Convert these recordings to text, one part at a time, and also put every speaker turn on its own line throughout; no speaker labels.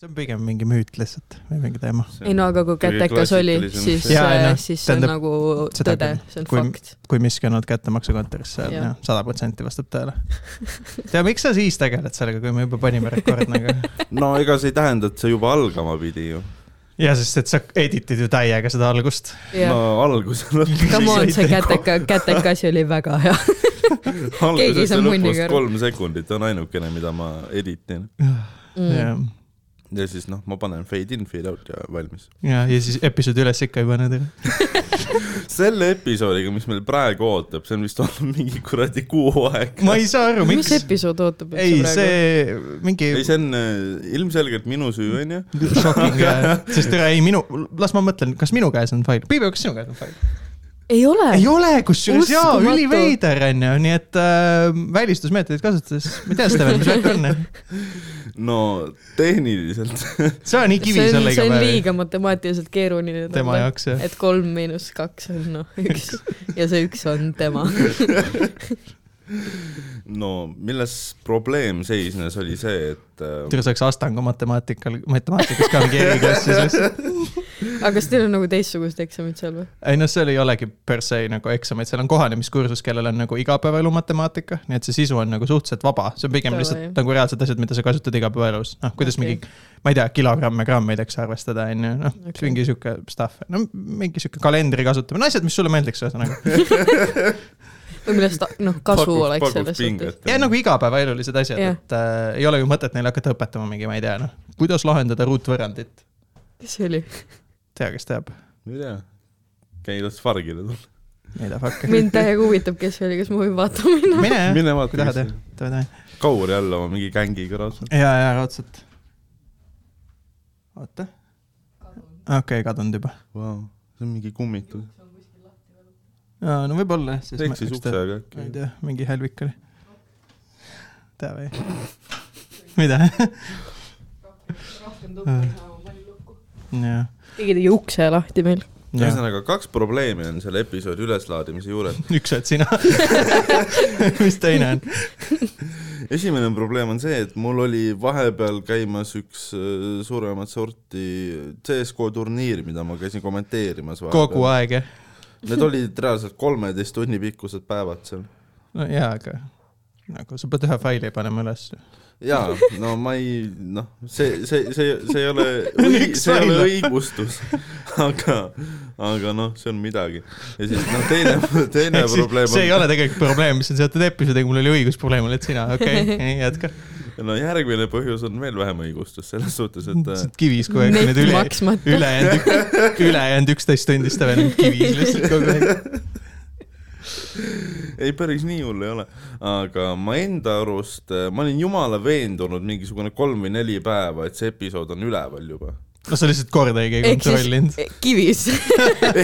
see on pigem mingi müüt lihtsalt või mingi teema .
ei no aga kui kätekas oli , siis ,
Jaa, ei noh,
siis see on
tähendab,
nagu
seda
tõde
küll. ,
see on
Kui-
fakt .
kui miski on olnud kättemaksukontorisse ,
Jah.
jah , sada protsenti vastab tõele . tea , miks sa siis tegeled sellega , kui me juba panime rekord nagu ?
no ega see ei tähenda , et see juba algama pidi ju .
ja sest , et sa editid ju täiega seda algust .
jah ,
no algus ja lõpp .
come on ,
nagu
see käteka , kätekas oli väga hea . keegi ei
algusest
saa
ja
munni
lõpust
ka aru .
kolm sekundit on ainukene , mida ma editin .
Mm. ja ,
ja siis noh , ma panen fade in , fade out ja valmis .
ja , ja siis episoodi üles ikka ei pane teile .
selle episoodiga , mis meil praegu ootab , see on vist olnud mingi kuradi kuu aega .
ma ei saa aru ,
mis
miks .
episood ootab
ei ,
üldse praegu ?
see mingi
ei , see on äh, ilmselgelt minu süü , onju .
shocking , sest tere , ei minu , las ma mõtlen , kas minu käes on fail , Piibe , kas sinu käes on fail ?
ei ole
ei . ole , kusjuures jaa ,
Uskumatu.
üliveider on ju , nii et äh, välistusmeetodeid kasutades , ma ei tea seda veel , mis värk on .
no tehniliselt .
see on nii kivi
see on ,
selle iga
see on
päev
liiga matemaatiliselt keeruline .
tema jaoks jah .
et kolm miinus kaks on noh , üks ja see üks on tema .
no milles probleem seisnes , oli see , et äh,
tere , see oleks Astangu matemaatikal , matemaatikas ka mingi eriklassis lihtsalt .
aga kas teil on nagu teistsugused eksamid seal või ?
ei noh , seal ei olegi per se nagu eksameid , seal on kohanemiskursus , kellel on nagu igapäevaelu matemaatika , nii et see sisu on nagu suhteliselt vaba , see on pigem
Tore,
lihtsalt
jah.
nagu reaalsed asjad , mida sa kasutad igapäevaelus , noh , kuidas
Okei.
okay. mingi , ma ei tea , kilogramme , grammeid , eks arvestada , on ju , noh
Okei.
okay. , mingi sihuke stuff , no mingi sihuke kalendri kasutamine , asjad , mis sulle meeldiks , ühesõnaga .
või millest noh , kasu
pakuks-
oleks
pakuks
selles
pinget,
suhtes ?
ja nagu igapäevaelulised asjad
Jah.
yeah. , et äh, ei ole ju mõtet neile hakata õpetama mingi , ma ei tea , noh , kuidas lahendada ruutvõrrandit ,
kes see oli ?
tea , kes teab ,
ma ei tea , käi las fargile tulla .
ei tea , fuck .
mind täiega huvitab , kes see oli , kas ma võin vaatama minna ?
mine jah ,
mine
kui
vaata ,
tahad
kes
jah , tule , tule .
Kaur jälle oma mingi gängiga raudselt .
ja , ja raudselt . oota . okei okay, , kadunud juba .
Vau , see on mingi kummitus .
no võib-olla jah , siis .
teeks siis uksega
ma ei
äkki .
tea , mingi hälvik oli . tea või ? mida ? jah ,
keegi tegi ukse lahti meil .
jah ,
ühesõnaga , kaks probleemi on selle episoodi üleslaadimise juures .
üks oled sina . mis teine on ?
esimene probleem on see , et mul oli vahepeal käimas üks äh, suuremat sorti CSGO turniir , mida ma käisin kommenteerimas
kogu . aeg jah ?
Need olid reaalselt kolmeteist tunni pikkused päevad seal .
no jaa , aga nagu sa pead ühe faili panema ülesse .
jaa , no ma ei , noh , see , see , see , see ei ole
On , üks
see ei ole
välja.
õigustus , aga , aga noh , see on midagi . ja siis noh , teine , teine probleem
see ei ole tegelikult probleem , mis on seotud episoodiga , mul oli õigus probleem , oled sina , okei okay, , jätka .
no järgmine põhjus on veel vähem õigustus selles suhtes , et äh,
kivis kogu aeg , need
neti
üle ,
maksmata .
ülejäänud , ülejäänud üksteist tundi seda veel kivis lihtsalt kogu aeg .
ei , päris nii hull ei ole , aga ma enda arust , ma olin jumala veendunud mingisugune kolm või neli päeva , et see episood on üleval juba .
no sa lihtsalt kordagi ei
ehk
kontrollinud .
siis Eh, kivis .
Noh,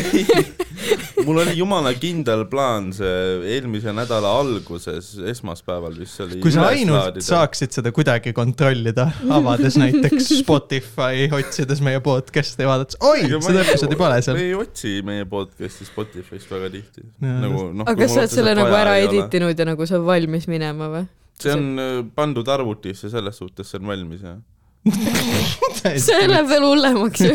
mul oli jumala kindel plaan see eelmise nädala alguses , esmaspäeval vist see oli .
kui sa ainult . saaksid seda kuidagi kontrollida , avades näiteks Spotify , otsides meie podcast'i ja vaadates , oi , seda episoodi pole seal
me . ei otsi meie podcast'i Spotify'st väga tihti .
Jaa,
nagu noh .
aga kas sa oled selle nagu ära . editinud ja nagu sa oled valmis minema või ?
see on äh, pandud arvutisse , selles suhtes see on valmis jah .
see läheb veel hullemaks ju .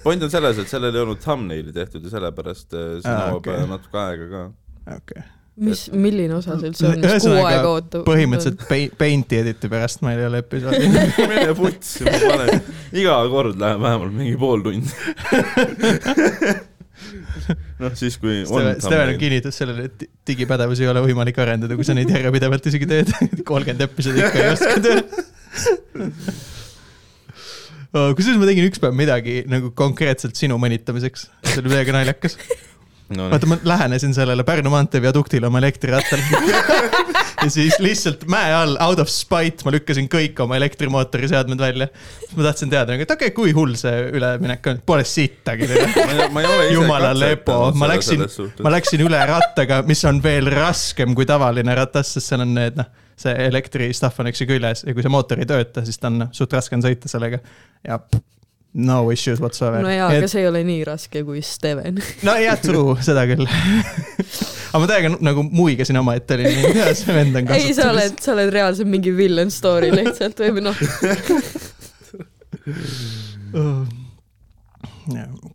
point on selles , et sellel ei olnud thumbnaili tehtud ja sellepärast äh, see
Aa,
nõuab
okei.
okay. natuke aega ka .
okay. .
mis , milline osa see üldse on , mis kuu
Ühesõnaga,
aega ootab ?
põhimõtteliselt pei- Paint'i editi pärast meil ei ole episoodi .
mine putsi , ma panen , iga kord läheb vähemalt mingi pool tundi . noh , siis kui on
Steven on
thumbnail .
kinnitus sellele , et digipädevusi ei ole võimalik arendada , kui sa neid järjepidevalt isegi teed . kolmkümmend episoodi ikka ei oska teha . kusjuures ma tegin ükspäev midagi nagu konkreetselt sinu mõnitamiseks , see oli väga naljakas .
no
vaata , ma lähenesin sellele Pärnu maantee viaduktil oma elektrirattal . ja siis lihtsalt mäe all , out of spite , ma lükkasin kõik oma elektrimootori seadmed välja . ma tahtsin teada , et okei okay, , kui hull see üleminek on , pole sittagi .
nii , ma ei ole ise
jumala lepo , ma läksin , ma läksin üle rattaga , mis on veel raskem kui tavaline ratas , sest seal on need noh , see elektristuff on eks ju küljes ja kui see mootor ei tööta , siis ta on noh, suht raske on sõita sellega ja p- no issues whatsoever .
no jaa , aga see ei ole nii raske kui Steven .
no jah , true , seda küll . aga ma täiega nagu muigasin omaette , olin nii hea , see vend on
ei ,
kasutades .
sa oled , sa oled reaalselt mingi villain story lihtsalt või noh ,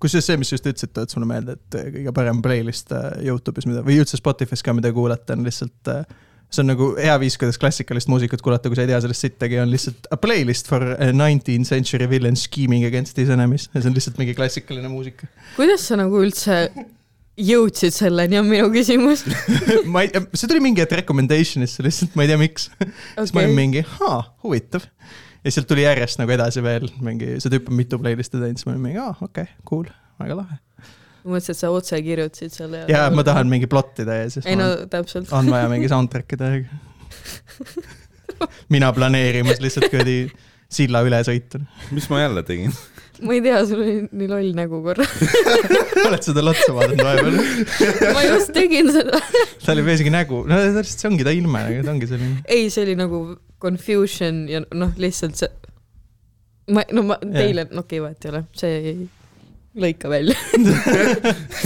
kusjuures see, mis just ütlesid, tuleb sulle meelde, et eh, kõige parem playlist eh, Youtube'is, mida või üldse Spotify's ka, mida kuulata, on lihtsalt see on nagu hea viis, kuidas klassikalist muusikat kuulata, kui sa ei tea sellest sittagi, on lihtsalt a playlist for eh, nineteenth century villain scheming against his enemies ja see on lihtsalt mingi klassikaline muusika.
kuidas sa nagu üldse jõudsid selleni, on minu küsimus
ma ei, see tuli mingi hetk recommendation'isse lihtsalt, ma ei tea, miks okay.. siis ma olin mingi, haa, huvitav. ja sealt tuli järjest nagu edasi veel mingi, see tüüp on mitu playlist'i teinud, siis ma olin mingi, aa, okei okay,, cool, väga lahe
mõtlesin, et sa otse kirjutasid selle.
jaa, ma tahan mingi plottida ja siis.
Äh, ei no täpselt.
on vaja mingi soundtrack'i teha. mina planeerimas lihtsalt kuradi silla üle sõitu.
mis ma jälle tegin?
ma ei tea, sul oli nii loll nägu korra
oled seda lotsa vaadanud vahepeal?
ma just tegin seda
tal ei ole isegi nägu, no täpselt see ongi ta ilme, ta ongi selline.
ei, see oli nagu confusion ja noh, lihtsalt see. ma, no ma teile, no okei okay,, vahet ei ole, see ei lõika välja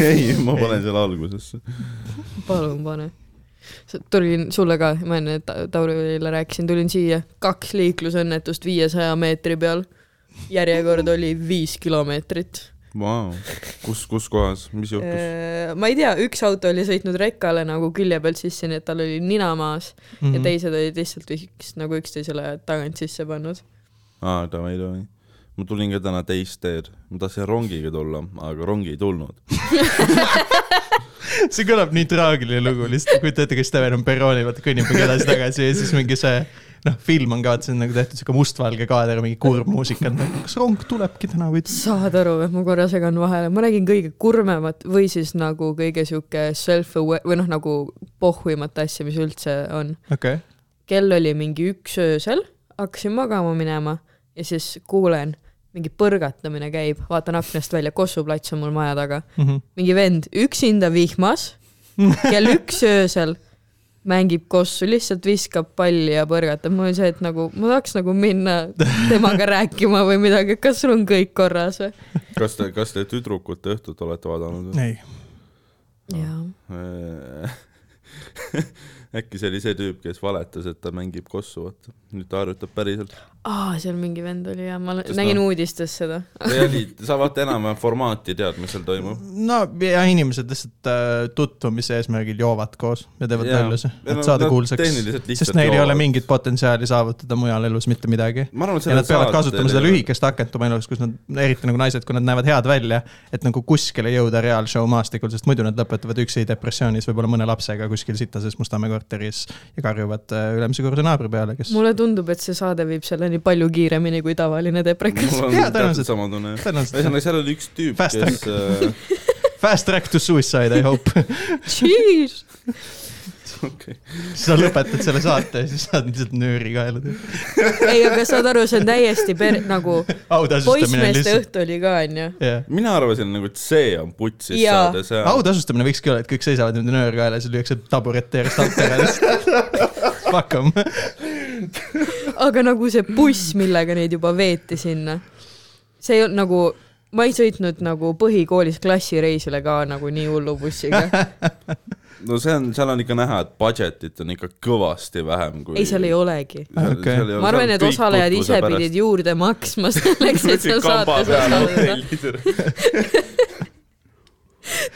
ei, ma panen selle algusesse.
palun pane. tulin sulle ka, ma enne Taurile rääkisin, tulin siia, kaks liiklusõnnetust viiesaja meetri peal. järjekord oli viis kilomeetrit.
Vau, kus, kus kohas, mis
Äh.
juhtus?
ma ei tea, üks auto oli sõitnud rekkale nagu külje pealt sisse, nii et tal oli nina maas mm
Mhm.
-hmm. ja teised olid lihtsalt üks nagu üksteisele tagant sisse pannud.
aa, davai, davai ma tulin ka täna teist teed, ma tahtsin rongiga tulla, aga rongi ei tulnud
see kõlab nii traagiline lugu, lihtsalt kujuta ette, kes ta veel on perroonil, vaata kõnnib mingi edasi-tagasi ja siis mingi see noh, film on ka, et see on nagu tehtud siuke mustvalge kaader, mingi kurb muusika, kas rong tulebki täna või?
saad aru, et ma korra segan vahele, ma räägin kõige kurmemat või siis nagu kõige siuke self-aware või noh, nagu pohhuimat asja, mis üldse on
okay..
kell oli mingi üks öösel, hakkasin magama minema ja siis kuulen, mingi põrgatamine käib, vaatan aknast välja, Kossu plats on mul maja taga mm.
Mhm.
-hmm. mingi vend üksinda vihmas kell üks öösel mängib kossu, lihtsalt viskab palli ja põrgatab. mul oli see, et nagu ma tahaks nagu minna temaga rääkima või midagi, et kas sul on kõik korras või?
kas te, kas te tüdrukute õhtut olete vaadanud?
ei.
jaa
Äh, äkki see oli see tüüp, kes valetas, et ta mängib kossu, vaata. nüüd ta harjutab päriselt.
aa, Ah, seal mingi vend oli ja ma Sest nägin no, uudistes seda.
see oli, sa vaata enam-vähem formaati tead, mis seal toimub.
no ja inimesed lihtsalt äh, tutvumise eesmärgil joovad koos ja teevad naljusi, et no, saada no, kuulsaks. sest neil ei ole mingit potentsiaali saavutada mujal elus mitte midagi. ja nad peavad kasutama seda lühikest akent oma elus, kus nad, eriti nagu naised, kui nad näevad head välja, et nagu kuskile jõuda reaalshow maastikul, sest muidu nad lõpetavad üksi depressioonis, võib-olla mõne lapsega kuskil sitases Mustamäe korteris ja karjuvad ülemise korruse naabri peale, kes.
mulle tundub, et see saade viib selleni palju kiiremini kui tavaline deprekas.
mul on täpselt sama tunne. ühesõnaga, seal oli üks tüüp, kes äh,
Fast track to suicide, I hope
Jeez
okay.. sa lõpetad selle saate ja siis saad lihtsalt nööri kaela teha.
ei, aga saad aru, see on täiesti per-, nagu poissmeeste õhtu oli ka, onju.
mina arvasin nagu, et see on putsis saade, see on.
autasustamine võikski olla, et kõik seisavad niimoodi nöör kaela ja siis lüüakse taburette järjest alt ära lihtsalt. Fuck'em.
aga nagu see buss, millega neid juba veeti sinna, see ei olnud nagu ma ei sõitnud nagu põhikoolis klassireisile ka nagu nii hullu bussiga
no see on, seal on ikka näha, et budget'it on ikka kõvasti vähem kui.
ei, seal ei olegi okay.. ma arvan, et osalejad ise pärast. pidid juurde maksma selleks, et seal saates osaleda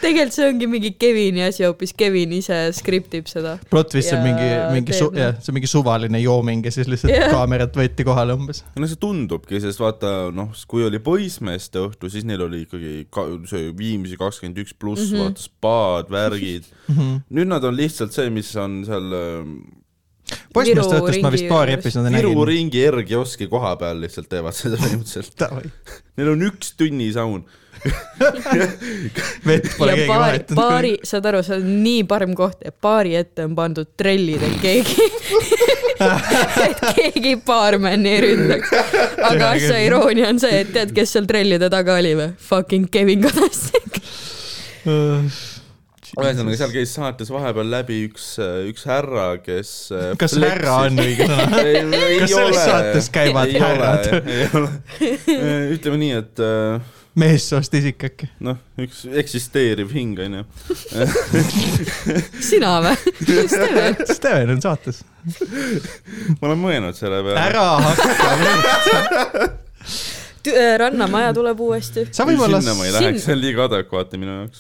tegelikult see ongi mingi Kevini asi hoopis, Kevin ise skriptib seda.
plot vist on mingi, mingi su-, jah, see on mingi suvaline jooming ja siis lihtsalt yeah. kaamerat võeti kohale umbes.
no see tundubki, sest vaata noh, kui oli poissmeeste õhtu, siis neil oli ikkagi ka, see Viimsi kakskümmend üks pluss mm, -hmm. vaata spaad, värgid mm.
Mhm.
-hmm. nüüd nad on lihtsalt see, mis on seal ähm,
poissmeeste õhtust ma vist paari episoodi nägin.
Viru ringi ergioski koha peal lihtsalt teevad seda põhimõtteliselt Neil on üks tunnisaun
vett pole keegi vahetanud.
baari, saad aru, see on nii parm koht, et baari ette on pandud trellid, et keegi et keegi baarmeni ei ründaks. aga asja iroonia on see, et tead, kes seal trellide taga oli või? Fucking Kevin Kadastik
ühesõnaga, seal käis saates vahepeal läbi üks, äh, üks härra, kes äh,
kas fleksis. härra on õige sõna? kas selles saates käivad ei härrad?
ütleme nii, et äh,
meessoost isik äkki?
noh, üks eksisteeriv hing onju
sina või? Steven.
Steven on saates.
ma olen mõelnud selle peale.
ära hakka nüüd
äh, rannamaja tuleb uuesti .
sa võib-olla ,
sinna ma ei läheks , see on liiga adekvaatne minu jaoks .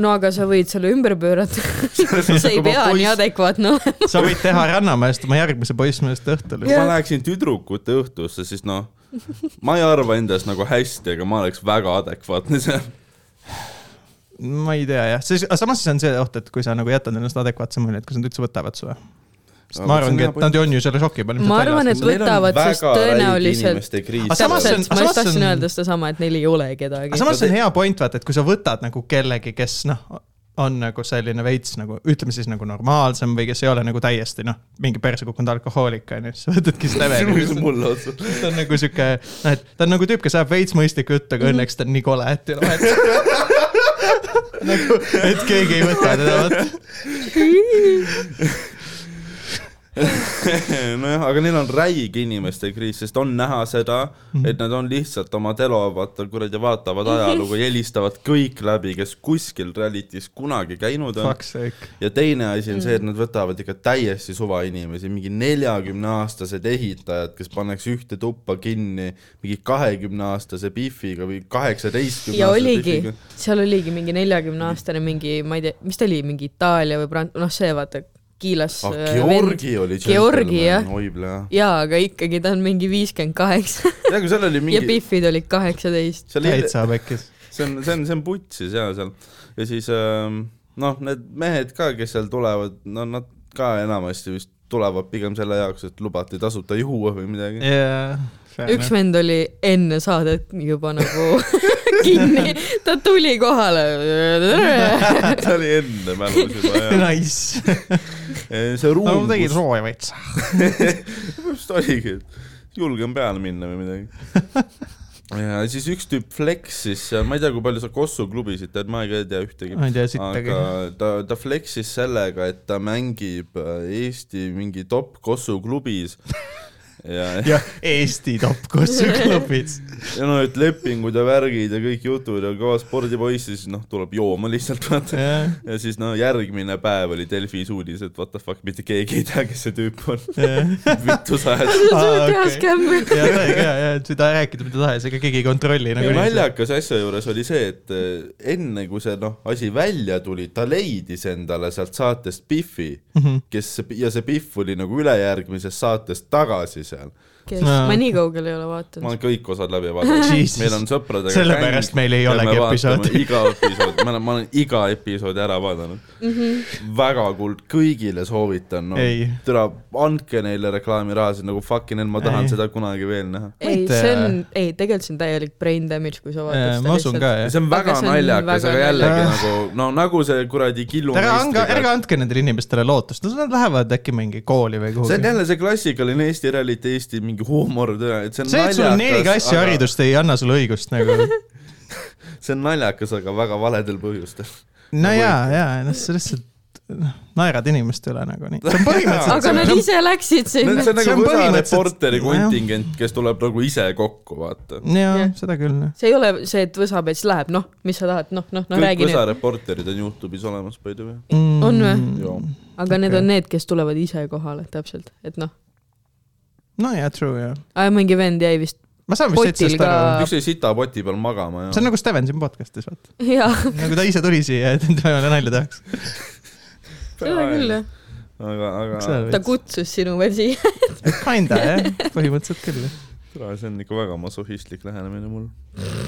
no aga sa võid selle ümber pöörata . see ei pea nii adekvaatne olema .
sa võid teha Rannamäest oma järgmise poissmeest õhtul .
kui ma läheksin tüdrukute õhtusse , siis noh , ma ei arva endast nagu hästi , aga ma oleks väga adekvaatne seal .
ma ei tea jah , siis , aga samas siis on see oht , et kui sa nagu jätad ennast adekvaatse mulje , et kas nad üldse võtavad su . sest ma arvangi , et nad on ju selle šoki peal .
ma arvan , et võtavad , sest tõenäoliselt .
Aga samas see on-
täpselt ,
samas
ma just
see
tahtsin
on-
öelda sedasama , et neil ei ole kedagi
aga . samas see on hea point , vaata , et kui sa võtad nagu kellegi , kes noh , on nagu selline veits nagu , ütleme siis nagu normaalsem või kes ei ole nagu täiesti noh , mingi perse kukkunud alkohoolik on ju , siis sa võtadki seda leveli .
see on mulle otsa .
ta on nagu sihuke , noh , et ta on nagu tüüp , kes ajab veits mõistlikku juttu , aga õnneks ta on nii kole , et ei ole vahet . nagu , et keegi ei võta teda , vot .
nojah , aga neil on räige inimeste kriis , sest on näha seda ,
Mhm.
et nad on lihtsalt oma telo , vaata kuradi , vaatavad ajalugu , helistavad kõik läbi , kes kuskil reality's kunagi käinud on .
Fuck sake .
ja teine asi on see ,
Mm.
et nad võtavad ikka täiesti suva inimesi , mingi neljakümneaastased ehitajad , kes pannakse ühte tuppa kinni mingi kahekümneaastase Biffiga või kaheksateistkümne .
ja oligi ,. seal oligi mingi neljakümneaastane mingi , ma ei tea , mis ta oli , mingi Itaalia või Prant- , noh , see vaata , Kiilas .
ah , Georgi oli .
Georgi, jah.
oi , plee .
jaa , aga ikkagi ta on mingi viiskümmend kaheksa
tead , kui seal oli
ja
mingi ,
Biffid olid kaheksateist .
seal oli ,
täitsa pekkis .
see on , see on , see on putsis ja seal ja siis ähm, noh , need mehed ka , kes seal tulevad , no nad ka enamasti vist tulevad pigem selle jaoks , et lubati tasuta juua või midagi .
jaa .
üks vend oli enne saadet juba nagu kinni , ta tuli kohale .
see oli enne mälus juba jah .
Nice .
Äh, see
no
ruum ,
tegid
kus
sooja veits .
just oligi , et julgen peale minna või midagi ja siis üks tüüp flexis seal , ma ei tea , kui palju sa Kossu klubisid tead , ma ka ei tea ühtegi .
ma ei tea sittagi
aga . ta , ta flexis sellega , et ta mängib äh, Eesti mingi top Kossu klubis ja ,
jah , Eesti top kutsuklubis .
ja no et lepingud ja värgid ja kõik jutud ja kõva spordipoiss , siis noh , tuleb jooma lihtsalt vaata .
jah ,
ja siis no järgmine päev oli Delfis uudis , et what the fuck , mitte keegi ei tea , kes see tüüp on .
jah .
mitu sajat
Aa,
suur
okei.
teaskämm .
ja , ja , ja , ja seda rääkida mida tahes , ega keegi ei kontrolli
ja
nagu .
naljakas asja juures oli see , et eh, enne kui see noh , asi välja tuli , ta leidis endale sealt saatest Biffi ,
Mhm.
kes ja see Biff oli nagu ülejärgmisest saatest tagasi seal .
Jaa.
ma nii kaugele ei ole
ma
vaatanud .
olen kõik osad läbi vaadanud
Jesus. ,
meil on sõpradega .
Sellepärast meil ei olegi episoodi.
iga episood , ma olen , ma olen iga episoodi ära vaadanud mm . -hmm. väga kuld , kõigile soovitan no,
Ei. .
türa , andke neile reklaamirahasid nagu fucking hell , ma
Ei.
tahan ei. seda kunagi veel näha .
ei ,
mitte-
see on , ei , tegelikult see on täielik brain damage , kui sa vaatad
ma usun ka , jah .
see on väga
Aga see on
naljakas ,
väga
aga jällegi
naljakas.
nagu , no nagu see kuradi killu
ärge andke , ärge andke nendele inimestele lootust , nad lähevad äkki mingi kooli või
see on
kuhugi .
jälle see klassikaline Eesti reality , Eesti mingi huumor , et see on
see , et sul on neli klassi aga... . haridust , ei anna sulle õigust nagu .
see on naljakas , aga väga valedel põhjustel .
no ja , ja , noh , sa lihtsalt noh, naerad inimeste üle nagu nii . see on põhimõtteliselt ,
aga nad ise läksid
see on
sinna .
see on
nagu USA
põhimõtteliselt-
reporteri
nojah.
kontingent , kes tuleb nagu ise kokku , vaata .
jaa
Jah. ,
seda küll , jah .
see ei ole see , et võsamees läheb , noh , mis sa tahad , noh , noh , no
kõik
räägi nüüd
USA . reporterid on Youtube'is olemas , by the way .
on või ?
Mm.
Joo.
aga need
Okei.
on need , kes tulevad ise kohale , täpselt , et noh ,
no jaa , true jah .
mingi vend jäi vist ,
ma saan vist
Potil
sitsest
ka-
aru .
üks jäi sitapoti peal magama ja
Äh, see on nagu Steven siin podcast'is , vaata .
jaa ,
nagu ta ise tuli siia , et tema jälle nalja tehakse .
seda küll jah ,
aga , aga
Seal-
ta kutsus sinu veel siia .
Kinda jah , põhimõtteliselt küll .
türa, see on ikka väga masohhistlik lähenemine mul .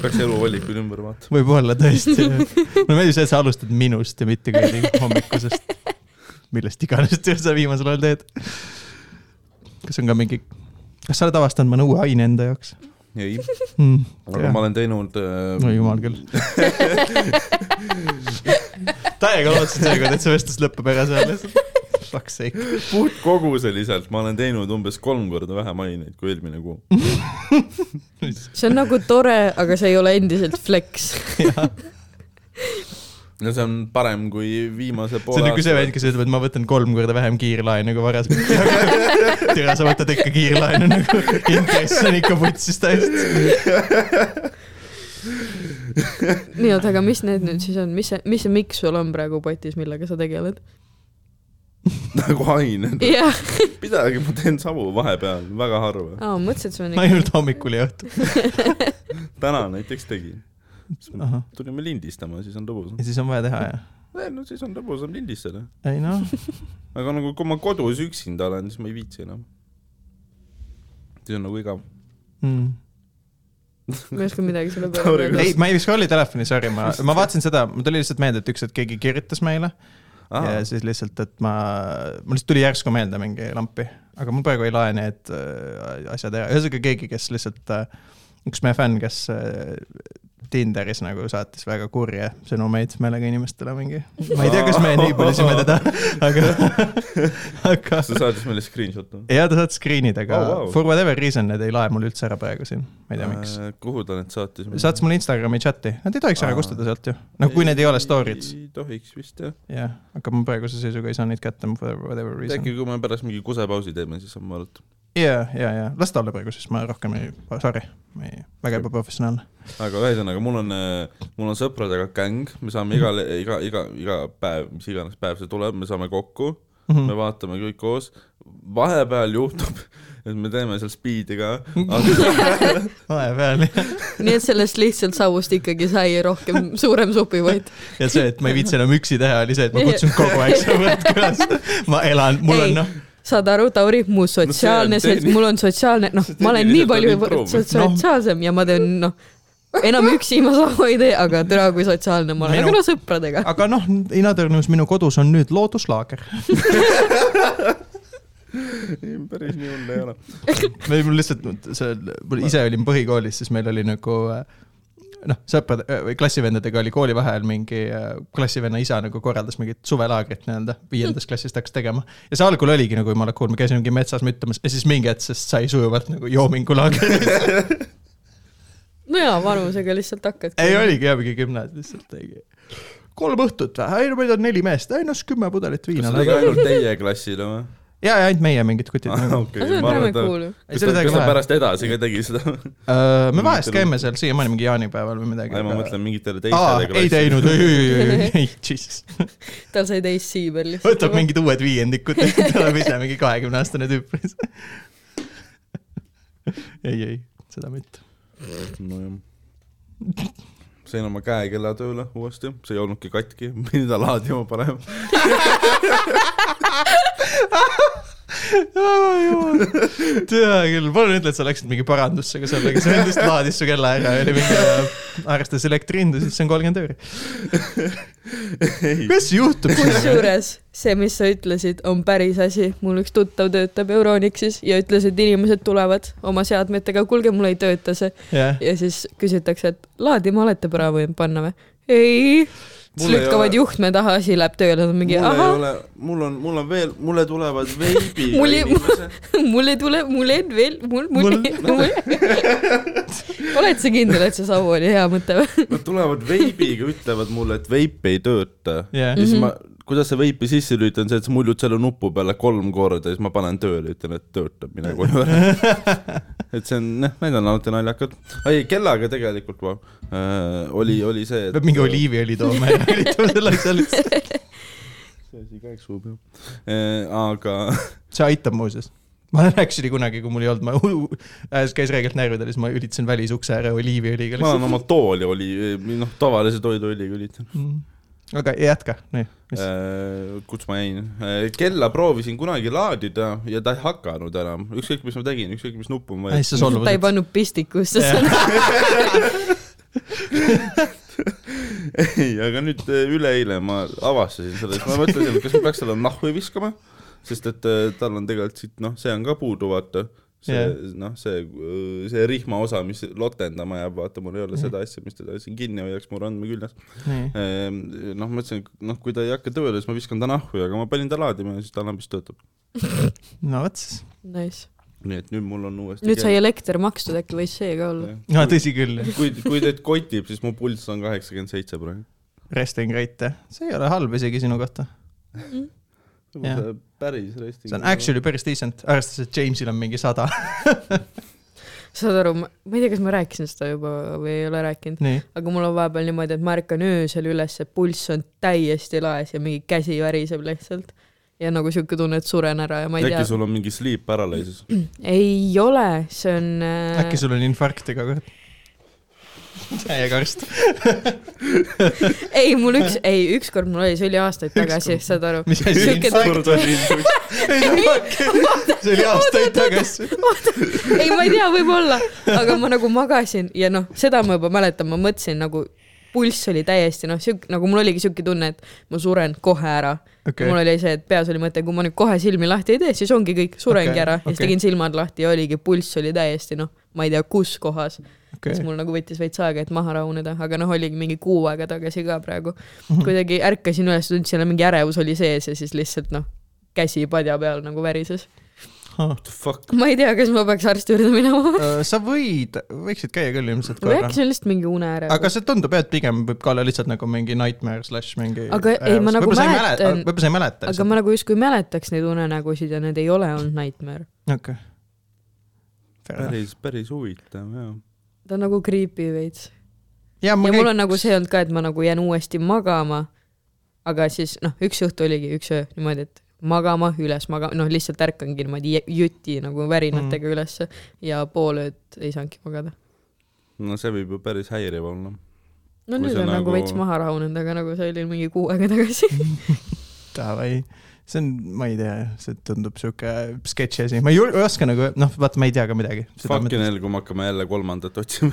peaks eluvalikuid ümber vaatama .
võib-olla tõesti . mulle meeldib see , et sa alustad minust ja mitte kuradi hommikusest . millest iganes sa viimasel ajal teed . kas on ka mingi , kas sa oled avastanud mõne uue aine enda jaoks
ei ,
mm, ?
aga ma olen teinud äh,
no jumal küll . täiega lootsin seekord , et see vestlus lõpeb ära seal lihtsalt . Fuck sake .
puhtkoguseliselt ma olen teinud umbes kolm korda vähem aineid kui eelmine kuu .
see on nagu tore , aga see ei ole endiselt flex .
no see on parem kui viimase
see
poole
on nagu see vend , kes ütleb , et ma võtan kolm korda vähem kiirlaenu kui varasemalt . tere , sa võtad ikka kiirlaenu nagu , intress on ikka vutsis täiesti .
nii , oota , aga mis need nüüd siis on , mis see , mis see miks sul on praegu potis , millega sa tegeled ?
nagu ained .
jah ,
midagi ma teen samu vahepeal , väga harva .
mõtlesin , et see on
ainult hommikul ja õhtul .
täna näiteks tegin .
ahah ,
tulime lindistama , siis on lõbusam .
ja siis on vaja teha ja ,
no siis on lõbusam lindistada .
ei noh ,
aga nagu kui ma kodus üksinda olen , siis ma ei viitsi enam . siis on nagu igav .
Mm.
ma ei oska midagi selle
Tauri,
peale öelda .
ei , ma ei scroll'i telefoni , sorry , ma , ma vaatasin seda , mul tuli lihtsalt meelde , et üks hetk keegi kirjutas meile ja
Yes.
siis lihtsalt , et ma , mul lihtsalt tuli järsku meelde mingi lampi , aga mul praegu ei lae need äh, asjad ära , ühesõnaga keegi , kes lihtsalt , üks meie fänn , kes äh, Tinderis nagu saatis väga kurje sõnumeid meelega inimestele mingi , ma ei tea , kas me nii põlisime teda , aga , aga
sa saatis meile screenshot'e ?
ja ta saatis screen'id , aga oh,
Oh,
wow.
wow.
for whatever reason need ei lae mul üldse ära praegu siin , ma ei tea , miks .
Äh, kuhu ta need saatis ?
saatis mulle Instagrami chati , nad ei tohiks ära
Aa.
kustuda sealt ju , noh kui need ei ole story'd ,
ei tohiks vist jah .
jah , aga ma praeguse seisuga ei saa neid kätte for whatever reason .
äkki kui me pärast mingi kusepausi teeme , siis saame vaadata .
ja , ja , ja las ta olla praegu , siis ma rohkem ei , sorry , ma ei , väga ebaprofessionaalne .
aga ühesõnaga , mul on , mul on sõpradega gäng ,
Mhm.
me saame igal , iga , iga , iga päev , mis iganes päev see tuleb , me saame kokku ,
Mhm.
me vaatame kõik koos . vahepeal juhtub , et me teeme seal speed'i ka , aga
vahepeal
nii et sellest lihtsalt savust ikkagi sai rohkem suurem supivõit .
ja see , et ma ei viitsi enam üksi teha , oli see , et ma kutsun kogu aeg sõbrad külas . ma elan , mul on
Ei.
noh ,
saad aru , Tauri , mu sotsiaalne
No see on
sel- ,
tehni-
mul on sotsiaalne , noh
see ,
ma olen nii
tehniliselt
palju
on improv.
so- sotsiaalsem ja ma teen , noh , enam üksi ma sama ei tee , aga türa kui sotsiaalne ma olen ,
Minu-
aga no sõpradega .
aga noh , Ina-Tõrnus minu kodus on nüüd looduslaager .
ei , päris nii hull ei ole .
me mul lihtsalt , see , mul ise olin põhikoolis , siis meil oli nagu äh, noh , sõprade äh, või klassivendadega oli koolivaheajal mingi äh, klassivenna isa nagu korraldas mingit suvelaagrit nii-öelda , viiendas klassis ta hakkas tegema . ja see algul oligi nagu jumala cool , me käisimegi metsas müttamas ja siis mingi hetk sest sai sujuvalt nagu joomingulaagri .
no jaa , vanusega lihtsalt hakkad .
ei oligi jah , mingi gümnaasium lihtsalt tegi . kolm õhtut või , ei no meid on neli meest , ei noh , kümme pudelit
kas
viina nagu
see . oli ka ainult teie klassile või ?
ja , ja ainult meie mingid kutid nagu .
aga see on räme cool .
Ei, see oli
Ah, kas
täiega
ta
lahe.
pärast edasi ka tegi seda ?
me vahest käime seal siiamaani mingi jaanipäeval või midagi .
ei , ma mõtlen mingitele
Aa,
teistele
ei teinud , ei , ei , ei , ei , ei , jesus .
tal sai täis siibel lihtsalt .
võtab . mingid uued viiendikud , tuleb ise mingi kahekümne aastane tüüp . ei , ei , seda mitte .
nojah . sain oma käekella tööle uuesti , see ei olnudki katki , pidin ta laadima parem .
tea küll , palun ütle , et sa läksid mingi parandusse ka sellega , see endast laadis su kella ära ja oli mingi , arvestades elektrihindu , siis see on kolmkümmend euri . mis juhtub siis ?
kusjuures see , mis sa ütlesid , on päris asi . mul üks tuttav töötab Euronixis ja ütles , et inimesed tulevad oma seadmetega , kuulge , mul ei tööta see .
jah ,
ja siis küsitakse , et laadima olete pra- võinud panna või ? ei , siis
Mul ei
lükkavad
ole-
juhtme taha , asi läheb tööle , nad on mingi
mul ei
ahah ,
ole , mul on , mul on veel , mulle tulevad veebi
Mul ei- mul ei tule , mul ei veel , mul , mul , mul . oled sa kindel , et see savu oli hea mõte või ?
Nad tulevad veibiga , ütlevad mulle , et veip ei tööta . ja
Jah.
siis ma ,
Mhm.
kuidas sa veipi sisse lülitad , see , et sa muljud selle nupu peale kolm korda ja siis ma panen tööle , ütlen , et töötab , mine koju ära . et see on , noh , need on alati naljakad . ei , kellaga tegelikult ma, äh, oli , oli see , et
peab mingi oliiviõli tooma ja üritama selle asja lihtsalt .
see asi ka , eks ju , peab . aga
see aitab muuseas . ma olen actually kunagi , kui mul ei olnud , ma uju- äh, käis reegelt närvidel , siis ma ülitasin välisukse ära oliiviõliga
ma olen
lihtsalt .
oma tooli oli , noh , tavalise toiduõliga üritanud .
aga jätka , nii , mis ,
Äh, kus ma jäin , kella proovisin kunagi laadida ja ta ei hakanud enam , ükskõik mis ma tegin , ükskõik mis nuppu ma
siis sa
ta ei
solvusid .
pannud pistikusse seda .
ei , aga nüüd äh, üleeile ma avastasin selle , siis ma mõtlesin , et kas ma peaks talle nahhu viskama , sest et äh, tal on tegelikult siit noh , see on ka puudu , vaata . see
Jah.
noh , see , see rihma osa , mis lotendama jääb , vaata , mul ei ole seda asja , mis teda siin kinni hoiaks mul andmeküljes .
nii ,
noh , ma mõtlesin , et noh , kui ta ei hakka tööle , siis ma viskan ta nahhu , aga ma panin ta laadima ja siis ta enam vist töötab .
no vot siis .
Nice .
nii et nüüd mul on uuesti .
nüüd sai elekter makstud , äkki võis see ka olla ?
no tõsi küll ,
kui , kui teid kotib , siis mu pulss on kaheksakümmend seitse praegu .
resting rate , see ei ole halb isegi sinu kohta . Jah.
päris resting .
see on . actually päris decent , arvestades , et Jamesil on mingi sada .
saad aru , ma ma ei tea , kas ma rääkisin seda juba või ei ole rääkinud ,
nii ,
aga mul on vahepeal niimoodi , et ma ärkan öösel üles , pulss on täiesti laes ja mingi käsi väriseb lihtsalt . ja nagu sihuke tunne , et suren ära ja ma ei
äkki
tea .
sul on mingi sleep paralysis ?
ei ole , see on äh,
äkki sul on infarkt iga kord ? täiega arst .
ei , mul üks , ei , ükskord mul oli , see oli aastaid tagasi , saad aru .
mis asi
Sihuke-
infarkt on ? see oli aastaid tagasi .
ei , ma ei tea , võib-olla , aga ma nagu magasin ja noh , seda ma juba mäletan , ma mõtlesin nagu pulss oli täiesti noh , sihuke nagu mul oligi sihuke tunne , et ma suren kohe ära okay. . mul
okei ,
oli see , et peas oli mõte , kui ma nüüd kohe silmi lahti ei tee , siis ongi kõik , surengi
Okei,
okay, ära okay. ja siis
okei.
tegin silmad lahti ja oligi , pulss oli täiesti noh , ma ei tea , kus kohas okay. . siis
okei .
mul nagu võttis veits aega , et maha rahuneda , aga noh , oligi mingi kuu aega tagasi ka praegu .
Mhm.
kuidagi ärkasin üles , tundsin , et mingi ärevus oli sees ja siis lihtsalt noh , käsi padja peal nagu värises .
What the fuck ?
ma ei tea , kas ma peaks arsti juurde minema
sa võid , võiksid käia küll ilmselt
või
korra
äkki . see on lihtsalt mingi uneärevus
aga . see tundub jah , et pigem võib ka olla lihtsalt nagu mingi nightmare slash mingi .
Aga ei, ma nagu mäletan-
võib-olla sa ei mäleta
aga
lihtsalt .
ma nagu justkui mäletaks neid unenägusid ja need ei ole olnud nightmare .
okei .
päris , päris huvitav jah .
ta on nagu creepy veits .
ja
ja mul on nagu see olnud ka , et ma nagu jään uuesti magama . aga siis noh , üks õhtu oligi üks öö niimoodi , et magama , üles magama , noh lihtsalt ärkangi niimoodi jä- juti nagu värinatega mm. ülesse ja pool ööd ei saanudki magada .
no see võib ju päris häiriv olla .
no
Kui
nüüd
sa
on nagu
nagu-
veits maha rahunenud , aga nagu see oli mingi kuu aega tagasi .
Davai , see on , ma ei tea , see tundub sihuke sketši asi , ma ei jul- ei oska nagu , noh , vaata , ma Ah. ei tea ka midagi .
Fucking hell , kui me hakkame jälle kolmandat otsima .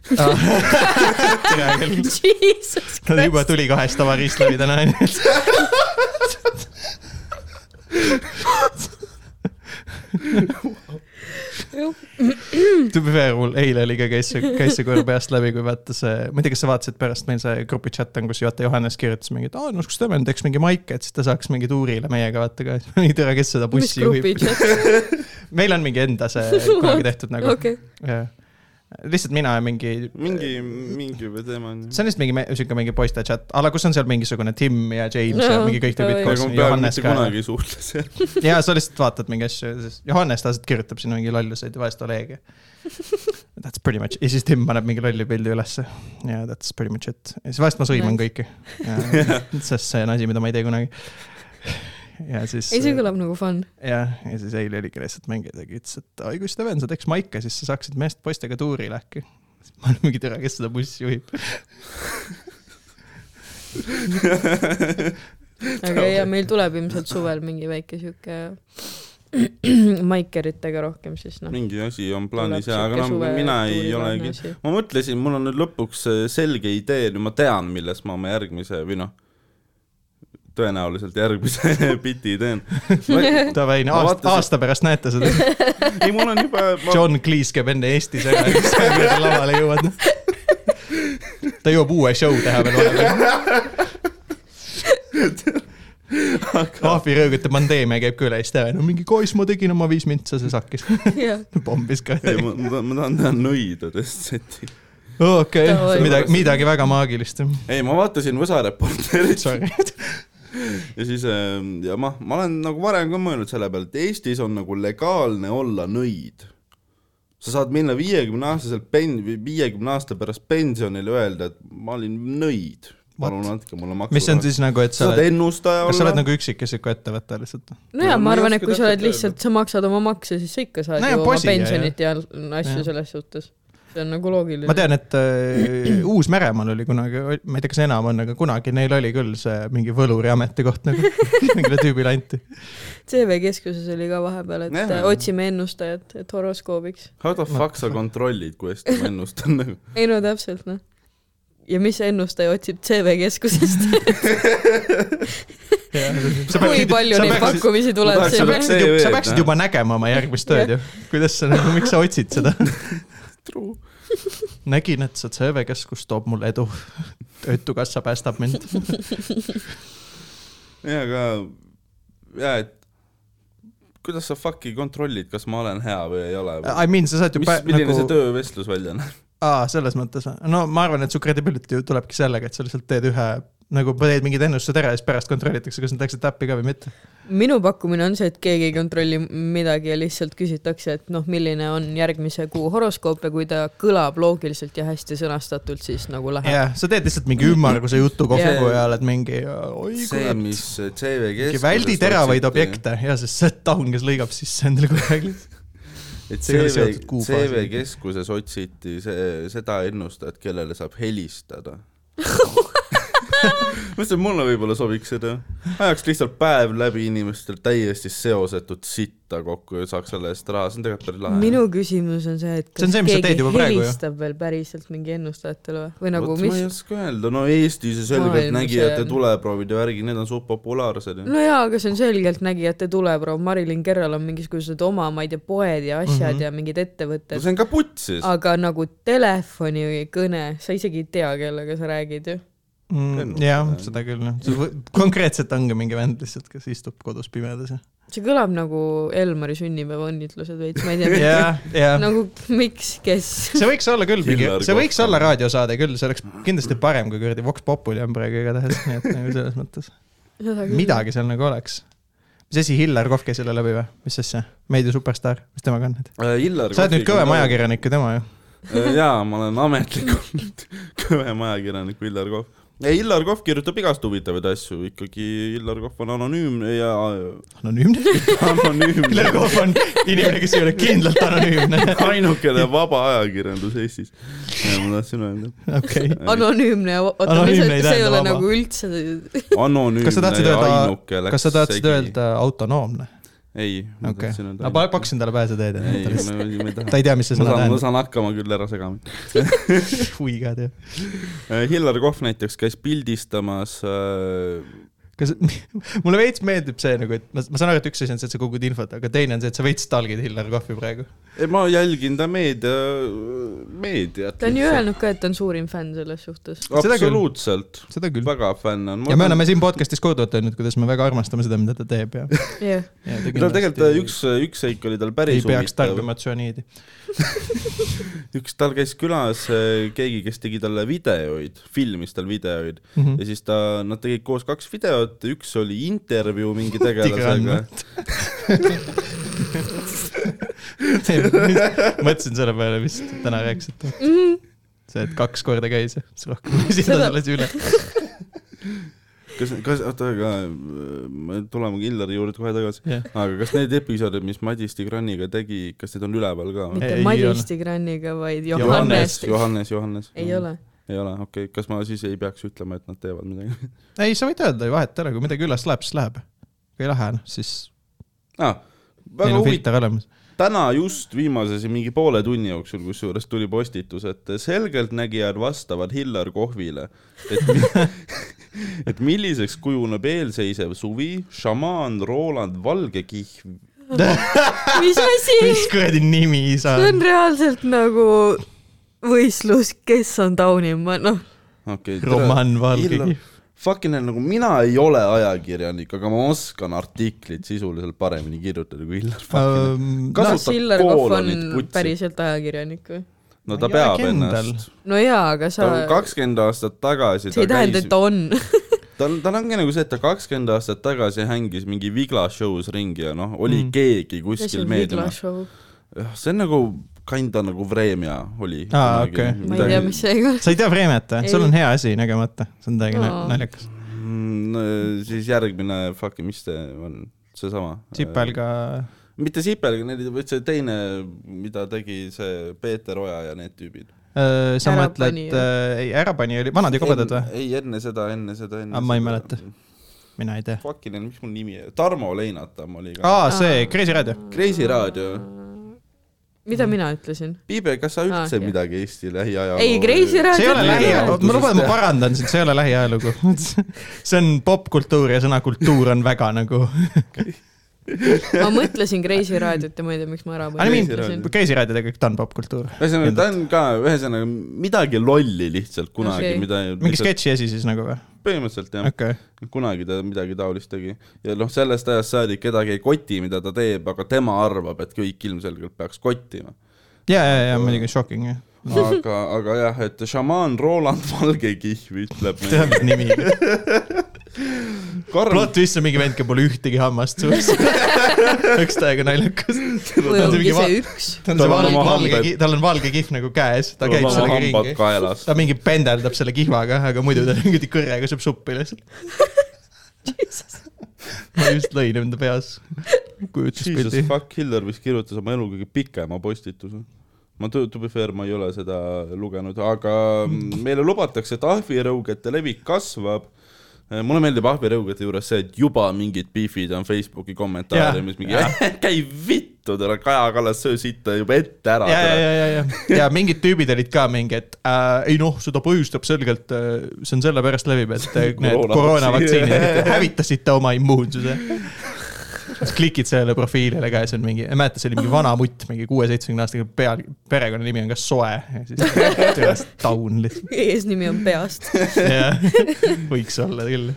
Jesus
ta juba
Christ ,
tuli kahest avariist läbi täna , onju . To be fair , mul eile oli ka , käis see , käis see korra peast läbi , kui vaata see , ma ei tea , kas sa vaatasid pärast meil see grupi chat on , kus juhataja Johannes kirjutas mingi , et aa , no kus teeme , teeks mingi maike , et siis ta saaks mingi tuurile meiega vaata ka . nii tere , kes seda
mis
bussi
grupi
juhib .
chat ,
meil on mingi enda see kunagi tehtud nagu okay. .
okei .
lihtsalt mina ja mingi
mingi , mingi teema on .
see on lihtsalt mingi me- siuke mingi poiste chat , a la kus on seal mingisugune Tim ja James ja
Jaa,
mingi kõik tüübid
oi.
koos
ega . ma peaaegu
Johannes
mitte
ka .
kunagi ei suhtle seal .
ja sa lihtsalt vaatad mingi asju ja siis Johannes tavaliselt kirjutab sinna mingi lolluseid ja vahest Oleg ja . That's pretty much ja siis Tim paneb mingi lolli pildi ülesse ja that's pretty much it ja siis vahest ma sõiman
Nice.
kõiki . sest see on asi , mida ma ei tee kunagi . ja siis .
ei , see kõlab nagu fun .
jah , ja siis eile oligi lihtsalt mängija tegi , ütles , et oi kui Steven , sa teeks maika , siis sa saaksid meest poistega tuurile äkki . ma olen mingi tere , kes seda bussi juhib .
aga ja meil tuleb ilmselt suvel mingi väike sihuke maikeritega rohkem siis noh .
mingi asi on plaanis ja , aga no mina ei olegi .
kindel .
ma mõtlesin , mul on nüüd lõpuks äh, selge idee , nüüd ma tean , milles ma oma järgmise või noh , tõenäoliselt järgmise biti teen . ei ,
Davai , no aasta ,
Ma vaatasin-
aasta pärast näete seda .
mul on juba , ma
John Cleese käib enne Eestis ära , siis sa veel lavale jõuad . ta jõuab uue show teha veel vahepeal . Ahvi rõõgute pandeemia käib ka üle Eesti ära , no mingi kois ma tegin oma viis mintsa , see sakkis , pommis ka .
ei , ma , ma ma tahan teha nõidadest seti .
okei
Davai. ,
midagi , midagi väga maagilist .
ei , ma vaatasin Võsa Reporterit
Sorry .
ja siis äh, ja ma , ma olen nagu varem ka mõelnud selle peale , et Eestis on nagu legaalne olla nõid . sa saad minna viiekümne aastaselt pen- , viiekümne aasta pärast pensionile , öelda , et ma olin nõid . palun andke mulle maksu .
mis on siis nagu , et
sa
sa
saad
oled ,
ennustaja olla .
kas sa oled nagu üksikisiku ettevõte lihtsalt ?
nojah ,
No
ma
ma ei
arvan , et
oska
kui sa oled
täpselt
lihtsalt , sa maksad oma makse , siis sa ikka saad
No ja
ju oma
posi,
pensionit ja asju
Jah.
selles suhtes . see on nagu loogiline .
ma tean , et äh, Uus-Meremaal oli kunagi , ma ei tea , kas enam on , aga kunagi neil oli küll see mingi võluri ametikoht nagu mingile tüübile anti .
CV Keskuses oli ka vahepeal , et
Näe.
äh, otsime ennustajat , et horoskoobiks .
How the fuck sa kontrollid , kui hästi ma ennustan nagu ?
ei no täpselt noh . ja mis ennustaja otsib CV Keskusest , kui palju neid pakkumisi tuleb
tahaks-
CV
tahaks- CV-d,
sa peaksid
noh.
juba nägema oma järgmist tööd ju , kuidas sa nagu , miks sa otsid seda ? nägin , et see CV-keskus toob mulle edu . töötukassa päästab mind .
jaa , aga jaa , et kuidas sa fuck'i kontrollid , kas ma olen hea või ei ole või ?
I mean , sa saad Äh, ju
mis ,
pä-
milline nagu... see
nagu ,
töövestlus välja näeb ?
aa , selles mõttes , no ma arvan , et su credibility ju tulebki sellega , et sa lihtsalt teed ühe nagu teed mingid ennustused ära ja siis pärast kontrollitakse, kas nad läksid täppi ka või mitte.
minu pakkumine on see , et keegi ei kontrolli midagi ja lihtsalt küsitakse , et noh , milline on järgmise kuu horoskoop ja kui ta kõlab loogiliselt ja hästi sõnastatult , siis nagu läheb .
jah , sa teed lihtsalt mingi ümmarguse jutu kokku
Jaa.
ja oled mingi oi
see ,
kurat .
mis CV
mingi
keskuses .
väldi teravaid . objekte ja sest see taun , kes lõigab sisse endale kogu aeg .
et
See ei ole
CV
seotud , kuubaasiga.
CV keskuses otsiti see , seda ennustajat , kellele saab helistada . ma ütlesin , mulle võib-olla sobiks seda . ajaks lihtsalt päev läbi inimestel täiesti seosetut sitta kokku ja saaks selle eest raha , see on tegelikult päris lahe .
minu küsimus on see , et
See on
kas
see, mis sa teed
keegi
juba praegu, ju.
helistab veel päriselt mingi ennustajatele või , või nagu
Vot ma ei
mis ?
oska öelda , no Eestis ju selgelt
Maailmas
nägijate
on-
tuleproovid ja värgid , need on suht populaarsed ju .
no jaa , aga see on selgeltnägijate tuleproov , Marilyn Kerral on mingisugused oma , ma ei tea , poed ja asjad mm
Mhm.
-hmm. ja mingid ettevõtted
no , see on ka putsis .
aga nagu telefonikõne , sa isegi ei tea , kellega sa räägid ju .
jah , Mm, seda küll jah . konkreetselt ongi mingi vend lihtsalt , kes istub kodus pimedas ja .
see kõlab nagu Elmari sünnipäeva õnnitlused veits , ma ei tea yeah. ,
jah , jah .
nagu miks , kes .
see võiks olla küll mingi
Killer ,
see võiks
kohta.
olla raadiosaade küll , see oleks kindlasti parem kui kuradi Vox Populi on praegu igatahes , nii et nagu selles mõttes . midagi seal nagu oleks . mis asi , Hillar Kohv käis selle läbi või ? mis asja ? meediasuperstaar , mis temaga on nüüd ?
Hillar .
sa oled nüüd kõvem . ajakirjanik kui tema ju .
jaa , ma olen ametlikult kõvem ajakirjanik kui Hillar Kohv . ei , Hillar Kohv kirjutab igast huvitavaid asju , ikkagi Hillar Kohv on anonüümne ja
anonüümne . Hillar
anonüümne ,
Kohv on inimene , kes ei ole kindlalt anonüümne .
ainukene vaba ajakirjandus Eestis . ma tahtsin öelda .
okei .
anonüümne , oota ,
Anonüümne
see
ei
see ei
tähenda
ole
vaba.
nagu üldse ,
anonüümne
Kas sa tahtsid
ja
öelda-
ainuke läks
kas sa tahtsid
segi.
öelda autonoomne ?
ei , ma
okei
tahtsin , öelda
ma . pa- pakkusin talle pääse teed .
ei , ma ei- ma ei taha
ta . ei tea , mis see
ma
sõna
saan , ma
tähendab .
saan hakkama küll ära segama .
hui ka teab .
Hillar Kohv näiteks käis pildistamas äh,
kas , mulle veits meeldib see nagu , et ma, ma saan aru , et üks asi on see , et sa kogud infot , aga teine on see , et sa veits talgid Hillar Kohvi praegu .
ei , ma jälgin ta meedia , meediat .
ta on ju . öelnud ka , et ta on suurim fänn selles suhtes .
Seda küll.
absoluutselt ,
seda küll .
väga fänn on .
ja me oleme siin podcast'is korduvalt öelnud , kuidas me väga armastame seda , mida ta teeb ja .
jah ,
no tegelikult äh, üks , üks seik oli tal
ei
päris
peaks
huvitav .
tarbima tsüaniidi .
üks , tal käis külas äh, keegi , kes tegi talle videoid , filmis tal videoid
Mhm.
ja siis ta , nad tegid koos kaks videot , üks oli intervjuu mingi tegelasega .
mõtlesin selle peale , mis te täna rääkisite . see , et kaks korda käis ja siis rohkem ei saa
Seda-
selles üle .
kas , kas , oota , aga äh, me tuleme Killari juurde kohe tagasi .
Jah.
aga kas need episoodid , mis Madis Tigraniga tegi , kas need on üleval ka
Ei,
või ?
mitte
ei
Madis
ole.
Tigraniga , vaid
Johannes.
Johannes .
Johannes , Johannes .
ei ole .
ei ole , okei okay. , kas ma siis ei peaks ütlema , et nad teevad midagi ?
ei , sa võid öelda ju , vahet ei ole , kui midagi üles läheb , siis läheb . kui ei lähe , noh siis
aa ,
neil
Ah, väga
on
huvitav ,
filter olemas .
täna just viimase siin mingi poole tunni jooksul , kusjuures tuli postitus , et selgeltnägijad vastavad Hillar Kohvile , et mi- et milliseks kujuneb eelseisev suvi , šamaan Roland Valgekihv .
mis asi ?
mis kuradi nimi sa
see on
oled ?
reaalselt nagu võistlus , kes on taunim , ma noh ,
okei okay, ,
Roman Valgegi
Hillar- . fucking hell , nagu mina ei ole ajakirjanik , aga ma oskan artiklit sisuliselt paremini kirjutada kui Hillar
Äh,
Fucking . Kas-
kas
kas
Kasutab
Hillar Kohv noh, on
poolonit putsi.
päriselt ajakirjanik või ?
no
Ma ei
ta
ole
peab
kindel.
ennast .
no jaa , aga sa ,
kakskümmend aastat tagasi
see ei tähenda , et ta on .
tal , tal ongi nagu see , et ta kakskümmend aastat tagasi hängis mingi Vigla show's ringi ja noh , oli mm.
Mm.
keegi
mis
kuskil
on Vigla
meediumis .
show ?
see on nagu kinda nagu Vremja oli .
Aa, okei.
ma ei tea , mis seega .
sa ei tea Vreemiat või ? sul on
Ei.
hea asi nägemata , see on täiega no.
Aa.
naljakas .
Mm, no, . siis järgmine , fuck , mis see on , seesama .
sipelga .
mitte sipelga , neil oli see teine , mida tegi see Peeter Oja ja need tüübid .
Äh, sa
Ära
mõtled äh,
pani, ,
ei , Ärapanija oli , Vanad ja kobedad või ?
ei , enne seda , enne seda , enne
Aa, ma ei mäleta. mina ei tea .
Fucking hell , mis mul nimi , Tarmo Leinatam oli ka .
aa , see Kreisi raadio .
Kreisi raadio .
Mm.
mida mina ütlesin ?
Piibe , kas sa üldse
okei.
midagi Eesti lähiajaloo
ei , Kreisi
see ei ole lähiajalugu ,
raadio .
ma luban , ma parandan sind , see ei ole lähiajalugu . see on popkultuur ja sõna kultuur on väga nagu ,
ma mõtlesin Kreisi raadiot ja ma ei tea , miks ma ära
I mean-
mõtlesin .
Kreisi raadio tegelikult on popkultuur .
ühesõnaga , ta on ka , ühesõnaga midagi lolli lihtsalt kunagi
Okei.
okay. , mida .
mingi sketši asi siis nagu või ?
põhimõtteliselt jah okay. ,
okei ,
kunagi ta midagi taolist tegi ja noh , sellest ajast saadik kedagi ei koti , mida ta teeb , aga tema arvab , et kõik ilmselgelt peaks kottima .
ja , ja , ja muidugi shocking jah .
aga , aga jah , et šamaan Roland Valgekihm ütleb
tead ,
meile .
mis nimi .
karm
plot twist on mingi vend , kellel pole ühtegi hammast suus . üks täiega naljakas .
või
Ta on mingi
ongi
va-
see üks .
tal on
Tal
see
on
valge ,
oma
valge
hambed. ,
tal on valge kihv nagu käes , ta
tuleb
käib
oma
sellega
hambad
ringi .
kaelas .
ta mingi pendeldab selle kihvaga , aga muidu ta niimoodi kõrrega sööb suppi lihtsalt . ma just lõin enda peas
Jesus
kujutuspildi .
fuck Hiller vist kirjutas oma elu kõige pikema postituse . ma to, to be fair , ma ei ole seda lugenud , aga meile lubatakse , et ahvirõugete levik kasvab . mulle meeldib ahvirõugete juures see , et juba mingid beef'id on Facebooki kommentaariumis mingi käi vittu , tere , Kaja Kallas , söö sitta juba ette ära .
ja , ja , ja , ja , ja , ja mingid tüübid olid ka mingi , et äh, ei noh , seda põhjustab selgelt äh, , see on sellepärast levib , et äh, need
Koroonavaktsiin.
koroonavaktsiinid hävitasite oma immuunsuse . siis klikid sellele profiilile ka ja siis on mingi , mäleta , see oli mingi vana mutt , mingi kuue-seitsmekümne aastaga peal , perekonnanimi on ka Soe . ja siis taun lihtsalt ,
eesnimi on peast .
jah , võiks olla küll .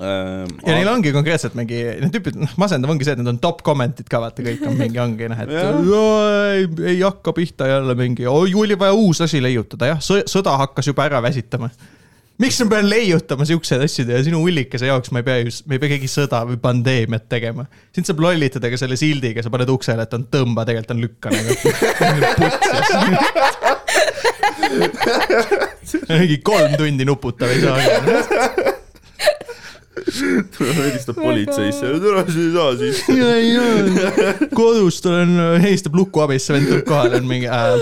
ja neil
ja .
ongi konkreetselt mingi , need tüüpid , noh , masendav ongi see , et need on top comment'id ka vaata , kõik on mingi , ongi noh , et
Jah.
"Jaa, ei, ei hakka pihta jälle mingi , oi , oli vaja uus asi leiutada , jah , sõda hakkas juba ära väsitama . miks ma pean leiutama siukseid asju ja sinu ullikese jaoks ma ei pea just , me ei pea keegi sõda või pandeemiat tegema . sind saab lollitada ka selle sildiga , sa paned uksele , et on tõmba , tegelikult on lükka nagu . mingi kolm tundi nuputab ei saa .
helistab politseisse , tere , sa ei saa siis .
ja , ja kodust olen , helistab Luku abisse , vend tuleb kohale , on mingi äh, .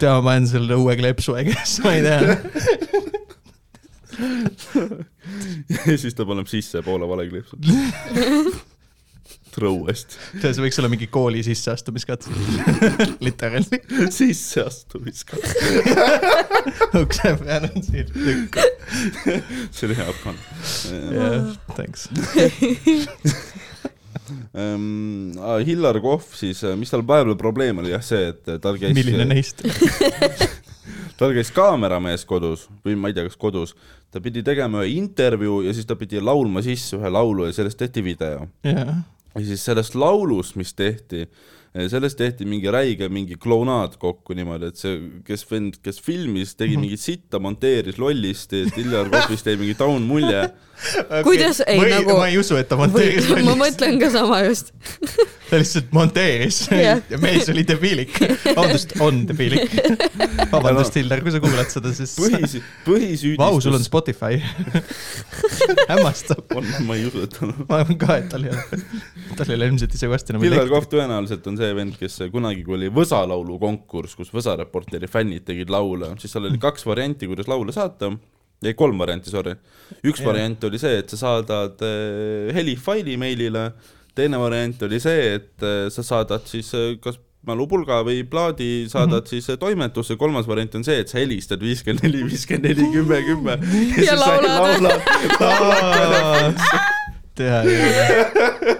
tea , ma panen selle uue kleepsu ägesse , ma ei tea .
ja siis ta paneb sisse poole valekliipsu . Trõuest
see see võiks olla mingi kooli sisseastumiskatse . Literally ,
sisseastumiskatse .
ukse peal on siit tükk .
see oli hea pann .
jah , thanks .
Ehm, Hillar Kohv siis , mis tal vahepeal probleem oli , jah see , et äh, tal
milline
käis ,
neist ?
tal käis kaameramees kodus või ma ei tea , kas kodus , ta pidi tegema ühe intervjuu ja siis ta pidi laulma sisse ühe laulu ja sellest tehti video .
jah ,
ja siis sellest laulust , mis tehti , sellest tehti mingi räige mingi klounaad kokku niimoodi , et see , kes vend , kes filmis , tegi
Mhm.
mingit sitta , monteeris lollisti , et Hillar Kohvist jäi mingi taun mulje .
Kuidas- ei, nagu-
ma ei usu , et ta monteeris
ma
lolliks ,
mõtlen ka sama just .
ta lihtsalt monteeris
Jah.
ja mees oli debiilik . vabandust , on debiilik . vabandust , Hillar , kui sa kuulad seda , siis
põhis ,
vau , sul on
põhisüüdistus .
Spotify . hämmastab .
on , ma ei usu , et tal on .
ma arvan ka , et tal ei ole , tal ei ole ilmselt ise nagu varsti enam
Hillar . Kohv tõenäoliselt on see vend , kes kunagi , kui oli Võsa laulu konkurss , kus Võsa reporteri fännid tegid laule , siis seal oli kaks varianti , kuidas laule saata . ei , kolm varianti , sorry . üks
Jah.
variant oli see , et sa saadad äh, helifaili meilile , teine variant oli see , et äh, sa saadad siis äh, kas mälupulga või plaadi saadad mm -hmm. siis äh, toimetusse , kolmas variant on see , et sa helistad viiskümmend neli , viiskümmend neli , kümme , kümme .
Ja laulad. .
teha ei ole .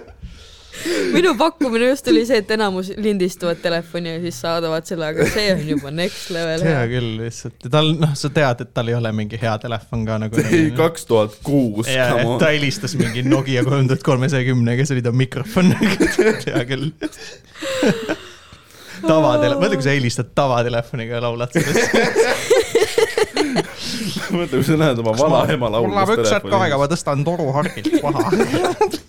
minu pakkumine just oli see , et enamus lindistavad telefoni ja siis saadavad selle , aga see on juba next level .
hea küll lihtsalt , tal noh , sa tead , et tal ei ole mingi hea telefon ka nagu .
kaks tuhat kuus ,
ja ,
come on
ta . helistas mingi Nokia kolm tuhat kolmesaja kümnega , see oli ta mikrofon . hea küll . tavatele- , mõtle , kui sa helistad tavatelefoniga ja laulad sellest .
mõtle , kui sa näed oma vanaema laulu .
mul läheb üks hetk aega , ma tõstan toru harkilt maha .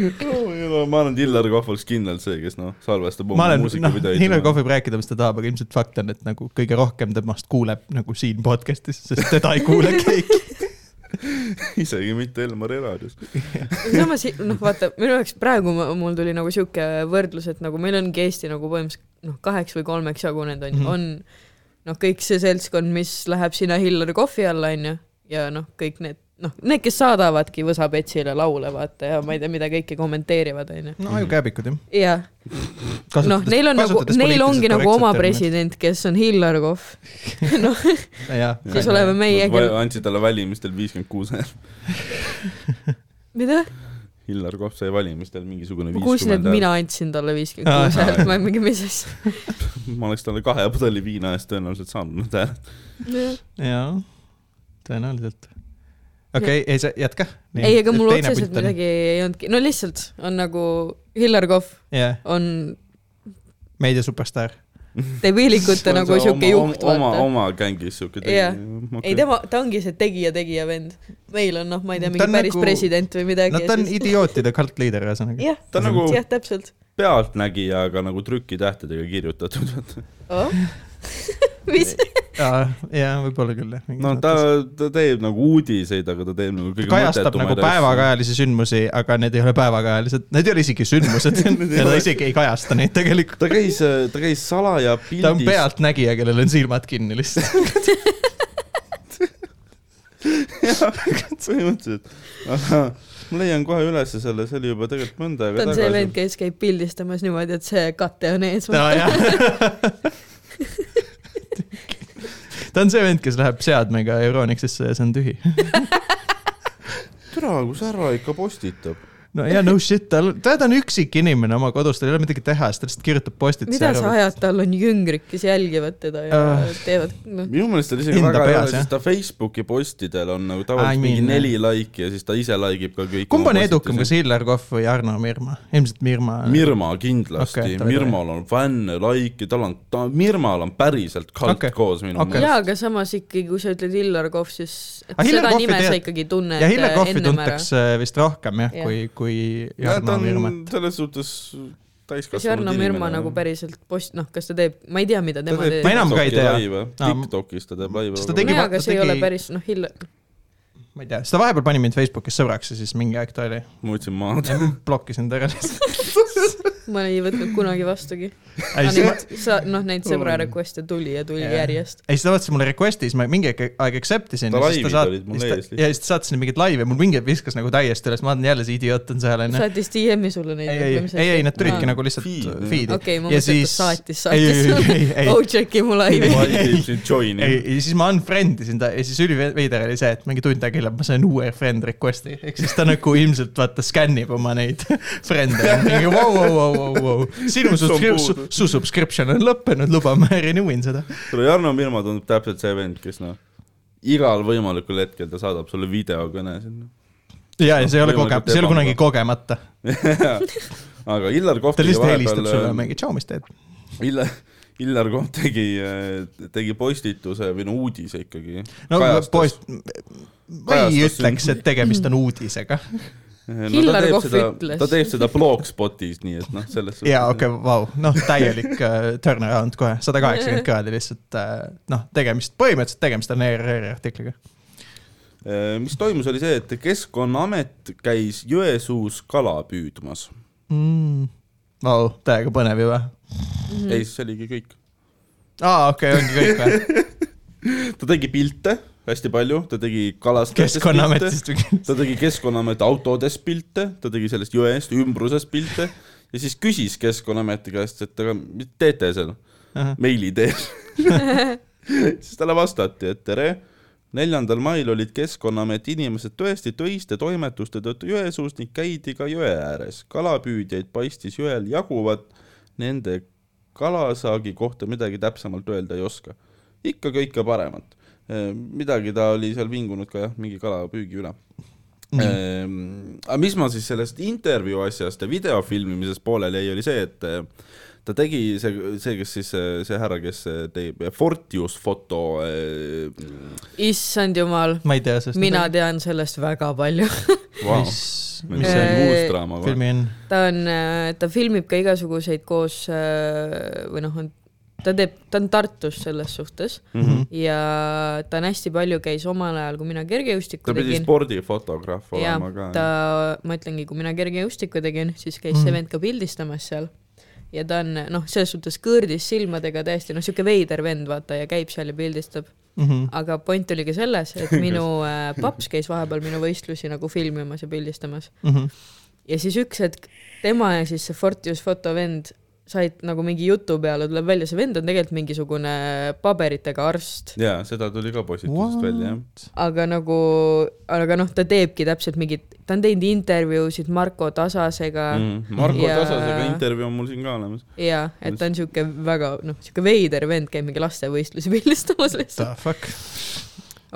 Oh, ei no ma arvan , et Hillar Kohv oleks kindlalt see , kes noh , salvestab
ma
oma
olen , noh ,
muusikavideoid .
Hillar Kohv võib rääkida , mis ta tahab , aga ilmselt fakt on , et nagu kõige rohkem temast kuuleb nagu siin podcast'is , sest teda ei kuule keegi .
isegi mitte Elmar Eradius .
samas noh , vaata minu jaoks praegu ma- mul tuli nagu siuke võrdlus , et nagu meil ongi Eesti nagu põhimõtteliselt noh , kaheks või kolmeks jagunenud onju
Mhm.
mm , -hmm. on noh , kõik see seltskond , mis läheb sinna Hillary kohvi alla onju ja noh , kõik need noh , need , kes saadavadki Võsa Petsile laule vaata ja ma ei tea , mida kõike kommenteerivad onju .
no ajukääbikud jah .
jah , noh , neil on nagu , neil ongi nagu oma . president , kes on Hillar Kohv . noh ,
jah ,
siis oleme meie ,
andsid talle valimistel viiskümmend kuus häält .
mida ,
Hillar Kohv sai valimistel mingisugune
kus need
viiskümmend
mina andsin talle viiskümmend kuus
Aa,
häält , ma ei mingi , mis
häält . ma oleks talle kahe pudeli viina eest tõenäoliselt saanud need hääled .
asja .
jaa , tõenäoliselt . okei , ei sa jätka .
ei , ega mul otseselt . midagi ei olnudki , no lihtsalt on nagu Hillar Kohv
jah ,
on
meediasuperstaar .
debiilikute nagu siuke juht ,
vaata . oma ,
vaata .
oma gängis siuke
Jah. . ei , tema , ta ongi see tegija-tegija vend . meil on noh , ma ei tea ,
Ta
mingi
on
päris
nagu-
president või midagi .
no ta on idiootide cult leader , ühesõnaga .
jah ,
ta on nagu
jah , täpselt
pealtnägija , aga nagu trükitähtedega kirjutatud .
oh. . mis ,
jaa , võib-olla küll jah .
no ta , ta teeb nagu uudiseid , aga ta teeb nagu kõige
kajastab nagu . päevakajalisi sündmusi , aga need ei ole päevakajalised , need ei ole isegi sündmused ja ta isegi ei kajasta neid tegelikult .
ta käis , ta käis
ta
salaja
on
pildis ,
pealtnägija , kellel on silmad kinni lihtsalt .
põhimõtteliselt . ma leian kohe ülesse selle , see oli juba tegelikult mõnda
ta
aega
on see vend ,
tagasi .
kes käib pildistamas niimoodi , et see kate on ees .
ta ta on see vend , kes läheb seadmega Euronixisse ja see on tühi .
türa , kus härra ikka postitab .
no ja no shit , tal , ta on üksik inimene oma kodus , tal ei ole midagi teha , siis ta lihtsalt kirjutab postitsi
mida sa
ära .
ajad , tal on jüngrid , kes jälgivad teda ja
Ah.
teevad , noh ,
minu meelest tal isegi
Hinda
väga hea ,
peas, jah.
sest ta Facebooki postidel on nagu
I
tavaliselt
mean,
mingi
jah.
neli laiki ja siis ta ise like ib ka kõik .
kumb on edukam , kas ? Hillar Kohv või Arno Mirma ? ilmselt Mirma .
Mirma kindlasti
Okei,
okay, ,
davai,
Mirmal on fänne , laike , tal on , ta , Mirmal on päriselt kalt
Okei,
okay. koos minu
okei.
okay.
jaa , aga samas ikkagi , kui sa ütled Hillar Kohv , siis et
Aga Ah, Hillar
seda
Kohvi
nime sa
tegelikult-
ikkagi tunned
ja Hillar Kohvi
äh, ennem ära .
tuntakse äh, vist rohkem jah ,
Jah.
kui , kui
meelest . ta
Jarno Mirmat .
on selles suhtes
kas
täiskasvanud
Jarno Mirma nagu päriselt post- , noh , kas ta teeb , ma ei tea , mida tema teeb .
Ma enam ka ei tea. Aa, ma-
Tiktokis ta teeb laive .
Kas ta tegi-
jaa , aga
ta
see ei
tegi-
ole päris , noh , Hillar ,
ma ei tea , siis ta vahepeal pani mind Facebookis sõbraks ja siis mingi aeg ta oli ,
ma võtsin maad .
blokkisin ta ära lihtsalt .
ma ei võtnud kunagi vastugi .
ei , siis ma ,
sa , noh , neid sõbra request'e tuli ja tuli
Jah.
järjest .
ei siis ta saatis mulle request'i , siis ma mingi aeg aeg accept isin .
Ta
ja siis
laivid
ta saat-
olid mul
siis ta-
ees lihtsalt.
ja siis ta saatis neid mingeid laive , mul mingi hetk viskas nagu täiesti üles , ma vaatan jälle see idioot on seal onju .
saatis DM-i sulle neid
ei , ei , ei , ei nad tulidki
Aa.
nagu lihtsalt
Feed,
feed'i .
okei , ma
Ja
mõtlesin , et ta
siis-
saatis ,
ei , ei ,
saatis
ei , ei , ei ,
Ojeki mu laivi .
vaidib siin join'i
ei ,. ja siis ma unfriend isin ta ja siis üliveider oli see , et mingi tund aega hiljem ma sain uue friend request'i , ehk siis ta nagu ilmselt vaata skännib oma neid friend'e . mingi vau , vau , vau , vau , vau , sinu
Üks on
subscri- su,
puudu.
su subscription on lõppenud , luba , ma renew in seda .
tule Jarno Mirma tundub täpselt see vend , kes noh , igal võimalikul hetkel ta saadab sulle videokõne noh. sinna .
ja , ja see ei ole koge- , see ei ole kunagi
Noh, Võimalikult
kogemata .
aga Illar Kohv
ta
tegi
lihtsalt helistab sulle
vahepeal , äh,
mingi tšau , mis teed .
Illar , Illar Kohv tegi , tegi postituse või no uudise ikkagi .
no
Kajastas.
poest , ma ei
Kajastas
ütleks , et tegemist on uudisega .
Hillar Kohv ütles.
ta teeb seda Blogspotis , nii et noh , selles suhtes .
jaa , okei , vau , noh , täielik äh, turnaround kohe , sada kaheksakümmend kraadi lihtsalt äh, noh , tegemist , põhimõtteliselt tegemist on ERR-i artikliga .
Äh, mis toimus , oli see , et Keskkonnaamet käis Jõesuus kala püüdmas mm. .
mm. . Vau , täiega põnev juba .
ei , see oligi kõik .
aa , okei , ongi kõik või ?
ta tegi pilte hästi palju , ta tegi kalast .
keskkonnaametist või ?
ta tegi Keskkonnaameti autodes pilte , ta tegi sellest jõest ümbruses pilte ja siis küsis Keskkonnaameti käest , et aga mis te teete seal meili teel . siis talle vastati , et tere , neljandal mail olid Keskkonnaameti inimesed tõesti töiste toimetuste tõttu Jõesuus ning käidi ka jõe ääres . kalapüüdjaid paistis jõel jaguvat , nende kalasaagi kohta midagi täpsemalt öelda ei oska . ikka kõike paremat . midagi ta oli seal vingunud ka jah , mingi kalapüügi üle . Mm. aga mis ma siis sellest intervjuu asjast ja video filmimisest pooleli jäi , oli see , et eh, ta tegi see , see , kes siis , see härra , kes eh, teeb Fortius foto eh,
issand jumal ,
ma ei tea sellest .
mina . tean sellest väga palju .
wow. ,
mis ,
mis
mis
see on
Eh,
uus draama või ?
filmi on ?
ta on , ta filmib ka igasuguseid koos äh, või noh , on ta teeb , ta on Tartus selles suhtes
Mhm,
ja ta on hästi palju käis omal ajal , kui mina kergejõustikku
ta pidi
tegin .
spordifotograaf
ja
olema ka
ta , ma ütlengi , kui mina kergejõustikku tegin , siis käis
Mhm.
see vend ka pildistamas seal . ja ta on noh , selles suhtes kõõrdis silmadega täiesti noh , sihuke veider vend vaata ja käib seal ja pildistab .
mhm,
aga point oli ka selles , et minu äh, paps käis vahepeal minu võistlusi nagu filmimas ja pildistamas
mhm.
ja siis üks hetk tema ja siis see Fortius fotovend said nagu mingi jutu peale , tuleb välja , see vend on tegelikult mingisugune paberitega arst ,
ja seda tuli ka postitusest
What?
välja jah .
aga nagu , aga noh , ta teebki täpselt mingit , ta on teinud intervjuusid Marko Tasasega mm.
Marko
Ja-
Tasasega Mhm. intervjuu on mul siin ka olemas .
ja et ta on siuke väga noh , siuke veider vend , käib mingi lastevõistlusi pildistamas
The
lihtsalt .
fuck .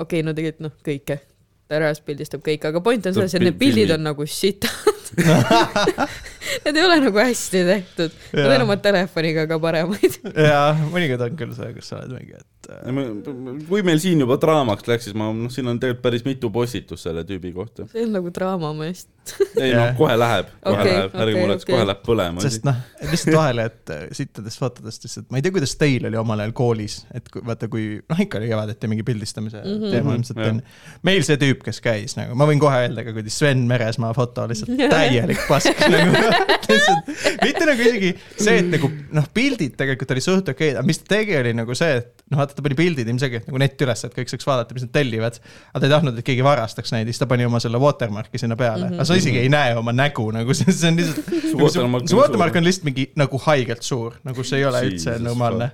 okei okay, , no tegelikult noh , kõike . ta ära pildistab kõike , aga point
Ta
on selles , et need
pil-
pildid
filmib.
on nagu sita . vist Need ei ole nagu hästi tehtud. Nad
Jaa.
on oma telefoniga ka paremaid .
jaa , mõnikord on küll see , kus sa oled mingi , et äh,
kui meil siin juba draamaks läks , siis ma , noh , siin on tegelikult päris mitu postitust selle tüübi kohta .
see on nagu draama mu meelest .
ei noh
Jah. ,
kohe läheb , kohe
Okei,
läheb , ärge
okei,
muretsege ,
okei.
kohe läheb põlema .
sest noh , lihtsalt vahele , et äh, sittadest fotodest lihtsalt , ma ei tea , kuidas teil oli omal ajal koolis , et kui, vaata , kui noh , ikka oli kevadeti mingi pildistamise mm
Mhm.
-hmm. teema ilmselt
Jah.
on . meil see tüüp , kes käis nagu , ma võin kohe öelda ka , kuidas Sven Meresmaa foto lihtsalt täielik pask nagu , lihtsalt mitte nagu isegi see , et nagu noh , pildid tegelikult oli suht okei , aga mis ta tegi , oli nagu see , et noh , vaata , ta pani pildid ilmselgelt nagu netti üles , et kõik saaks vaadata , mis nad tellivad . aga ta ei tahtnud , et keegi varastaks neid , siis ta pani oma selle watermark'i sinna peale , aga sa isegi ei näe oma nägu nagu , see see on lihtsalt nagu
Su
see-
watermark on
su watermark
suur.
on lihtsalt mingi nagu haigelt suur , nagu see ei ole üldse
Jesus
normaalne .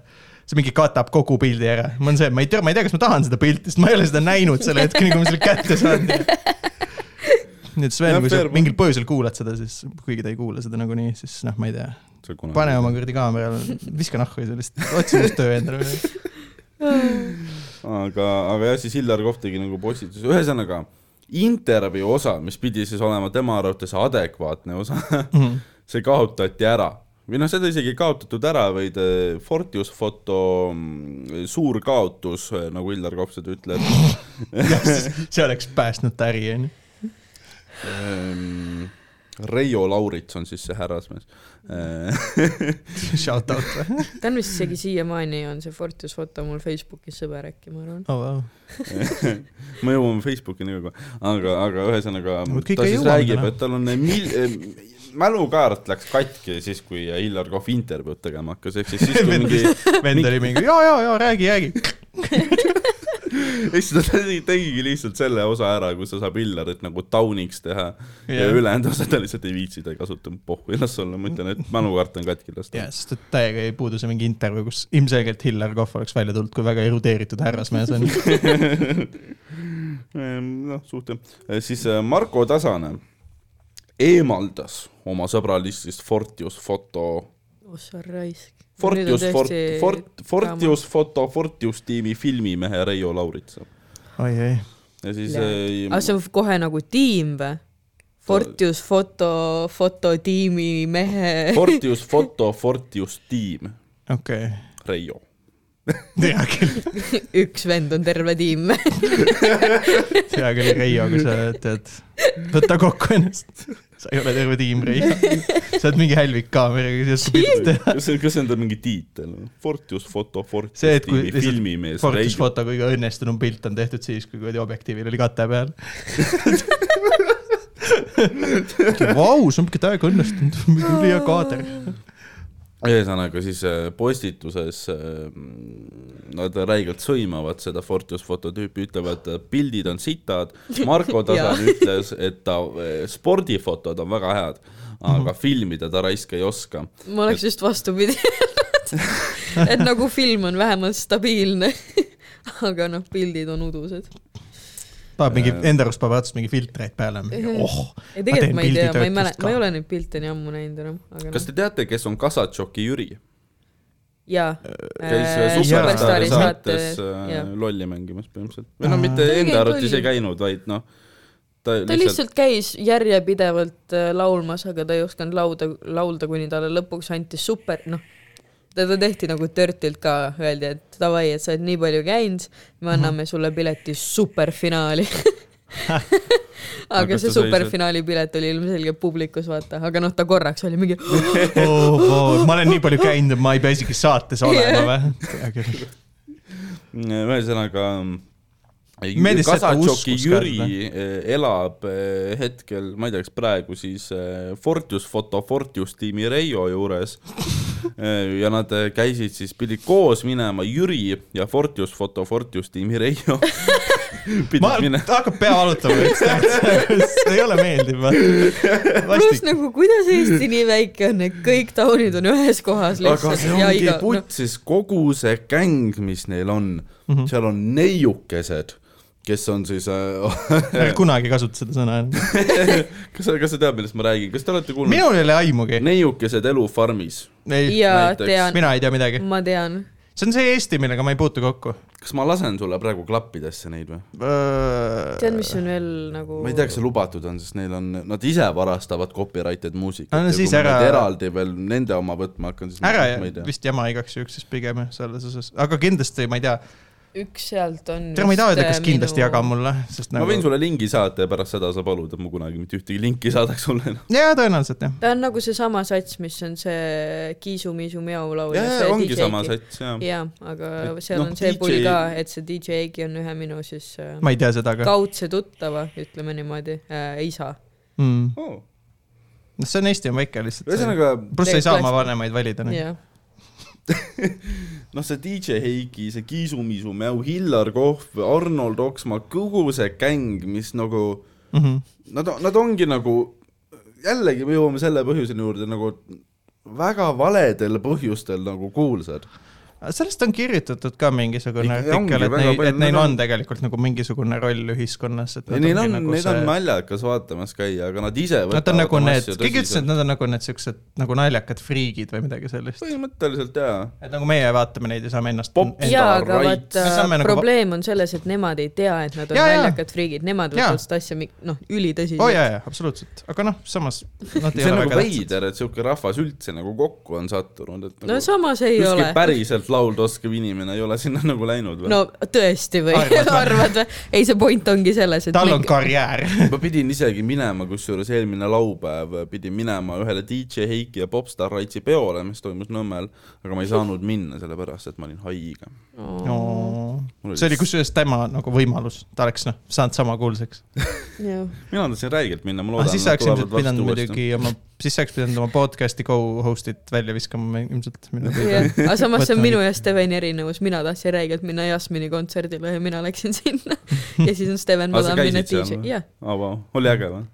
see mingi katab kogu pildi ära , mul on see , ma ei tea , ma ei tea , kas ma tahan seda pilti , sest ma ei ole seda näinud selle hetkeni , kui ma selle kätte saan . nii et Sven ,
Jah,
kui sa
fair.
mingil põhjusel kuulad seda , siis kuigi ta ei kuula seda nagunii , siis noh , ma ei tea , pane oma . kuradi kaamera , viska nahku ja sellist , otsi uus töö endale .
aga , aga jah , siis Hillar Kohv tegi nagu postituse , ühesõnaga intervjuu osa , mis pidi siis olema tema arvates adekvaatne osa ,
Mhm.
see kaotati ära . või noh , seda isegi ei kaotatud ära , vaid eh, Fortius Foto mm, suur kaotus , nagu Hillar Kohv seda ütleb
see oleks päästnud ta äri , onju .
Ehm, Reio Laurits on siis see härrasmees . Ehm,
Shout out või ?
ta on vist isegi siiamaani on see Fortius foto mul Facebookis sõber äkki , ma arvan .
oh wow .
me jõuame Facebookini ka kohe , aga , aga ühesõnaga
Vot kõik
ta
ei
siis
jõua
räägib ,
täna.
et tal on mil- , mälukaart läks katki siis , kui Hillar Kohv intervjuud tegema hakkas , ehk siis siis kui
vend
mingi ,
vend oli mingi ja , ja , ja räägi , räägi .
ehk siis ta tegi- tegigi lihtsalt selle osa ära , kus ta saab Hillarit nagu tauniks teha ja
Jah.
ülejäänud osa ta lihtsalt ei viitsi , ta ei kasuta pohhu ennast olla , ma ütlen , et mälukaart on katki lasta .
ja , sest et täiega ei puudu see mingi intervjuu , kus ilmselgelt Hillar Kohv oleks välja tulnud kui väga erudeeritud härrasmees on .
Ehm, noh , suht jah . siis äh, Marko Tasane eemaldas oma sõbralistist Fortius Foto ,
ossa Oh, raisk .
Fortius Fort , Fort , Fortius Foto , Fortius tiimi filmimehe Reio Lauritsa .
oi ei ,
ja siis
aga
äh,
see on kohe nagu tiim või ? Fortius foto , fototiimi mehe .
Fortius Foto , Fortius tiim
okei okay. ,
Reio .
hea küll ,
üks vend on terve tiim .
hea küll , Reio , kui sa tead , võta kokku ennast . sa ei ole terve tiim , Reio . sa oled mingi hälvik kaameraga , kes oskab pilte teha .
kas see , kas see on tal mingi tiitel ? Fortius Foto , Fortius
See,
see,
et kui
tiimi
lihtsalt
filmimees
Fortis
Reio .
foto kõige õnnestunum pilt on tehtud siis , kui kuradi objektiivil oli kate peal . Vau , see on ikka täiega õnnestunud , mingi hea kaader .
ühesõnaga siis äh, postituses äh, nad räigelt sõimavad seda Fortius fototüüpi , ütlevad , pildid on sitad . Marko Tasand ütles , et ta äh, spordifotod on väga head , aga filmida ta raisk ei oska .
ma oleks just vastupidi öelnud . et nagu film on vähemalt stabiilne . aga noh , pildid on udused .
tahab mingi , enda arust paneb otsast mingi filtreid peale . oh ,
Äh, ei
Ma teen
tegelikult ma ei
pildi
tea , ma ei
töötlust
mäleta ,
ka.
ma ei ole neid pilte nii ammu näinud enam , aga
kas
noh ,
te teate , kes on Kasatšoki Jüri ?
jaa .
käis äh, Superstaari
Jaa.
saates
jah.
äh, lolli mängimas põhimõtteliselt . või no mitte
Ta ei
enda
käinud
arvates ei
lolli.
käinud , vaid noh , ta
ta lihtsalt käis järjepidevalt äh, laulmas , aga ta ei osanud laulda , laulda , kuni talle lõpuks anti super , noh , teda tehti nagu törtilt ka , öeldi , et davai , et sa oled nii palju käinud ,
Mhm.
me anname sulle pileti superfinaali .
Aga
aga see
ta sai
superfinaali pilet oli ilmselgelt publikus , vaata , aga noh , ta korraks oli mingi
oh, , ma olen nii palju käinud , et ma ei pea isegi saates olema või ?
Mm, ühesõnaga .
Meeldis see, et ta
Kasatšoki
uskus ka
Jüri eh, elab eh, hetkel , ma ei tea , kas praegu siis eh, Fortius Foto Fortius tiimi Reio juures Eh, ja nad eh, käisid siis , pidid koos minema Jüri ja Fortius Foto Fortius tiimi Reio pidid
ma ,
minema .
ta hakkab pea valutama , see ei ole meeldiv .
pluss nagu kuidas Eesti nii väike on , et kõik taunid on ühes kohas
aga
lihtsalt
see
ja
ongi
iga , noh ,
putt , siis kogu see gäng , mis neil on mm ,
Mhm.
-hmm. seal on neiukesed , kes on siis äh,
ära kunagi kasuta seda sõna enam .
kas sa , kas sa tead , millest ma räägin , kas te olete kuulnud ?
minul ei ole aimugi .
neiukesed elu farmis
ei ,
ja
näiteks.
tean ,
mina ei tea midagi .
ma tean ,
see on see Eesti , millega ma ei puutu kokku .
kas ma lasen sulle praegu klappidesse neid või ?
tead , mis on veel nagu
ma ei tea , kas see lubatud on , sest neil on , nad ise varastavad copyrighted muusikat
No, no
ja
siis
kui ma
ära-
nüüd eraldi veel nende oma võtma hakkan , siis
ära
ma ei tea .
vist jama igaks juhuks siis pigem jah, selles osas , aga kindlasti ma ei tea ,
üks sealt on
tere , ma ei taha öelda , kas
vist, äh,
kindlasti
minu-
jaga mulle , sest
ma
nagu
võin sulle lingi saata ja pärast seda sa palud , et ma kunagi mitte ühtegi linki ei saadaks sulle enam .
jaa , tõenäoliselt jah .
ta on nagu seesama sats , mis on see Kiisu-miisu meau laul .
jaa , jaa , ongi sama . sats , jaa .
jaa , aga
Et
seal
noh,
on see
DJ
pull ka , et see DJ Egi on ühe minu siis äh,
ma ei tea seda ka .
kaudse tuttava , ütleme niimoodi äh, , isa .
noh ,
ühesõnaga ,
see on Eesti on väike lihtsalt . pluss
Need
ei saa oma
klass-
vanemaid valida .
jah ,
noh , see DJ Heiki , see Kiisu-Miisu Mäu , Hillar Kohv , Arnold Oksmaa , kogu see gäng , mis nagu ,
Mhm.
nad , nad ongi nagu , jällegi me jõuame selle põhjuseni juurde nagu väga valedel põhjustel nagu kuulsad .
sellest on kirjutatud ka mingisugune
Ikka- ongi
artikkel , et
väga
neil ,
palju-
et neil
nad on-
on tegelikult nagu mingisugune roll ühiskonnas , et nad
Neil
ongi
on ,
nagu
neid on
see
naljakas vaatamas käia , aga nad ise
Nad on nagu
oma
need ,
asju
keegi ütles , et
tõsiselt.
nad on nagu need siuksed nagu naljakad friigid või midagi sellist .
põhimõtteliselt jaa .
et nagu meie vaatame neid ja saame ennast .
Pop- Enda
jaa , aga
rights.
vaata
Me , saame nagu-
probleem on selles , et nemad ei tea , et nad on
Jaa, jaa.
naljakad friigid , nemad
Jaa.
võtavad seda asja , noh , ülitõsiselt
oo Oh, jaa , jaa , absoluutselt , aga noh , samas nad ei
see on
ole
nagu
väga tähtsad .
veider , et siuke rahvas üldse nagu kokku on sattunud , et
no
nagu
samas ei
kuskil
ole .
päriselt laulda oskav inimene ei ole sinna nagu läinud või ?
no tõesti või
Arvad või?
arvad või ? ei , see point ongi selles , et
tal on
mingi-
karjäär .
ma pidin isegi minema , kusjuures eelmine laupäev pidin minema ühele DJ Heiki ja Popstar Raitsi peole , mis toimus Nõmmel , aga ma ei saanud minna , sellepärast et ma olin haiga . Mul oli
see oli kusjuures tema nagu võimalus , ta oleks noh , saanud sama kuulsaks .
Jah.
mina tahtsin räigelt minna , ma
aga
loodan ,
Ah, siis
et nad
oleks
tulevad
ilmselt
varsti
pidanud
uuesti .
muidugi oma , siis oleks pidanud oma podcast'i co-host'it välja viskama ilmselt .
jah , aga samas see on
Võtame
minu ja Steveni erinevus , mina tahtsin räigelt minna Jasmini kontserdile ja mina läksin sinna ja siis on Steven , ma
Aa, sa
tahan minna
käisid seal
DJ ,
või?
jah .
aa , vau , oli äge või ?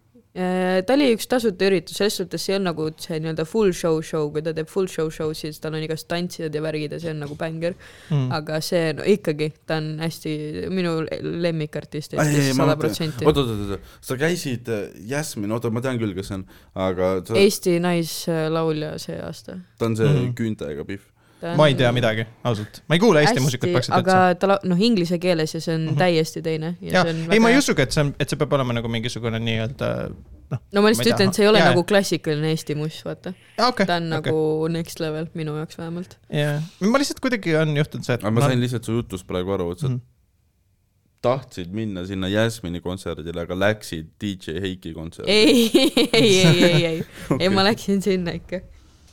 ta oli üks tasuta üritus , selles suhtes see on nagu see nii-öelda full show show , kui ta teeb full show show , siis tal on igast tantsijad ja värgid ja see on nagu bänger ,
Mm.
aga see no, ikkagi , ta on hästi minu lemmikartist
Ai, ei,
Eestis
ma
sada
mõtlen-
protsenti .
oot , oot , oot , oot , sa käisid äh, Jasmin , oota , ma tean küll , kes see on , aga ta,
Eesti naislaulja see aasta .
ta on see mm
Mhm.
-hmm. küüntega pihv .
ma ei tea midagi , ausalt , ma ei kuule Eesti muusikat praktiliselt
aga
üldse .
ta la- , noh , inglise keeles ja see on mm
Mhm.
-hmm. täiesti teine .
jaa , ei ma ei . usugi , et see on , et see peab olema nagu mingisugune nii-öelda ,
no ma
ma ei
lihtsalt
tea.
ütlen , et see ei ole
Jaa,
yeah. nagu klassikaline Eesti muss , vaata .
aa okei ,
ta on
Okei.
okay. nagu next level minu jaoks vähemalt .
jaa . ma lihtsalt kuidagi on juhtunud see , et Mm.
aga ma sain lihtsalt su jutust praegu aru , et sa
Mhm.
tahtsid minna sinna Jasmini kontserdile , aga läksid DJ Heiki kontserdile .
ei , ei , ei , ei , ei , ei , ma läksin sinna ikka .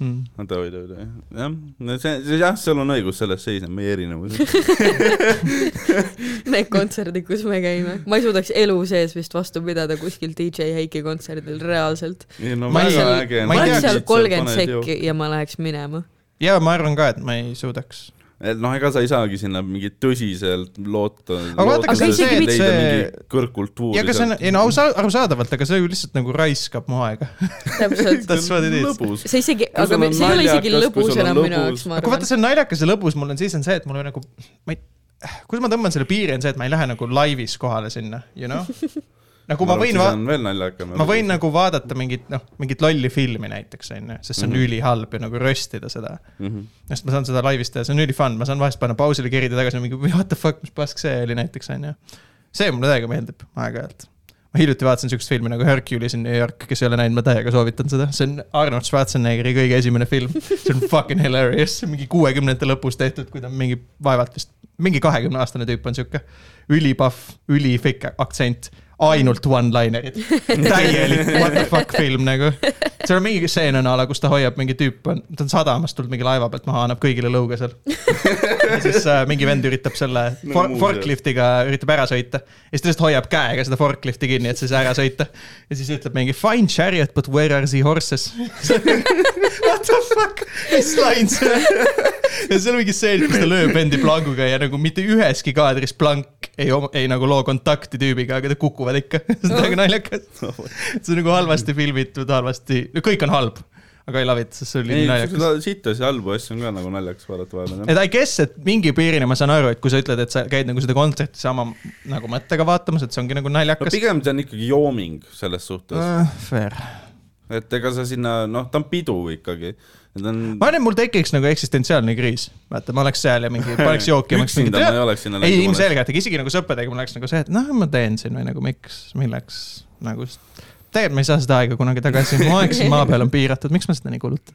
mm.
oota , oota , oota , jah , no see, see , jah , sul on õigus , selles seisneb meie erinevus .
Need kontserdid , kus me käime , ma ei suudaks elu sees vist vastu pidada kuskil DJ Heiki kontserdil reaalselt .
ei no
Ma
ma
ei-
oleks
väga
seal ,
äge .
ma
ei tea,
oleks seal kolmkümmend sekki . ja ma läheks minema .
jaa , ma arvan ka , et ma ei suudaks .
et noh , ega sa ei saagi sinna mingit tõsiselt loota .
Aga vaata,
aga isegi mitte
leida
see-
mingi kõrgkultuuri .
ja aga see on , ei no ausa- , arusaadavalt , aga see ju lihtsalt nagu raiskab mu aega .
täpselt .
That's what it is.
lõbus .
see isegi ,
Kui
aga
sul
me-
on
see ei ole isegi
naljakas, kui
lõbus
sul on
enam minu
lõbus.
jaoks , ma
aga vaata ,
arvan .
see on naljakas ja lõbus mul on siis on see , et mul on nagu , ma ei , kus ma tõmban selle piiri , on see , et ma ei lähe nagu laivis kohale sinna , you know . nagu ma võin va- ,
veel naljakam .
ma võin . nagu vaadata mingit , noh , mingit lolli filmi näiteks , onju , sest see on mm -hmm. ülihalb ja nagu röstida seda .
Mhm.
sest ma saan seda laivis teha , see on ülifun , ma saan vahest panna pausile , kerida tagasi mingi what the fuck , mis pask see oli näiteks , onju . see mulle täiega meeldib aeg-ajalt . ma hiljuti vaatasin siukest filmi nagu Hercules in New York , kes ei ole näinud , ma täiega soovitan seda , see on Arnold Schwarzeneggeri kõige esimene film . see on fucking hilarious , mingi kuuekümnendate lõpus tehtud , kui ta on mingi vaevalt vist , mingi kahekümne aastane tüüp on siuke . ülipahv , ülipikk aktsent , ainult one-linerid . täielik what the fuck film nagu . seal on mingi stseen on a la , kus ta hoiab mingi tüüp on , ta on sadamast tulnud mingi laeva pealt maha , annab kõigile lõuga seal . ja siis äh, mingi vend üritab selle
No
for
muuseas.
forkliftiga , üritab ära sõita . ja siis ta lihtsalt hoiab käega seda forklifti kinni , et siis ära sõita . ja siis ütleb mingi fine chariot , but where are the horses ? What the fuck , mis lain see on ? ja seal on mingi stseen , kus ta lööb vendi planguga ja nagu mitte üheski kaadris plank ei , ei nagu loo kontakti tüübiga , aga nad kukuvad ikka . see on väga naljakas . see on nagu halvasti filmitud , halvasti , kõik on halb , aga ei lavita , sest see oli
ei
nii , naljakas .
seda sittas ja halbu asju on ka nagu naljakas vaadata vahepeal jah .
et I guess , et mingi piirini ma saan aru , et kui sa ütled , et sa käid nagu seda kontserti sama nagu mõttega vaatamas , et see ongi nagu
no
naljakas .
pigem see on ikkagi jooming selles suhtes .
Uh, fair ,
et ega sa sinna , noh , ta on pidu ikkagi . Need on ,
ma arvan , et mul tekiks nagu eksistentsiaalne kriis , vaata , ma oleks seal ja mingi , paneks jooki ja ma oleks mingi
üksinda ma ei oleks sinna
ei , ilmselgelt , aga isegi nagu sõpradega mul läks nagu see , et noh , ma teen siin või nagu miks , milleks nagu . tegelikult ma ei saa seda aega kunagi tagasi , mu aeg siin maa peal on piiratud , miks ma seda nii kulutan .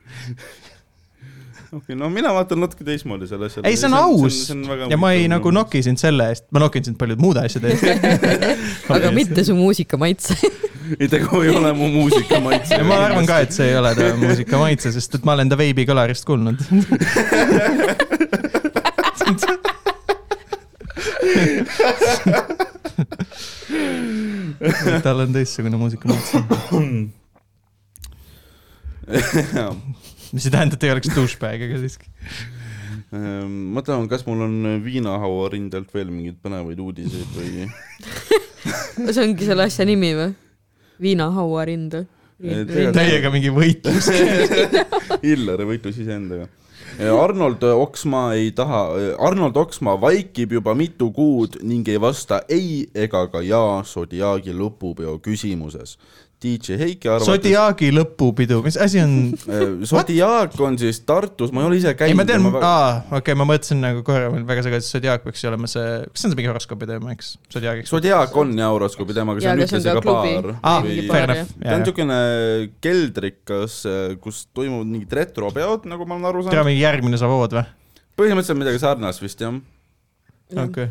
okei , no mina vaatan natuke teistmoodi selle asja .
ei , see on aus ja ma ei nagu . noki sind selle eest , ma nokin sind paljude muude asjade eest .
aga mitte su muusikamaitse .
ei , tegu ei ole mu muusika maitse
ja . ma arvan ka , et see ei ole tema muusika maitse , sest et ma olen ta veibikõlarist kuulnud . tal on teistsugune muusika maitse , mis ei tähenda , et ei oleks douchebag , aga siiski .
Ehm, ma tahan , kas mul on viinahaua rindelt veel mingeid põnevaid uudiseid või ?
see ongi selle asja nimi või ? viinahauarind või ?
Ei,
täiega mingi võitlus .
Hillari võitlus iseendaga . Arnold Oksmaa ei taha , Arnold Oksmaa vaikib juba mitu kuud ning ei vasta ei ega ka jaa Zodiaagi lõpupeo küsimuses . DJ Heiki arvates .
Zodiaagi lõpupidu , mis asi on ?
Zodiaag on siis Tartus , ma ei ole ise
ei ,
käinud .
ma tean , aa , okei , ma mõtlesin nagu korra , mul väga segane , et Zodiac peaks ju olema see , kas see on see mingi horoskoobi teema , eks ? Zodiac , eks ?
Zodiaag on ja horoskoobi teemaga , see
Jaa,
on
aga see on
ühtlasi
ka
ka baar
klubi. .
aa ,
mingi
fair
paar,
enough .
ta on niisugune keldrikas , kus toimuvad mingid retropeod , nagu ma olen aru
tere ,
saanud .
mingi järgmine Savood või ?
põhimõtteliselt midagi sarnast vist jah .
okei ,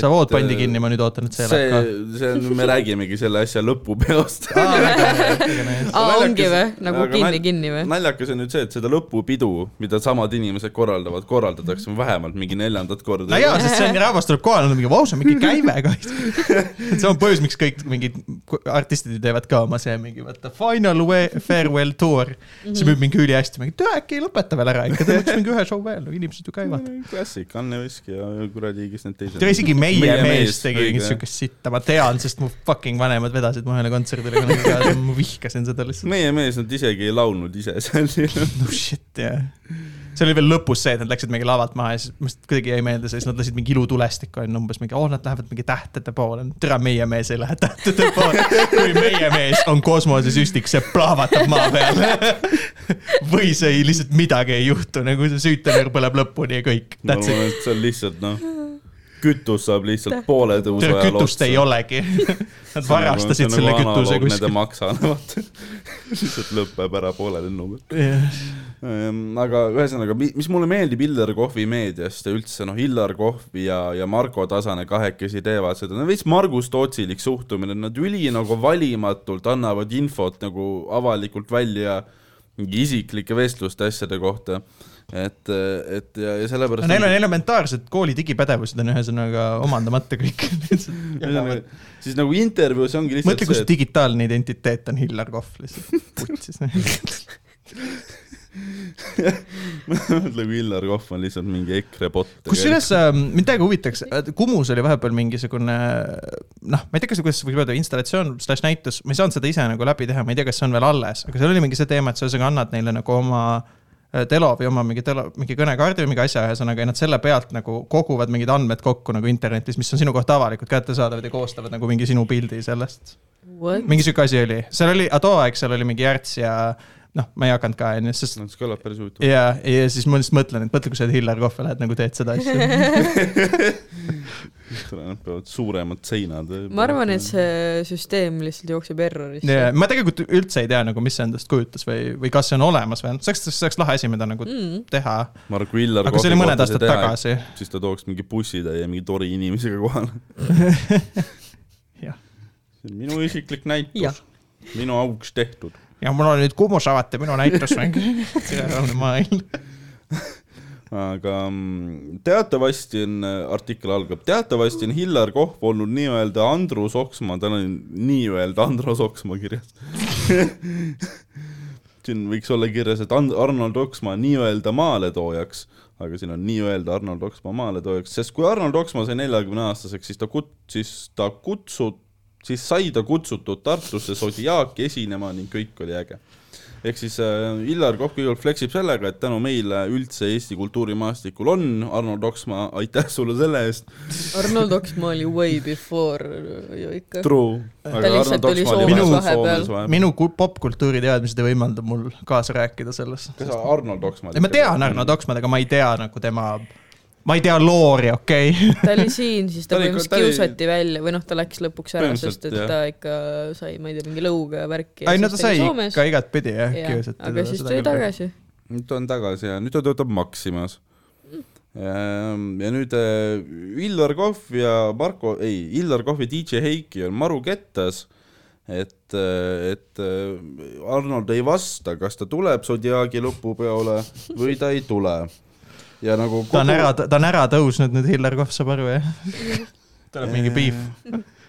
Savood pandi kinni , ma nüüd ootan , et see
eh, äh, see
elab ,
see on , me räägimegi selle asja lõpupeost .
ka .
aa , ongi või ? nagu
Aga
kinni ,
nal-
kinni või ?
naljakas on nüüd see , et seda lõpupidu , mida samad inimesed korraldavad , korraldatakse vähemalt mingi neljandat korda .
no jaa , sest see on , rahvas tuleb kohale , nad on mingi , vau , see on mingi käive ka . see on põhjus , miks kõik mingid artistid ju teevad ka oma see mingi , vaata , final way, farewell tour .
Mhm.
see müüb mingi ülihästi , mingi , töö äkki ei lõpeta veel ära ikka , teeme üks mingi ühe show veel , inimesed ju käivad .
klassik , Anne Vesk Mm, ja kuradi , kes need teised .
tere , isegi meie, meie mees, mees tegi mingit
siukest .
siukest sitta , ma tean , sest mu fucking vanemad vedasid mu ühele kontserdile kunagi kaasa , ma vihkasin seda lihtsalt .
meie mees , nad isegi ei laulnud ise seal .
no shit , jah . see oli veel lõpus see , et nad läksid mingi lavalt maha ja siis must kuidagi jäi meelde see , siis nad lasid mingi ilutulestikku onju , umbes mingi , oh nad lähevad mingi tähtede poole . tere , meie mees ei lähe tähtede poole . kui meie mees on kosmosesüstik , see plahvatab maa peal . või see ei, lihtsalt midagi ei juhtu , nagu see süütenöör põleb lõpuni ja kõik .
ma
That's it .
arvan , et see on lihtsalt noh , kütus saab lihtsalt poole tõusu
tere ,
ajal
kütust ei olegi . Nad
nagu
varastasid selle kütuse
Nende
kuskilt .
maksa , vaata . lihtsalt lõpeb ära poole lennuga .
jah ,
Ehm, aga ühesõnaga , mis mulle meeldib Hillar Kohvi meediast ja üldse noh , Hillar Kohvi ja , ja Marko Tasane kahekesi teevad seda , no veits Margus Tootsilik suhtumine , nad üli nagu valimatult annavad infot nagu avalikult välja mingi isiklike vestluste asjade kohta . et , et ja , ja sellepärast .
neil on elementaarsed kooli digipädevused on ühesõnaga omandamata kõik .
ühesõnaga , siis nagu intervjuus ongi lihtsalt
mõtle , kus
see ,
digitaalne identiteet on Hillar Kohv lihtsalt , putsis .
et mõtle , kui Hillar Kohv on lihtsalt mingi EKRE bot .
kusjuures äh, mind täiega huvitaks , Kumus oli vahepeal mingisugune noh , ma ei tea , kas , kuidas võib öelda , installatsioon slaš näitus , ma ei saanud seda ise nagu läbi teha , ma ei tea , kas see on veel alles , aga seal oli mingi see teema , et sa ühesõnaga annad neile nagu oma äh, telo või oma mingi telo , mingi kõnekaardi või mingi asja , ühesõnaga , ja nad selle pealt nagu koguvad mingid andmed kokku nagu internetis , mis on sinu kohta avalikult kättesaadavad ja koostavad nagu mingi sinu pildi sellest .
What ?
mingi sihuke asi oli , seal oli , too aeg seal oli mingi Järts ja noh , ma ei hakanud ka onju , sest
no see kõlab päris huvitavalt .
ja , ja siis ma lihtsalt mõtlen , et mõtle , kui sa oled Hillar Kohv ja lähed nagu teed seda asja .
Nad peavad suuremad seinad .
ma arvan , et see süsteem lihtsalt jookseb errorisse
ja . ma tegelikult üldse ei tea nagu , mis see endast kujutas või , või kas see on olemas või , see oleks , see oleks lahe asi , mida nagu
Mm.
teha .
ma arvan , kui Illar
aga see oli mõned aastad
teha,
tagasi .
siis ta tooks mingi bussitäie mingi tori inimesega kohale .
Jah.
see on minu isiklik
Jah.
näitus , minu auks tehtud .
ja mul on nüüd Kumus avati minu näitusmäng . suurepärane maailm .
aga mm, teatavasti on , artikkel algab , teatavasti on Hillar Kohv olnud nii-öelda Andrus Oksmaa , tal on nii-öelda Andrus Oksmaa kirjas . siin võiks olla kirjas , et And- Arnold Oksmaa nii-öelda maaletoojaks , aga siin on nii-öelda Arnold Oksmaa maaletoojaks , sest kui Arnold Oksmaa sai neljakümne aastaseks , siis ta kut- , siis ta kutsut- , siis sai ta kutsutud Tartusse Zodiaaki esinema ning kõik oli äge . ehk siis äh, Illar Kopp kõigepealt fleksib sellega, et tänu meile üldse Eesti kultuurimaastikul on Arnold Oksmaa , aitäh sulle selle eest .
Arnold Oksmaa oli way before ju ikka .
True .
lihtsalt oli
Soomes
vahepeal. .
minu ku- popkultuuri teadmised ei võimalda mul kaasa rääkida selles .
kas sa Arnold Oksmaa ?
ei , ma tean Arno . Toksmann , aga ma ei tea nagu tema , ma ei tea loori , okei okay. .
ta oli siin , siis
Ta
ta
oli-
põhimõtteliselt
ta oli-
kiusati välja või noh , ta läks lõpuks ära , sest et
Põhimõtteliselt,
ta ikka sai , ma ei tea , mingi lõuga ja värki .
ei no ta sai ikka igatpidi jah , kiusati .
aga siis tuli . tagasi .
nüüd ta on tagasi ja nüüd ta töötab Maximas . ja nüüd äh, Illar Kohv ja Marko , ei , Illar Kohv ja DJ Heiki on maru kettas , et , et äh, Arnold ei vasta , kas ta tuleb Zodiaagi lõpupeole või ta ei tule . ja nagu
ta on ära , ta on ära tõusnud nüüd , Hillar Kohv saab aru jah ? tuleb mingi piif .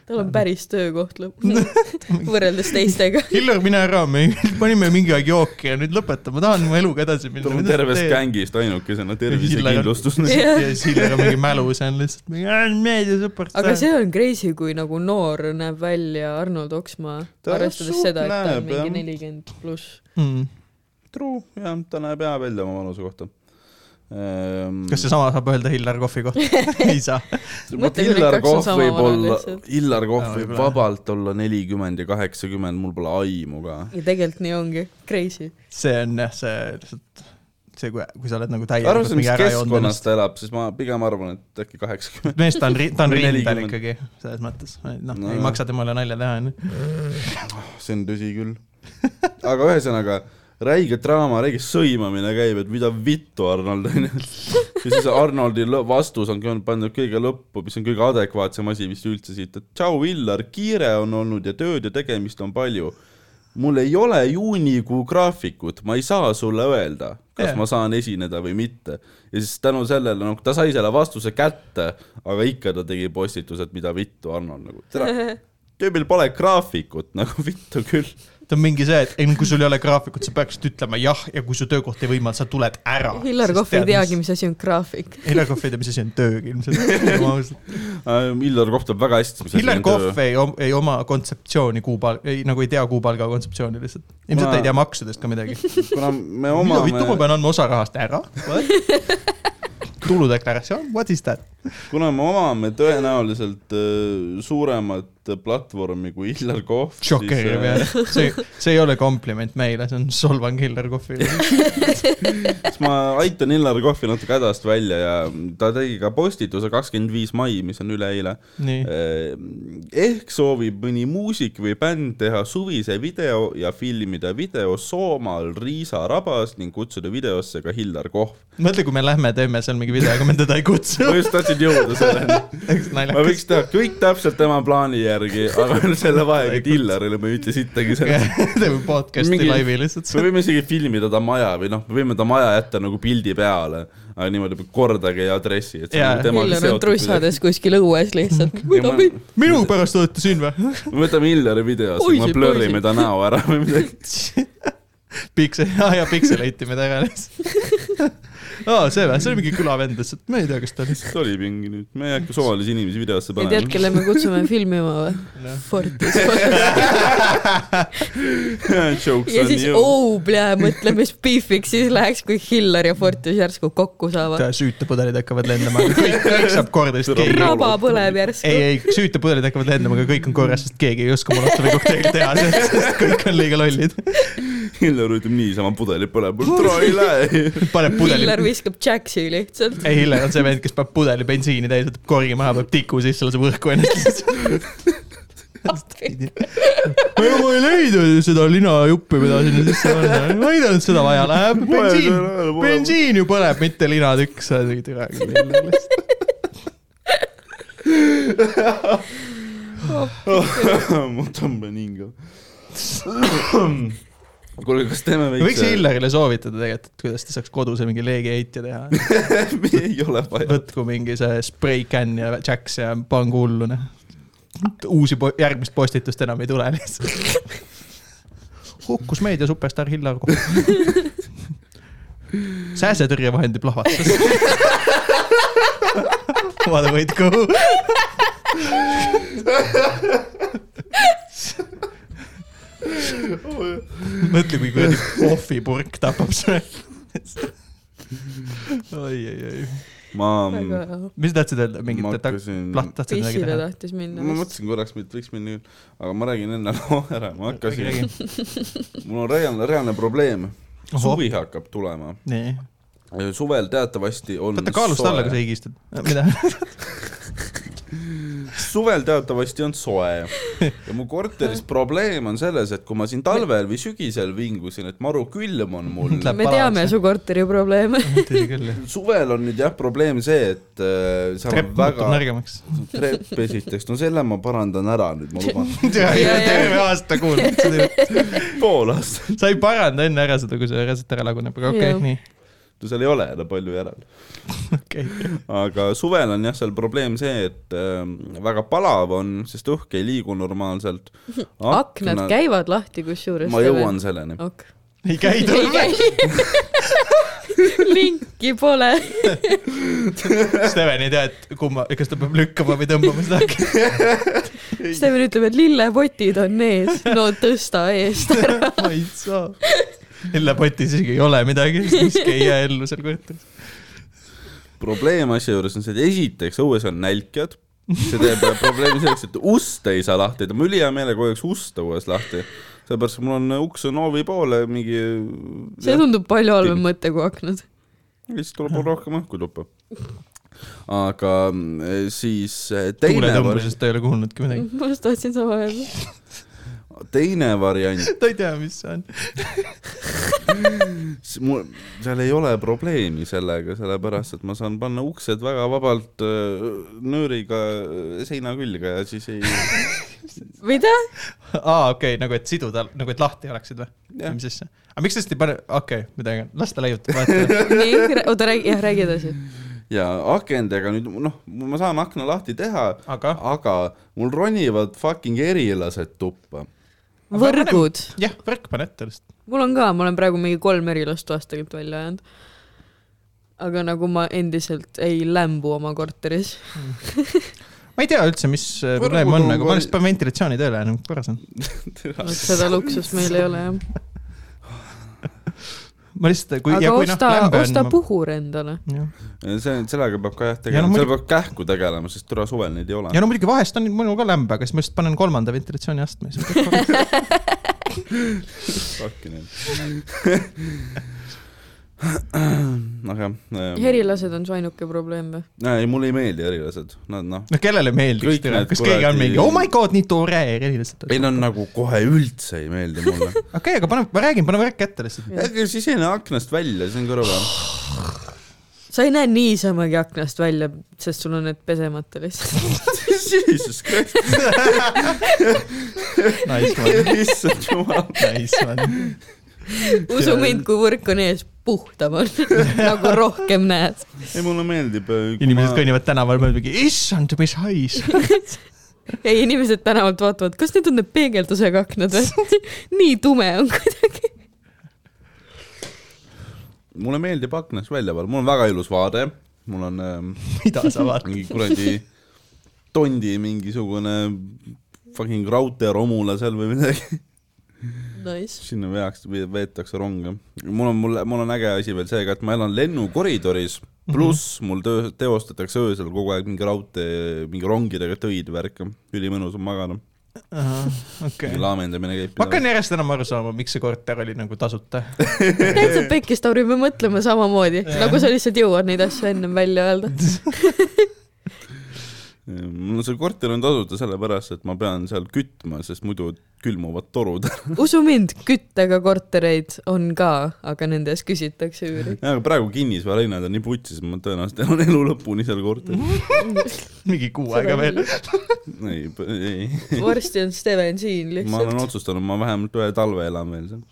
tal on päris töökoht lõpuks , võrreldes teistega .
Hillar , mine ära , me panime mingi aeg jooki ja nüüd lõpeta , ma tahan oma eluga edasi minna .
ta on tervest gängist ainukesena , tervisekindlustus .
Jah.
ja siis Hillar on mingi mälus ja on lihtsalt mingi , meedia
aga
superstaar .
see on crazy , kui nagu noor näeb välja Arnold Oksmaa ,
Ta
arvestades
suht
seda , et ta on
näeb, jah.
mingi nelikümmend pluss .
Hmm.
True , jah , ta näeb hea välja oma vanuse kohta . Ehm,
kas seesama saab öelda Hillar Kohvi kohta ? ei saa .
vot
Mõtle, kui need
Illar
kaks on
Kohv
sama
võib
vanad
olla
lihtsalt. ,
Illar Kohv
Jaa,
võib
võib-olla.
vabalt olla nelikümmend ja kaheksakümmend , mul pole aimu ka .
ja tegelikult nii ongi , crazy .
see on jah , see lihtsalt , see , kui , kui sa oled nagu
arvestades ,
täielikult
mis
mingi ära joonud
keskkonnas
ennast .
ta elab , siis ma pigem arvan , et äkki kaheksakümmend .
mees , ta on , ta on
Või
rindel
40.
ikkagi , selles mõttes , noh
No
no, , ei
jah.
maksa temale nalja teha , onju . Noh.
see on tõsi küll . aga ühesõnaga , räige draama , räige sõimamine käib , et mida vittu , Arnold , onju . ja siis Arnoldi lõ- vastus on kõ- pandud kõige lõppu , mis on kõige adekvaatsem asi vist üldse siit , et tšau , Illar , kiire on olnud ja tööd ja tegemist on palju . mul ei ole juunikuu graafikut , ma ei saa sulle öelda , kas
Jah.
yeah. ma saan esineda või mitte . ja siis tänu sellele , noh , ta sai selle vastuse kätte , aga ikka ta tegi postituse , et mida vittu , Arnold , nagu tere tüübil pole graafikut nagu vittu küll .
ta on mingi see , et ei no kui sul ei ole graafikut , sa peaksid ütlema jah , ja kui su töökoht ei võimalda , sa tuled ära .
Hillar Kohv ei teagi ,. mis asi on graafik .
Hillar Kohv ei tea , mis asi on töög ilmselt .
Hillar Kohv teab Äh, väga hästi , mis
Hillar Kohv . ei, om- ei oma kontseptsiooni kuupal- , ei nagu ei tea kuupalga kontseptsiooni lihtsalt . ilmselt ta ei tea maksudest ka midagi .
kuna me
mida vittu ma
omame ,
pean andma osa rahast ära ? tuludeklaratsioon , what is that ?
kuna me omame tõenäoliselt äh, suuremat platvormi kui Hillar Kohv . äh,
šokeeriv jah . see , see ei ole kompliment meile , see on solvang Hillar Kohvile .
siis ma aitan Hillar Kohvi natuke hädast välja ja ta tegi ka postituse kakskümmend viis mai , mis on üleeile .
nii ,
ehk soovib mõni muusik või bänd teha suvise video ja filmida video Soomaal Riisa rabas ning kutsuda videosse ka Hillar Kohv .
mõtle , kui me lähme teeme seal mingi video , aga me teda ei kutsu
ma . just tahtsin jõuda selleni . ma
naljakas .
võiks teha kõik täpselt tema plaani järgi , aga selle vahega , et Illarile me ei ütle sittagi seda .
teeme podcast'i
Mingi-
laivi lihtsalt .
me võime isegi filmida ta maja või noh , me võime ta maja jätta nagu pildi peale , aga niimoodi kordagi ei adressi , et see
Jaa.
on nagu temaga
Hillar on
seotud midagi.
trussades kuskil õues lihtsalt .
Ja
mida
ma-
võid ?
minu pärast olete siin või ?
me võtame Illari video , siis
Poisid,
me blurrime
poisid.
ta näo ära või midagi .
Piksel , aa jaa , Piksel eiti meid ära lihtsalt . aa , see või , see oli mingi külavend lihtsalt , ma ei tea , kes ta oli .
mis oli mingi nüüd , me ei hakka suvalisi inimesi videosse
ei tead ,
panema .
kelle me kutsume filmima või ? Fortis .
Jokes
ja
on
siis ,
you .
oo , plee , mõtle , mis beefiks siis läheks , kui Hillar ja Fortis järsku kokku saavad .
tea , süütepudelid hakkavad lendama , kõik , kõik saab korda , sest keegi .
raba põleb järsku .
ei , ei , süütepudelid hakkavad lendama , aga kõik on korras , sest keegi ei oska Molotovi kokteili teha , sest kõik on liiga lollid .
Illar ütleb niisama pudeli põleb , tule ei lähe .
paneb pudeli ,
Hillar viskab Jaxi lihtsalt .
ei Hillar on see vend , kes paneb pudeli bensiini täis , võtab korgi maha , paneb tiku sisse , laseb õhku ennast . ma ju ma ei leidnud seda linajuppi , mida sinna sisse panna , ma ei teadnud , et seda vaja läheb , bensiin bensiin ju põleb , mitte linatükk , sa tegid üle küll jälle .
ma tõmban hinge . kuule , kas teeme
me võiks
väikse ?
Hillarile soovitada tegelikult , et kuidas ta saaks kodus mingi leegiheitja teha .
ei ole vaja .
võtku mingi see spray can ja jacks ja pangu hullu , noh . uusi , järgmist postitust enam ei tule lihtsalt . hukkus meedia superstaar Hillar kokku . sääsetõrjevahendi plahvatas . What a way to go . mõtle , kui kuradi kohvipurk tapab selle . oi , oi , oi .
ma , ma
väga hea .
mis sa tahtsid öelda , mingit detaili ?
hakkasin ,
platt tahtsid midagi
pissile
teha ?
tahtis minna
ma
vist .
mõtlesin korraks , et võiks minna küll , aga ma räägin enne loo ära , ma hakkasin ,
räägi .
mul on reaalne , reaalne probleem .
Ohoh.
suvi hakkab tulema .
nii .
suvel teatavasti on
võta kaalust alla , kui sa
soe .
higistad . mida ?
suvel teatavasti on soe ja mu korteris probleem on selles , et kui ma siin talvel või sügisel vingusin , et maru külm on mul .
Läheb
me teame
paremaks,
su korteri probleeme .
tõsi küll , jah .
suvel on nüüd jah probleem see , et äh, seal on
trepp muutub
väga ,
nõrgemaks .
trepp esiteks , no selle ma parandan ära nüüd , ma luban .
ja.
terve aasta kuulnud .
pool aastat ,
sa ei paranda enne ära seda , kui see reset ära laguneb , aga okei
Jah.
okay, , nii ,
no seal ei ole enam palju järel .
okei okay. .
aga suvel on jah , seal probleem see , et ähm, väga palav on , sest õhk ei liigu normaalselt .
aknad . käivad lahti , kusjuures .
ma jõuan . selleni .
ok .
ei käi
ei
tulnud ,
käi . linki pole .
Steven ei tea , et kumma , kas ta peab lükkama või tõmbama seda akna .
Steven ütleb , et lillepotid on ees . no tõsta eest .
ma ei saa . lillepotis isegi ei ole midagi , siiski ei jää ellu seal korteris .
probleem asja juures on see , et esiteks õues on nälkjad . see teeb äh, probleemi selleks , et ust ei saa lahti , ma ülihea meelega hoiaks ust õues lahti . sellepärast , et mul on uks on hoovi poole mingi .
see tundub palju halvem mõte kui aknad .
ja siis tuleb mul rohkem õhku tuppa . aga mm, siis eh, teine vari-
tuuletõmbusest ta ei ole kuulnudki midagi .
ma just tahtsin sama öelda .
teine variant ,
ta ei tea , mis see on .
mul , seal ei ole probleemi sellega , sellepärast et ma saan panna uksed väga vabalt eh, nööriga eh, seina külge ja siis ei ,
mida ?
aa , okei , nagu et siduda , nagu et lahti oleksid või ?
Jah.
mis asja ? aga miks tõesti ei pane , okei okay, , midagi , las ta leiutab , vaata .
nii , oota räägi , jah räägi edasi .
ja akendega nüüd noh , ma saan akna lahti teha ,
aga ,
aga mul ronivad fucking erilased tuppa .
võrgud .
jah , võrk pane ette lihtsalt .
mul on ka , ma olen praegu mingi kolm erilast toast tegelikult välja ajanud . aga nagu ma endiselt ei lämbu oma korteris .
ma ei tea üldse , mis äh,
Võrgud
probleem on ,
on
aga
kol-
ma lihtsalt panen ventilatsiooni tööle ja nagu korras on .
seda luksust meil ei ole jah .
ma lihtsalt , kui ja
aga
kui noh ,
osta ,
lämbe on .
osta puhur endale .
jah ,
Eh, see , sellega peab ka jah
Ja no
tegelema ,
muidu-
seal peab kähku tegelema , sest tore suvel neid ei ole .
ja no muidugi vahest on mul ka lämbe , aga siis ma lihtsalt panen kolmanda ventilatsiooniastme , siis on kõik korras .
Fucking hell . aga jah ,
herilased on su ainuke probleem või ?
ei mulle ei meeldi erilased , nad noh ,
no kellele meeldiks
Kõik
teile ,
need
kas keegi on
kuradi-
mingi , oh my god , nii tore ja erilised .
ei nad nagu kohe üldse ei meeldi mulle .
okei , aga pane , ma räägin , pane värk ette lihtsalt .
ärge sisene aknast välja , see on kõrval .
sa ei näe niisamagi aknast välja , sest sul on need pesemata lihtsalt .
Jesus Christ ,
Nice one ,
issand jumal .
nice one .
usu mind , kui võrk on ees , puhtam on . nagu rohkem näed .
ei mulle meeldib . äh,
inimesed . kõnnivad tänaval , mõtlevad mingi , issand , mis hais .
ei , inimesed tänavalt vaatavad , kas need on need peegeldusega aknad või ? nii tume on kuidagi .
mulle meeldib aknast välja vaadata , mul on väga ilus vaade , mul on ähm,
mida sa vaatad ?
mingi kuradi tondi mingisugune fucking raudteeromula seal või midagi .
Nice .
sinna veaks , veetakse ronge . mul on , mul , mul on äge asi veel see ka , et ma elan lennukoridoris ,
Mhm.
pluss mul töö , teostatakse öösel kogu aeg mingi raudtee , mingi rongidega töid värke . ülimõnus on magada ,
okei
mingi . laamendamine käib .
ma hakkan järjest enam aru saama , miks see korter oli nagu tasuta .
täitsa pekkis , Tauri , me mõtleme samamoodi , nagu sa lihtsalt jõuad neid asju ennem välja öelda .
mul see korter on tasuta sellepärast , et ma pean seal kütma , sest muidu külmuvad torud .
usu mind , küttega kortereid on ka , aga nende ees küsitakse üüri .
aga praegu kinnisvarahinnad on nii putsis , ma tõenäoliselt elan elu lõpuni seal korteris .
mingi kuu aega veel . Mhm.
ei , ei ,
varsti on Steven siin
ma olen
lihtsalt .
otsustanud , ma vähemalt ühe talve elan veel seal .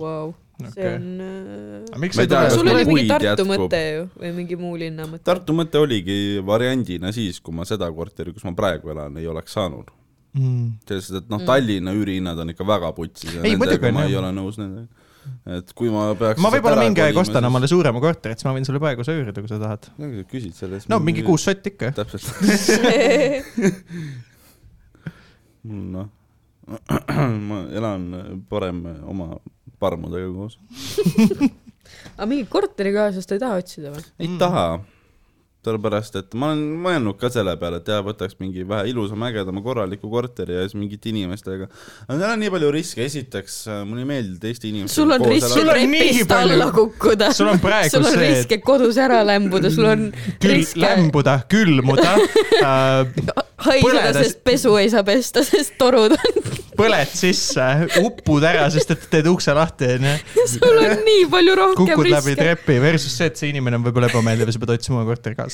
Vau , see
Okei.
on
aga miks sa
Ma
ei
ei tea,
äh... .
kas
tule ?
sul oli mingi
puid
Tartu
jätkub?
mõte ju või mingi muu linna mõte ?
Tartu mõte oligi variandina siis , kui ma seda korteri , kus ma praegu elan , ei oleks saanud .
Mm.
selles suhtes , et noh , Tallinna üürihinnad on ikka väga putsis ja
Ei, muidugi
nendega
on,
ma
jah.
ei ole nõus nendega . et kui ma peaks
ma võib-olla mingi aeg ostan . omale suurema korteri , siis ma võin sulle praegu see üürida , kui sa tahad .
küsid selle eest .
no mingi . kuus sotti ikka , jah .
täpselt , mul noh , ma elan parem oma parmudega koos .
aga mingit korterikaaslast ei taha otsida või ?
Mm.
ei taha . sellepärast , et ma olen mõelnud ka selle peale , et jah , võtaks mingi vähe ilusama , ägedama , korraliku korteri ja siis mingite inimestega . aga seal on nii palju riske , esiteks äh, mulle ei meeldi teiste inimestega .
sul on risk
Sul on nii
trepist
palju-
alla kukkuda .
sul on praegu
sul on
see-
riske kodus ära lämbuda , sul on
küll ,
riske
lämbuda , külmuda äh, ,
haiseda ,
põleda-
sest pesu ei saa pesta , sest torud on .
põled sisse , upud ära , sest et teed ukse lahti , onju .
sul on nii palju rohkem
kukud läbi
riske .
trepi versus see , et see inimene on võib-olla ebameeldiv ja sa pead otsima korteri kaasa .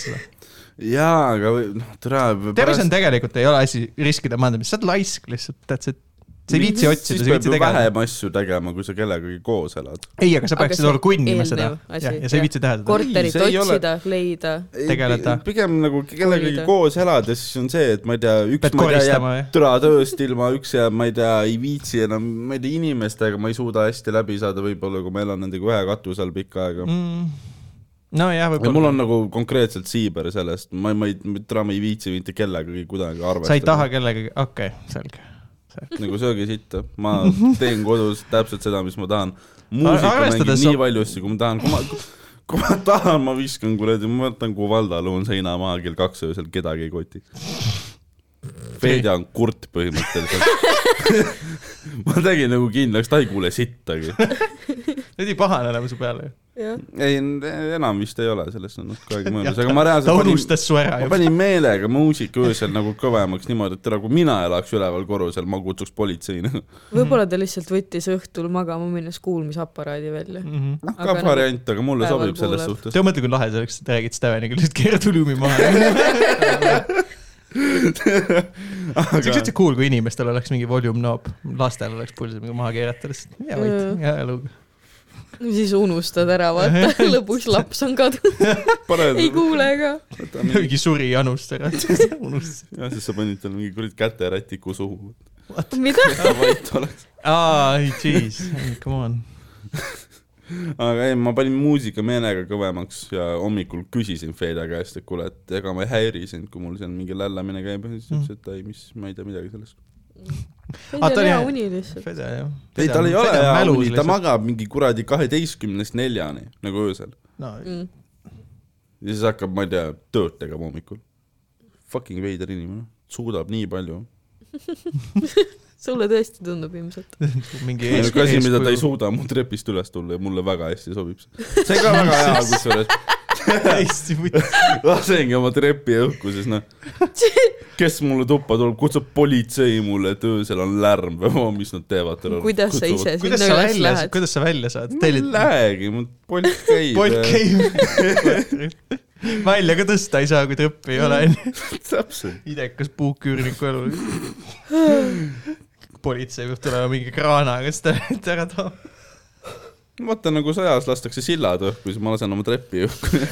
jaa , aga või- noh , tere .
tervis on tegelikult ei ole asi riskide maandamist , sa oled laisk lihtsalt , that's it . sa ei viitsi otsida , sa ei viitsi
teha .
tegeleda .
vähem asju tegema , kui sa kellegagi koos elad .
ei , aga sa
Aga
peaksid
see
olla kunnima seda
eelnev . asi,
ja , ja sa
jah.
ei viitsi teha seda .
korterit
Ei, see ei ole-
otsida , leida .
Tegeleda.
pigem nagu kellegagi
Kolida.
koos elades , siis on see , et ma ei tea , üks
Pead
ma ei tea jääb
koristama, jah?
türa tööst ilma , üks jääb , ma ei tea , ei viitsi enam , ma ei tea , inimestega ma ei suuda hästi läbi saada , võib-olla kui ma elan nendega ühe katuse all pikka aega mm. .
nojah ,
ja mul
võib-olla .
on nagu konkreetselt siiber sellest , ma , ma ei , türa ma ei viitsi mitte kellegagi kuidagi arvestada .
sa ei taha kellegagi , okei okay, , selge .
nagu sööge sitta , ma teen kodus täpselt seda , mis ma tahan .
Ar-
muusika mängib
arvestades
nii
sa-
valjusti , kui ma tahan , kui ma , kui ma tahan , ma viskan kuradi , ma võtan Kuvalda lõun seina maha kell kaks öösel , kedagi ei koti . Fedja on kurt põhimõtteliselt . ma tegin nagu kindlaks , ta ei kuule sittagi .
Nad ei pahane enam su peale ju .
ei , enam vist ei ole , sellest on natuke aega möödas , aga ma reaalselt
ta unustas su ära
ma
juba .
panin meelega muusika öösel nagu kõvemaks niimoodi , et ära , kui mina elaks üleval korrusel , ma kutsuks politseini
võib-olla ta lihtsalt võttis õhtul magama minnes kuulmisaparaadi välja .
Mm.
noh ,
Aga
ka
nagu
variant , aga mulle
päeval
sobib selles
kuuleb.
suhtes .
tead , mõtle , Mhm. kui lahe see oleks , et räägid Steveniga lihtsalt keerad volüümi maha . see
Aga-
oleks üldse cool , kui inimestel oleks mingi volume knob , lastel oleks pulss mingi maha keerata lihtsalt . ja
Mm.
võit , ja eluga .
siis unustad ära , vaata , lõpuks laps on kadunud ,
paned
ei , kuule ka .
võta mingi ,
mingi suri Janust ära , unustasin .
ja siis sa panid talle mingi kuradi käterätiku suhu ,
mida ?
et ta vait oleks .
aa , ei jeez , come on .
aga ei , ma panin muusika meelega kõvemaks ja hommikul küsisin Fedja käest , et kuule , et ega ma ei häiri sind , kui mul seal mingi lällamine käib ja siis ta ütles , et ei , mis , ma ei tea midagi sellest .
Ah,
see
ta
on
oli-
hea uni lihtsalt .
Fede jah .
ei , tal ei ole hea uni , ta . magab mingi kuradi kaheteistkümnest neljani nagu öösel
no
ja siis hakkab , ma ei tea , tööd tegema hommikul . Fucking veider inimene , suudab nii palju .
sulle tõesti tundub ilmselt .
Mm.
mingi
ainuke Nagu asi , mida ta ei
eeskuju .
suuda , mu trepist üles tulla ja mulle väga hästi sobib see . see on ka väga hea kusjuures ,
täiesti muidu .
lasengi oma trepi õhku , siis noh , kes mulle tuppa tuleb , kutsub politsei mulle , et öösel on lärm või oh, mis nad teevad .
kuidas sa ise
kuidas sa
sinna üles
välja ,
lähed ?
kuidas sa välja saad ?
ma ei
tellid
lähegi , mul polk käib .
Bolt . käib . välja ka tõsta ei saa , kui trõppi ei ole , onju .
täpselt .
idekas puuküürniku elu . politsei peab tulema mingi kraanaga seda vett ära tooma .
vaata nagu sõjas lastakse sillad õhku , siis ma lasen oma trepi õhku .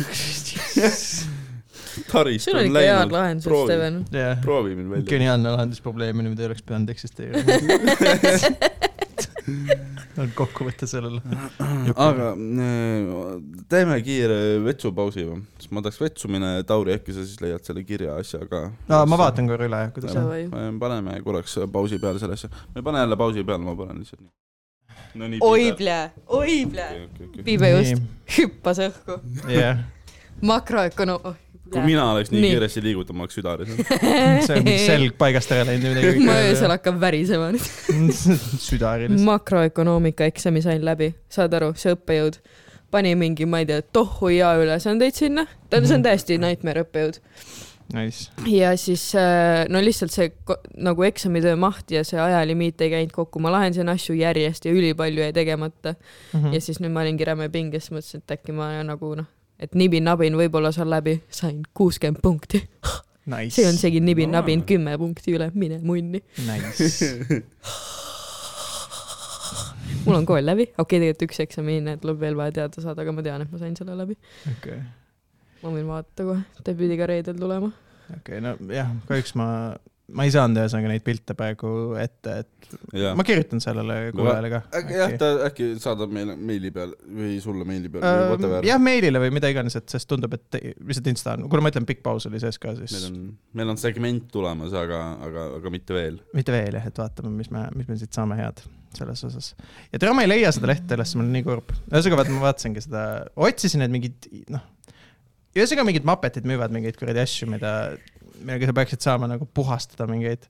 taristu
sul on
on
ikka head
läinud .
lahendused ,
proovi.
Steven .
jah ,
proovi mind välja .
geniaalne lahendus probleemile , mida ei oleks pidanud eksisteerima . on kokkuvõte sellele .
aga äh, teeme kiire vetsupausi või , siis ma tahaks vetsu minna ja Tauri , äkki sa siis leiad selle kirja asja ka
no, . ma . vaatan korra üle , kuidas on .
Davai.
paneme korraks pausi peale selle asja , ma ei pane jälle pausi peale , ma panen lihtsalt nii . no nii .
oi . plee , oi plee . Piibe just hüppas õhku . oh,
jah ,
makroökonoom .
kui mina oleks nii,
Nii.
nii. kiiresti liigutama , oleks süda lihtsalt .
see on mingi selg paigast ära läinud ja midagi .
ma öösel hakkan värisema nüüd .
südaaril .
makroökonoomika eksami sain läbi , saad aru , see õppejõud pani mingi , ma ei tea , tohu hea ülesandeid sinna , ta on , see
Mhm.
on täiesti nightmare õppejõud .
Nice .
ja siis äh, no lihtsalt see ko- nagu eksamitöö maht ja see ajalimiit ei käinud kokku , ma lahendasin asju järjest ja ülipalju jäi tegemata mm.
Mhm.
ja siis nüüd ma olingi räme pinges , mõtlesin , et äkki ma nagu noh , et nibin-nabin võib-olla saan läbi , sain kuuskümmend punkti .
Nice .
see on seegi nibin-nabin , kümme punkti üle , mine munni .
Nice .
mul on kool läbi , okei okay, , tegelikult üks eksam hinne tuleb veel vaja teada saada , aga ma tean , et ma sain selle läbi .
okei .
ma võin vaadata kohe , ta pidi ka reedel tulema .
okei okay, , no jah , kahjuks ma , ma ei saanud ühesõnaga neid pilte praegu ette , et
jah ,
ma kirjutan sellele kuulajale ka .
jah , ta äkki saadab meile meili peale või sulle meili peale või
Äh,
whatever .
jah , meilile või mida iganes , et sest tundub , et te- lihtsalt Insta on , kuule , ma ütlen , pikk paus oli sees ka
meil
siis .
on , meil on segment tulemas , aga , aga , aga mitte veel .
mitte veel jah , et vaatame , mis me , mis me siit saame head . selles osas. ja tere, ma ei leia seda lehte üles, mul on nii kurb. ühesõnaga, vaata, ma vaatasingi seda, otsisin need mingid, noh. ühesõnaga mingid mapetid müüvad mingeid kuradi asju, mida, millega sa peaksid saama nagu puhastada mingeid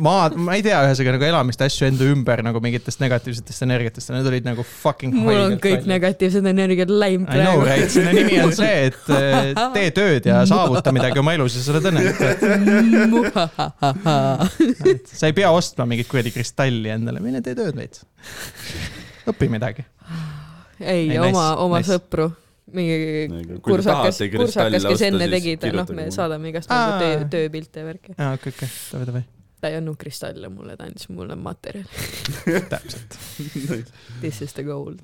maad, ma ei tea, ühesõnaga nagu elamist, asju enda ümber nagu mingitest negatiivsetest energiatest ja need olid nagu fucking
mul on kõik palju. negatiivsed energiad läinud
I know , right , selle nimi on see , et äh, tee tööd ja saavuta midagi oma elus ja sa oled õnnelik .
praegu .
sa ei pea ostma mingit kuradi kristalli endale , mine tee tööd veits . õpi midagi .
ei
Ei, ,
oma
nice, ,
oma
nice.
sõpru , mingi
Nagu, Kui te
kursakas
tahate , kristalli
kursakas , kes
osta,
enne
siis
tegi , ta noh ,
kirjutage
me
mulle.
saadame igast
Aa.
nagu töö , tööpilte ja värki .
aa , okei , okei , davai , davai ,
ta ei andnud kristalle mulle , ta andis mulle materjali .
täpselt .
This is the gold .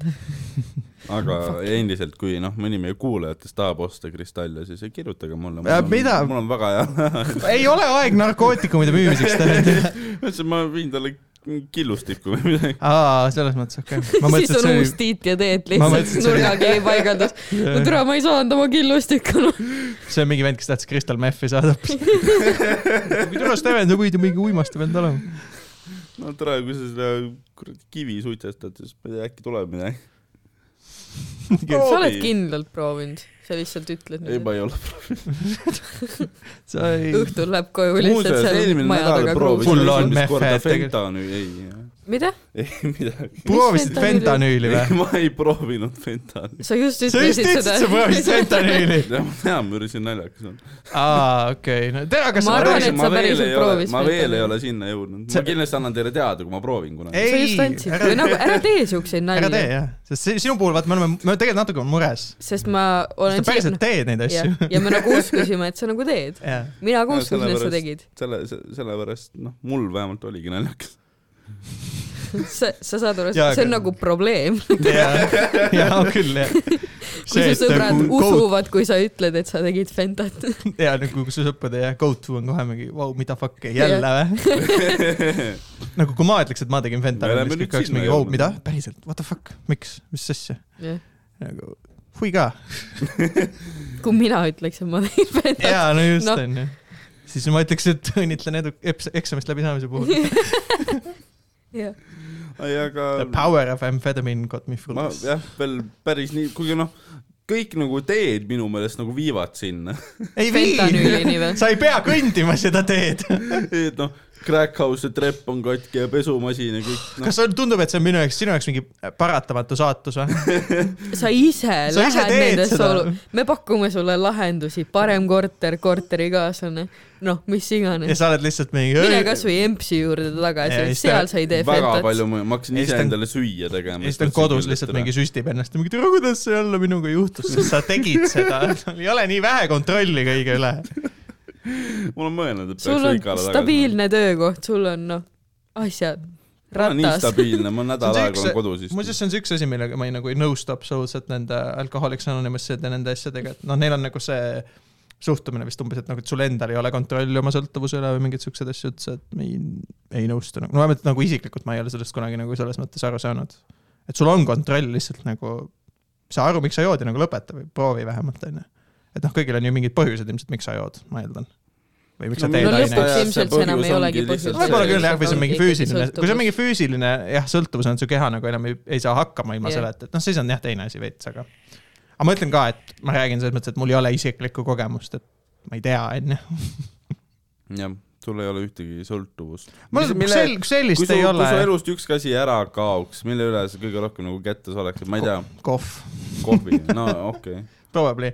aga endiselt , kui noh , mõni meie kuulajatest tahab osta kristalle , siis kirjutage mulle .
Äh, mida?
mul on väga hea .
ei ole aeg narkootikumide müümiseks tegelikult .
ütlesin , ma viin talle killustiku või midagi .
aa , selles mõttes , okei okay. . ma
siis
mõtlesin ,
on
et see
see...
oli
uus Tiit ja Teet
Ma
lihtsalt
mõtlesin, et see oli-
nurgakivi paigaldas . no türa , ma ei saanud oma killustikku .
see on mingi vend , kes tahtis Crystal Meth'i saada hoopis . tule Steven , sa võid ju mingi uimaste vend olema .
no tore , kui sa seda kuradi kivi suitsetad , siis ma ei tea , äkki tuleb midagi .
sa oled kindlalt proovinud , sa lihtsalt ütled
ei ,
nüüd .
ma ei ole .
sa ei ,
õhtul läheb koju lihtsalt
muuseas ,
seal
eelmine
maja
nädal
taga
proovisin
kruusib .
Full on mehhe, et tegelikult-
fentanüüli , ei ,
mida ?
ei midagi .
proovisid
Mis fentanüüli?
fentanüüli või ?
ma ei proovinud fentanüüli .
sa just
sa just
ütlesid
ütlesid ,
seda .
sa proovisid fentanüüli .
ma tean , ma üritasin naljakas olla .
aa , okei , no tea , kas
Ma
sa
arvan,
päriselt
et sa päriselt proovisid
ma veel ei
fentanüüli.
ole sinna jõudnud .
See-
ma kindlasti annan teile teada , kui ma proovin kunagi .
sa
ei
just , andsid ,
ära
või nagu ära tee siukseid
ära tee
nalju .
jah , sest si- sinu puhul vaata , me oleme , me tegelikult natuke oleme mures .
sest ma olen
sa päriselt teed neid
ja,
asju .
ja me nagu uskusime , et sa nagu teed .
jah ,
mina ka
No
uskusin , et sa
sellepärast-
tegid .
selle , sellepärast , noh , mul vähemalt oligi naljakas .
sa , sa saad aru ,
Jaa,
see on
aga-
nagu probleem .
jah , küll jah .
kui su
nagu
sõbrad usuvad , kui sa ütled , et sa tegid fentat .
ja nagu kui su sõprade ja go to on kohe mingi , vau , mida fuck , jälle või ? nagu kui ma ütleks , et ma tegin
Me
fentanüüli ,
oleme
siis
nüüd
kõik oleks
sinna
mingi , vau ,
jõudnud.
mida , päriselt , what the fuck , miks , mis asja , nagu hui ka .
kui mina ütleks , et ma tegin fentat .
jaa , no just
Noh.
onju . siis ma ütleks , et õnnitlen edu , eksamist läbisaamise puhul .
jah ,
ei ,
The
aga
power of amphetamine got me through
ma
this .
jah , veel päris nii , kuigi noh , kõik nagu teed minu meelest nagu viivad sinna .
ei vii ,
fentanüülini või ?
sa ei pea kõndima seda teed .
et noh , crack house'i trepp on katki ja pesumasin ja kõik noh .
kas sul tundub , et see on minu jaoks , sinu jaoks mingi paratamatu saatus või ?
sa ise
Sa ise
lähed
teed
nendesse
seda.
olu- , me pakume sulle lahendusi , parem korter , korterikaaslane , noh , mis
ja
iganes .
sa oled lihtsalt mingi .
mine kasvõi EMS-i juurde
Ja
tagasi ,
siis ta-
seal sa ei tee
väga
fentat .
palju mõju , ma hakkasin
Ja siis ta on-
iseendale süüa tegema .
ja siis ta on kodus lihtsalt mingi . süstib ennast ja mingi tere , kuidas see jälle minuga juhtus , sest sa tegid seda . sul ei ole nii vähe kontrolli kõige üle .
mul on mõelnud , et
sul
peaks
on
ikka alla tagasi .
stabiilne töökoht , sul on noh , asjad ,
ma olen nii
ratas .
stabiilne , ma nädal
See on
aega
üks-
olen kodus istunud .
muuseas , see on see üks asi , millega ma ei nagu ei nõustu absoluutselt nende Alcoholics Anonymous'ide ja nende asjadega , et noh , neil on nagu see suhtumine vist umbes , et nagu , et sul endal ei ole kontrolli oma sõltuvuse üle või mingeid siukseid asju üldse , et ma ei , ei nõustu nagu , no vähemalt nagu isiklikult ma ei ole sellest kunagi nagu selles mõttes aru saanud . et sul on kontroll lihtsalt nagu , saa aru , miks sa jood ja nagu lõpeta või proovi vähemalt , onju . et noh , kõigil on ju mingid põhjused ilmselt , miks sa jood , ma eeldan . või miks sa
No
teed
no
Teine
aineid
aine.
lõpuks
See
ilmselt see
põhjus
enam ei
ongi
olegi
lihtsalt
põhjus .
see-
võib-olla küll jah , või see on mingi füüsiline , kui see on mingi füüsiline jah , sõltuvus on , su keha nagu enam ei, ei saa hakkama ilma
Jah.
yeah. selleta , et noh , siis on jah teine asi veits , aga . aga ma ütlen ka , et ma räägin selles mõttes , et mul ei ole isiklikku kogemust , et ma ei tea , onju .
jah , sul ei ole ühtegi sõltuvust .
mul sel- ,
kui
sellist
su ,
ei
kui
ole
su . elust ükski asi ära kaoks , mille üle sa kõige rohkem nagu kättes oleksid , ma ei tea ,
kohv ,
kohvi , no okei okay. .
probably .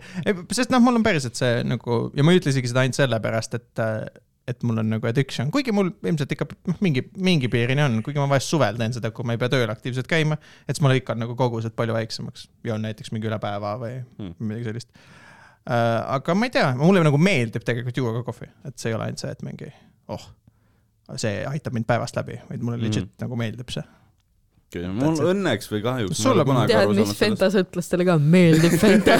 sest noh , mul on päriselt see nagu ja ma ei ütle isegi seda ainult sellepärast , et äh, et mul on nagu addiction , kuigi mul ilmselt ikka noh, mingi , mingi piirini on , kuigi ma vahest suvel teen seda , kui ma ei pea tööl aktiivselt käima , et siis mul ikka on nagu kogused palju väiksemaks . joon näiteks mingi üle päeva või
Hmm.
hmm. midagi sellist äh, . aga ma ei tea , mulle nagu meeldib tegelikult juua ka kohvi , et see ei ole ainult see , et mingi oh , see aitab mind päevast läbi , vaid mulle
Mhm.
legit mm. nagu meeldib see .
okay. . mul õnneks või kahjuks .
Sulle ma-
tead , mis Fenta sõltlastele ka meeldib Fenta .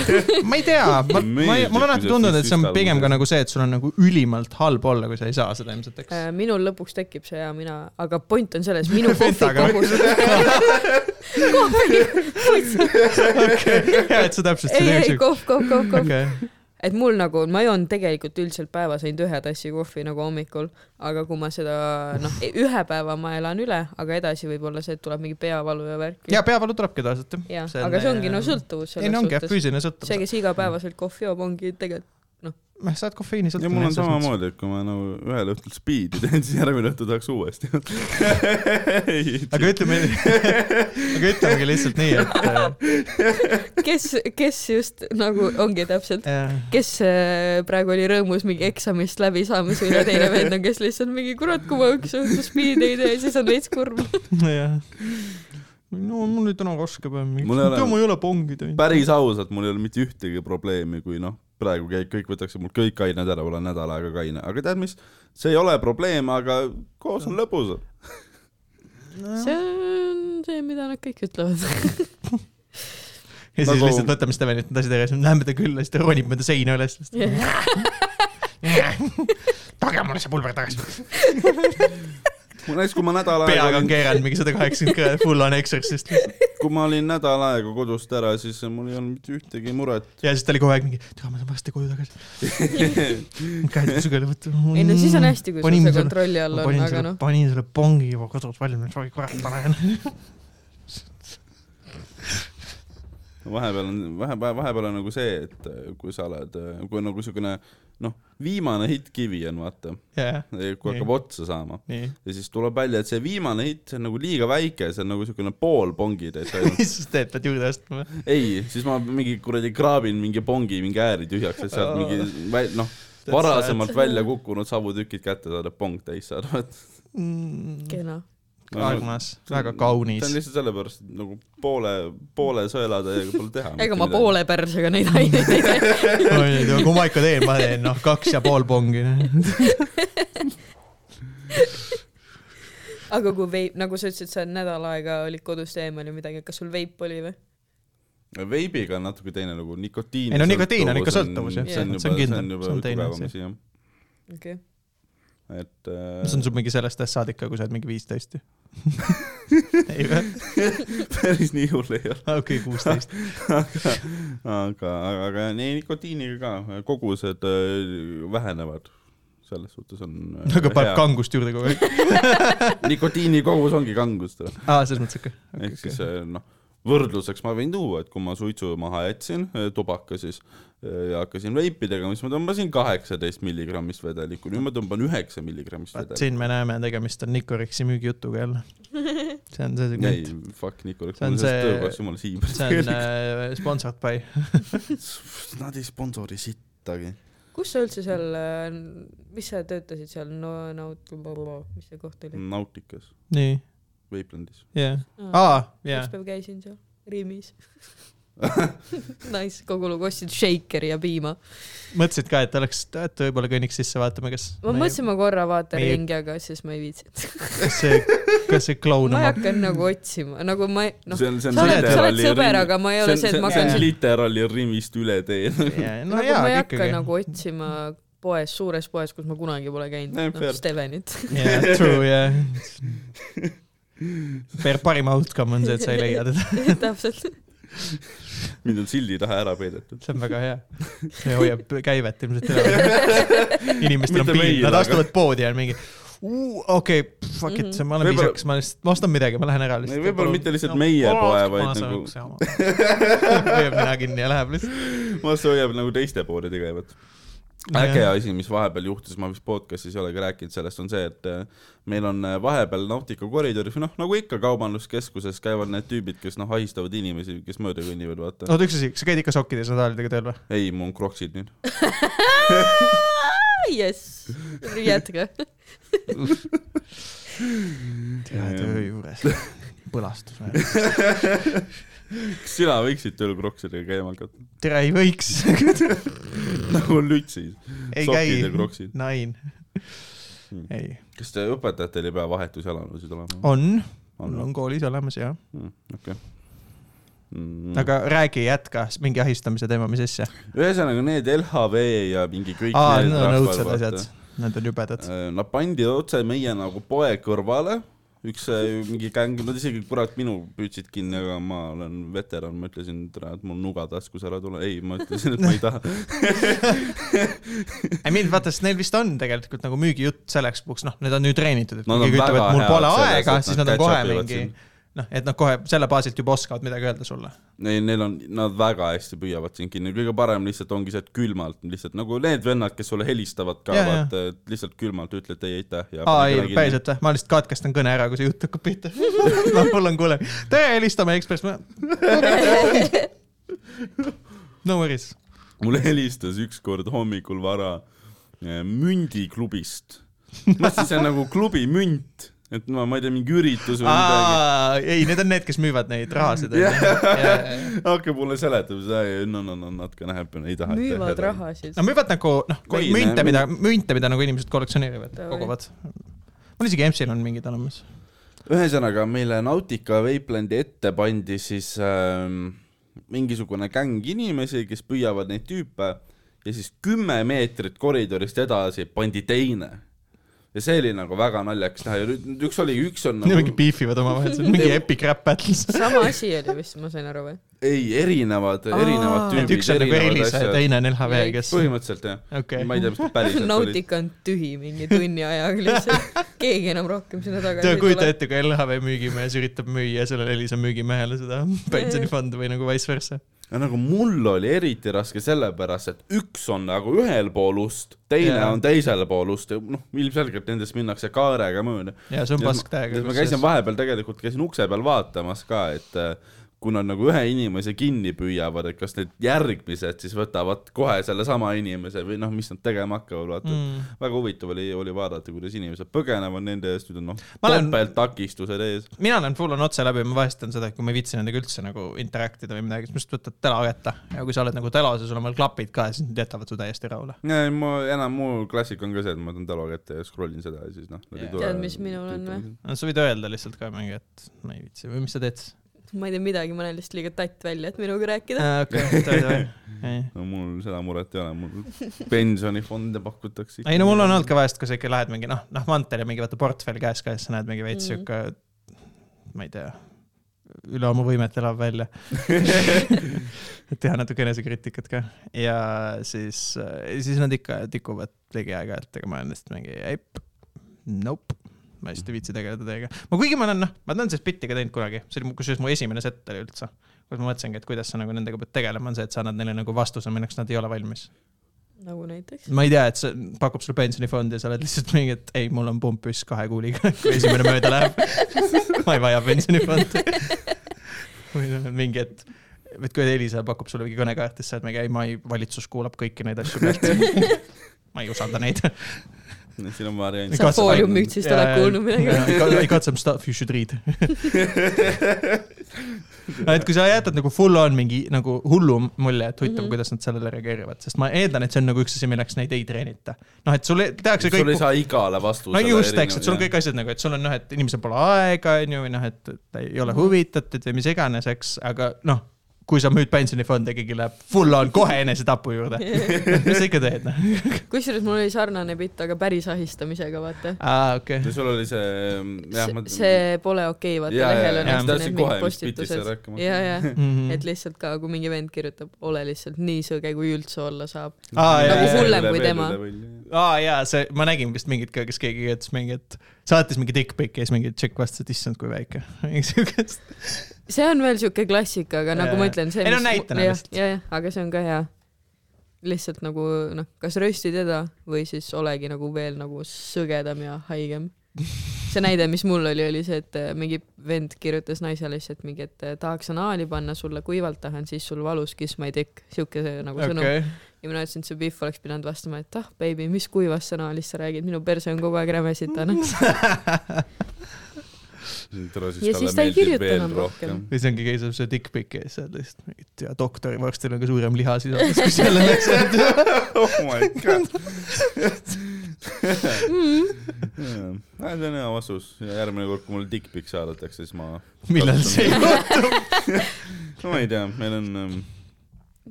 ma ei tea , ma , ma ei ,
Meeldib,
mul on alati
kui sa
tundunud , et see on
sisse
pigem ka
allud.
nagu see , et sul on nagu ülimalt halb olla , kui sa ei saa seda ilmselt , eks .
Äh, minul lõpuks tekib see ja mina , aga point on selles , minu
Fentaga või?
kohvikogus . kohvi ,
hea , et sa
ei , ei
täpsustasid .
kohv , kohv , kohv , kohv .
okei ,
et mul nagu , ma joon tegelikult üldiselt päevas ainult ühe tassi kohvi nagu hommikul , aga kui ma seda noh , ühe päeva ma elan üle , aga edasi võib-olla see , et tuleb mingi peavalu ja värk .
ja peavalu tulebki tavaliselt
jah , aga see ongi no . sõltuvus
ei no
selles
ongi jah , Mm.
suhtes .
füüsiline
see ,
sõltuvus .
kes igapäevaselt kohvi joob , ongi tegelikult ,
sa oled kofeiini
ja
sõltuv .
mul on . samamoodi , et kui ma nagu ühel õhtul speed'i teen , siis järgmine õhtu tahaks uuesti .
aga ütleme , aga ütlemegi lihtsalt nii , et äh,
kes , kes just nagu ongi täpselt ,
äh,
kes äh, praegu oli rõõmus mingi eksamist läbisaamise üle , teine vend on , kes lihtsalt mingi kurat , kui ma üks õhtu speed'i ei tee , siis on veits kurb .
nojah . no mul oli täna raske päev , miks
Mul ei ole-
Tea, ma ei ole pongi teinud .
päris ausalt , mul ei ole mitte ühtegi probleemi , kui noh , praegu käib , kõik võtaks mul kõik kained ära , mul on nädal aega kaine , aga tead mis , see ei ole probleem , aga koos on lõbus .
see on see , mida nad kõik ütlevad .
ja siis
Nagu-
nagu... lihtsalt võtame Stevenit need asjad ära , siis läheme ta külla , siis ta ronib mööda seina üles . tage mulle see pulber tagasi .
näiteks kui ma nädal
peaga
aega
on , keeranud mingi sada kaheksakümmend kraadi , full on exorcist .
kui ma olin nädal aega kodust ära , siis mul ei olnud mitte ühtegi muret .
ja siis ta oli kogu aeg mingi , tea ma saan varsti koju tagasi . käed sügele võtta .
ei no siis on hästi , kui sul
Panime
see
selle-
kontrolli all
ma
on ,
panin
aga
selle ,
noh ,
panin selle pongi juba kodus valmis , oi kurat , ma lähen .
vahepeal on , vahe , vahepeal on nagu see , et kui sa oled , kui on nagu siukene noh , viimane hitt-kivi on vaata ,
jah ,
kui hakkab otsa saama
nii .
ja siis tuleb välja , et see viimane hitt , see on nagu liiga väike , see on nagu siukene pool pongi täis ainult .
mis siis teed , pead juurde ostma või ?
ei , siis ma mingi kuradi kraabin mingi pongi mingi ääri tühjaks , et sealt mingi vä- noh ,
That's
varasemalt välja kukkunud savutükid kätte saada , pong täis saada .
kena .
Mm. armas , väga kaunis
see on . lihtsalt sellepärast , et nagu poole , poole sõelatäiega pole teha .
ega ma . poole pärsega neid aineid ei tee .
Oi, et kui ma ikka teen , ma teen noh , kaks ja pool pongi . noh.
aga kui veip , nagu sa ütlesid , sa nädal aega olid kodust eemal ja midagi , kas sul veip oli või ?
veibiga on natuke teine lugu , nikotiin .
Ei no nikotiin on ikka sõltuvus, jah.
see
See
on juba
on ,
see
kindel,
on juba
see on teine asi.
tugevam asi jah ,
okei okay. .
et äh,
see on sul mingi sellest ajast saadik ka , kui sa oled mingi viisteist ju . ei või ?
päris nii hull ei ole ,
okei , kuusteist .
aga , aga , aga nii nikotiiniga ka , kogused äh, vähenevad selles suhtes on äh,
aga
hea.
paneb kangust juurde kogu aeg .
nikotiini kogus ongi kangust .
aa , selles mõttes okei .
ehk siis eh, noh , võrdluseks ma võin tuua , et kui ma suitsu maha jätsin , tubaka siis , ja hakkasin veipi tegema , siis ma tõmbasin kaheksateist milligrammist vedelikku , nüüd ma tõmban üheksa milligrammist
vaat
vedelikku .
siin me näeme , tegemist on Nicorixi müügijutuga jälle . see on see
ei
segment .,
fuck Nikolai ,
See on
mul on sellest
see-
töökohast jumala
see on
siiber .
äh, sponsored by .
Nad ei sponsori sittagi .
kus sa üldse seal , mis sa töötasid seal , no , no , mis see koht oli ?
Nautikas ,
nii ,
Veiplandis .
jah . aa , jah
üks . päev käisin seal Riimis . Nice , kogu lugu , ostsid šeikeri ja piima .
mõtlesid ka , et oleks , et võib-olla kõnniks sisse , vaatame , kas .
ma mõtlesin , ma korra vaatan
meie-
ringi , aga siis ma ei viitsinud .
kas see , kas see kloun
ma ei
omab .
hakka nagu otsima , nagu ma ei , noh ,
see on , see on
sa oled , sa oled sõber , aga ma ei ole see , et ma
see
hakkan
on
hakkan-
literaali Rimist üle tee .
no
nagu ma ei
jaa ,
hakka
ikkagi .
nagu otsima poes , suures poes , kus ma kunagi pole käinud ,
Näe,
noh
fair. ,
Stevenit .
jaa , true jah . Per parim outcome on see , et sa ei leia teda ,
täpselt .
mind on sildi taha ära peidetud .
see on väga hea . see hoiab käivet ilmselt üleval . inimestel on
Mitte
piin ,
meil,
nad
aga-
astuvad poodi ja on mingi "Uu, okei , fuck it , ma olen
Võib-olla-
viisakas , ma lihtsalt , ma ostan midagi , ma lähen ära lihtsalt .
Võib-olla mitte lihtsalt meie poe, vaid nagu-
hoiab nina kinni ja läheb lihtsalt .
ma arvan , see hoiab nagu teiste poodi tegevat . äge . asi , mis vahepeal juhtus , ma vist podcast'is ei olegi rääkinud sellest , on see , et äh, meil on äh, vahepeal Nautica koridoris või noh , nagu ikka kaubanduskeskuses käivad need tüübid , kes noh , ahistavad inimesi , kes mööda kõnnivad , vaata .
oota , üks asi , kas sa käid ikka sokkide ja sandaalidega tööl või ?
ei , mul on kroksid nüüd .
jess , jätka .
tea töö juures . põlastus või ?
kas sina võiksid tööl kroksidega käima hakata ?
tere , ei võiks .
nagu lütsis .
ei
ja
käi .
kroksid .
Nine .
Hmm.
ei ,
kas te õpetajatel ei pea vahetusjalanõusid olema ?
on , mul on koolis olemas jah ,
okei . Mm. Hmm.
aga räägi , jätka s- mingi ahistamise teema , mis asja .
ühesõnaga need LHV ja mingi kõik
aa ,
need
need on
rahvad,
õudsed
vaata. Äh,
asjad , need on jubedad .
Nad pandi otse meie nagu poe kõrvale , üks äh, mingi gäng , nad isegi kurat minu püüdsid kinni , aga ma olen veteran , ma ütlesin , et ära , et mul nuga taskus ära tule , ei , ma ütlesin , et ma ei taha .
ei mind vaata , sest neil vist on tegelikult nagu müügijutt selleks puhuks , noh , need on nüüd treenitud , et
Nad
kui
on
keegi ütleb ,
väga
et mul
head
pole
selles,
aega
et ,
siis nad
nad
on kohe
catch-up ivad
mingi
sind.
noh , et nad kohe selle baasilt juba oskavad midagi öelda sulle .
Neil , neil on , nad väga hästi püüavad sind kinni , kõige parem lihtsalt ongi see , et külmalt lihtsalt nagu need vennad , kes sulle helistavad ka
Jaa, ,
vaata , et lihtsalt külmalt ütled ei , aitäh ja .
aa ei , päriselt või ? ma lihtsalt katkestan kõne ära , kui see jutt hakkab pihta . ma , mul on kuule , tere , helistame Ekspress . no worries .
mulle helistas ükskord hommikul vara äh, mündiklubist . ma mõtlesin , see on nagu klubi münt , et ma , ma ei tea , mingi üritus või midagi .
ei , need on need , kes müüvad neid rahasid .
hakka mulle seletama seda , no no no not gonna happen , ei taha .
müüvad . rahasid
no . müüvad nagu noh ,
Koine,
münte ,
mün-
mida , münte , mida nagu inimesed kollektsioneerivad ,
Davai.
koguvad . mul isegi EMS-il on mingid olemas .
ühesõnaga , meile Nautica Vapelandi ette pandi siis ähm, mingisugune gäng inimesi , kes püüavad neid tüüpe ja siis kümme meetrit koridorist edasi pandi teine . ja see oli nagu väga naljakas näha ja nüüd nüüd üks oli , üks on
Need mingi
nagu ,
beefivad omavahel , see on mingi epic rap battles .
sama asi oli vist , ma sain aru või ?
ei erinevad , erinevad
Aa.
et
tüübid .
üks on nagu Elis ja teine on LHV , kes .
põhimõtteliselt jah
Okei.
okay. , ma ei tea , mis nad päriselt olid .
Nautica on tühi mingi tunni ajaga lihtsalt , keegi enam rohkem sinna tagasi
tead ,
ei
kujuta
tule .
ette , kui LHV müügimees üritab müüa sellele Elisa müügimehele seda pensionifondi või nagu vice versa .
nagu mul oli eriti raske sellepärast , et üks on nagu ühel pool ust , teine
Jaa.
yeah. on teisel pool ust ja noh , ilmselgelt nendest minnakse kaarega mööda .
ja see on pask täiega .
ma käisin vahepeal tegelikult käisin ukse peal vaatamas ka , et äh, kui nad nagu ühe inimese kinni püüavad , et kas need järgmised siis võtavad kohe sellesama inimese või noh , mis nad tegema hakkavad , vaata mm. .
mm. .
väga huvitav oli , oli vaadata , kuidas inimesed põgenevad nende eest , nüüd on noh ,
Ma olen-
topelttakistused ees .
mina olen full on otse läbi , ma vahest teen seda , et kui ma ei viitsi nendega üldse nagu interact ida või midagi , siis ma lihtsalt võtan tela kätte ja kui sa oled nagu telos ja sul on veel klapid ka , siis nad jätavad su täiesti rahule .
ei , ma enam , mu klassika on ka see , et ma võtan telo kätte ja scroll in seda ja siis noh .
Jaa.
Tead, mis minul on või? ?
no sa võid öelda lihtsalt ka mingi , et ma ei viitsi või mis sa teed ?
ma ei tea midagi , ma olen lihtsalt liiga tatt välja , et minuga rääkida .
okei , davai , davai .
no mul seda muret ei ole , mul pensionifonde pakutakse .
ei no mul on olnud ka vahest , kui sa ikka lähed mingi noh , noh mantel ja mingi vaata portfell käes ka ja siis sa näed mingi veits
Mhm.
siuke , ma ei tea , üle oma võimete elab välja . et teha natuke enesekriitikat ka ja siis , siis nad ikka tikuvad ligi aeg-ajalt , aga ma olen lihtsalt mingi eip , nope ma lihtsalt ei viitsi tegeleda teiega , ma kuigi ma olen noh , ma olen sellist bitti ka teinud kunagi , see oli mu- kusjuures mu esimene set oli üldse , kus ma mõtlesingi , et kuidas sa nagu nendega pead tegelema , on see , et sa annad neile nagu vastuse , milleks nad ei ole valmis .
Äh.
nagu näiteks .
ma ei tea , et see pakub sulle pensionifondi ja sa oled lihtsalt mingi , et ei , mul on pump püss kahe kuuliga , kui esimene mööda läheb . ma ei vaja pensionifondi . või noh , mingi , et , et kui Elisa pakub sulle mingi kõnekaart , siis sa oled mingi , ei , ma ei , valitsus kuulab kõiki neid asju pealt . ma ei usalda neid .
siin on variant .
Sa Katse-
fooliummütsist oled kuulnud midagi ?
I got some stuff you should read . et kui sa jätad nagu full on mingi nagu hullu mulje , et huvitav mm ,
Mhm.
-hmm. kuidas nad sellele reageerivad , sest ma eeldan , et see on nagu üks asi , milleks neid ei treenita . noh , et sulle tehakse
sul ei
kõik ,
saa igale vastusele .
no just , eks , et sul on kõik asjad nagu , et sul on noh , et inimesel pole aega , on ju , või noh , et et ta ei
Mhm.
ole huvitatud või mis iganes , eks , aga noh , kui sa müüd pensionifonde , keegi läheb full on kohe enesetapu juurde . mis sa ikka teed , noh ?
kusjuures mul oli sarnane bitt , aga päris ahistamisega , vaata .
aa , Ah, okei .
ja sul oli see , jah , ma .
see pole okei , vaata
Jaa,
lehel
jaa,
on
jaa.
hästi
Tahtsin
need
kohe
mingid
vist bitist
postitused
ära . hakkama.
ja , ja ,
Mhm.
et lihtsalt ka , kui mingi vend kirjutab , ole lihtsalt nii sõge , kui üldse olla saab .
Aa, jaa,
nagu hullem kui tema ..
aa ah, jaa , see , ma nägin vist mingit ka , kes keegi ütles mingit , saatis mingi dick pic'i ja siis mingi tšekk vastas , et issand , kui väike . mingi siukest .
see on veel siuke klassika , aga nagu
Jaa,
ma
jaa.
ütlen , see .
Ei, no näitena lihtsalt.
ja , ja , aga see on ka hea . lihtsalt nagu noh , kas rösti teda või siis olegi nagu veel nagu sõgedam ja haigem . see näide , mis mul oli , oli see , et äh, mingi vend kirjutas naisele lihtsalt mingi , et äh, tahaks anaali panna sulle kuivalt tahan , siis sul valus kiss my dick , siuke see nagu sõnum okay. .
okei ,
ja mina ütlesin , et see Biff oleks pidanud vastama , et ah , baby , mis kuivast sõnaalist sa räägid , minu perse on kogu aeg räme sitane . Ja siis ta ei kirjuta enam rohkem. .
või see ongi , käis see dick pic ja siis saad lihtsalt mingit ja doktori vorstil on ka suurem lihasisaldus kui sellel asjal .
oh my god .
Mm.
Äh, see on hea vastus , järgmine kord , kui mul dick-pic saadetakse , siis ma ,
millal see juhtub ?
no ma ei tea , meil on ähm, ,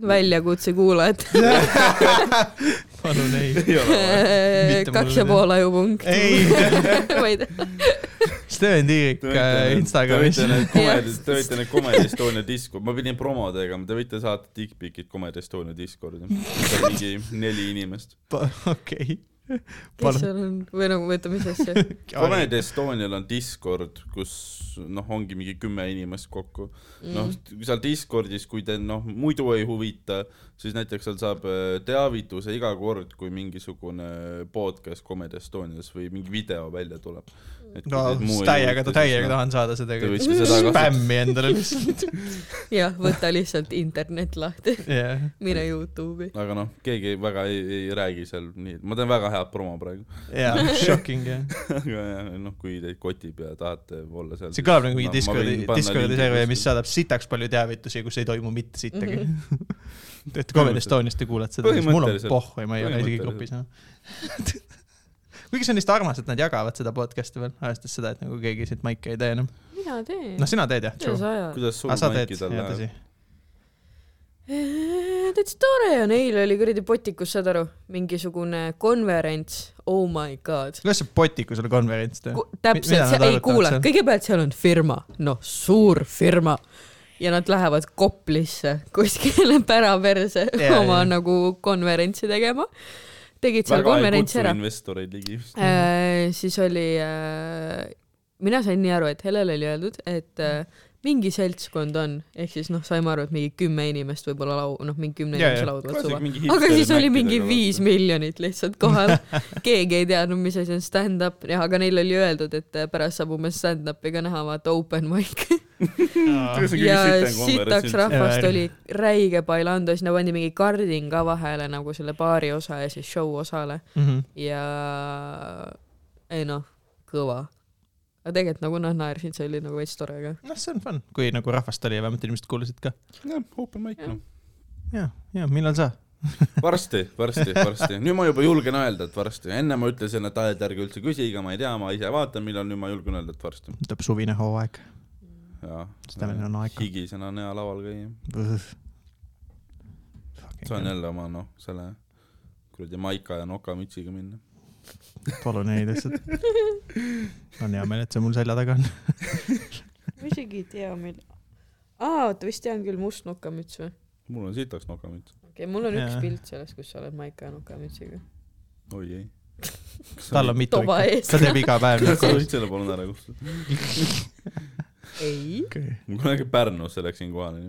väljakutse kuulajad .
palun ei .
ei ole vaja .
Mitte
kaks ja
mulle.
pool ajupunkt .
ei ,
ma ei tea ,
Steven Tiirik äh, Instagramis .
Te võite need Comedy Estonia Discord , ma pidin promo tegema , te võite saata dickpic'id Comedy Estonia Discordi . mingi neli inimest .
okei ,
kes
Palun.
seal on või nagu võtame mis asja .
Comedy Estonial on Discord , kus noh , ongi mingi kümme inimest kokku .
Mhm.
noh , seal Discordis , kui te noh , muidu ei huvita , siis näiteks seal saab äh, teavituse iga kord , kui mingisugune äh, podcast Comedy Estonias või mingi video välja tuleb .
no täiega , täiega . tahan saada seda
noh, Te võiksite seda kasutada.
spämmi endale lihtsalt ,
jah , võta lihtsalt internet lahti ,
jah .
mine Youtube'i .
aga noh , keegi ei- väga ei, ei räägi seal nii , ma teen väga head promo praegu .
jaa , shocking jah .
aga jah, noh , kui teid kotib ja tahate olla seal .
see kõlab nagu mingi Discordi , Discordi server , mis . saadab sitaks palju teavitusi , kus ei toimu mitte sittagi . et Comedy Estoniast te kuulete seda , siis mul on
Mhm. Põhimõtteliselt.
pohhu ja ma ei ole isegi grupis enam . kuigi see on vist armas , et nad jagavad seda podcast'i veel , arvestades seda , et nagu keegi siit maike ei tee enam .
mina teen
noh ,. sina teed jah ,
kuidas
true .
ajad ?
kuidas sul
aga Ah, sa teed ,
maiki tal
jaa
läheb ?
tõsi .
Eh, täitsa tore on , eile oli kuradi potikus , saad aru , mingisugune konverents , oh my god .
kuidas see Botiku selle konverents teeb ? mida
täpselt ,
nad
ei
arutavad
kuule
seal? ,
kõigepealt seal on firma , noh , suur firma ja nad lähevad Koplisse kuskile päraperse
Jaa,
yeah, oma
jaa.
yeah. nagu konverentsi tegema . tegid seal
väga ei
konverentsi
kutsu
ära .
investoreid ligi .
Äh, siis oli äh, , mina sain nii aru , et Helele oli öeldud , et äh, mingi seltskond on , ehk siis noh , saime aru , et mingi kümme inimest võib-olla lau- , noh , mingi kümne
Jaa,
inimese
jaa.
laud võtsuva . aga siis oli mingi viis miljonit lihtsalt kohal , keegi ei teadnud , mis asi on stand-up , jah , aga neil oli öeldud , et äh, pärast saab umbes stand-up'i ka näha , vaata open mic ja sitaks rahvast
Jaa,
oli räige bailando , sinna pandi mingi kardin ka vahele nagu selle baari osa ja siis show osale
Mhm.
ja ei noh , kõva . aga tegelikult nagu nad naersid , see oli nagu veits tore ka .
noh , see on fun , kui nagu rahvast oli ja vähemalt inimesed kuulasid ka .
jah , open mic noh .
ja , ja millal sa ?
varsti , varsti , varsti , nüüd ma juba julgen öelda , et varsti , enne ma ütlesin , et aed ärge üldse küsige , ma ei tea , ma ise vaatan , millal , nüüd ma julgen öelda , et varsti .
tuleb suvine hooaeg , seda meil on aega .
higisena on hea laval käia , saan jälle oma noh , selle kuradi maika ja nokamütsiga minna .
palun ei lihtsalt . on hea meel , et see mul selja taga on .
ma isegi ei tea , mil- . aa , oota , vist tean küll , must nokamüts või ?
mul on sitaks nokamüts ,
okei okay, , mul on üks
Jaa.
pilt sellest , kus sa oled Maika nokamütsiga .
oi ei .
tal on mitu
Toba
ikka ,
ees.
ta teeb iga päev
kas sa
nagu .
võid selle palun ära kustutada ?
ei .
ma kunagi Pärnusse läksin kohale ,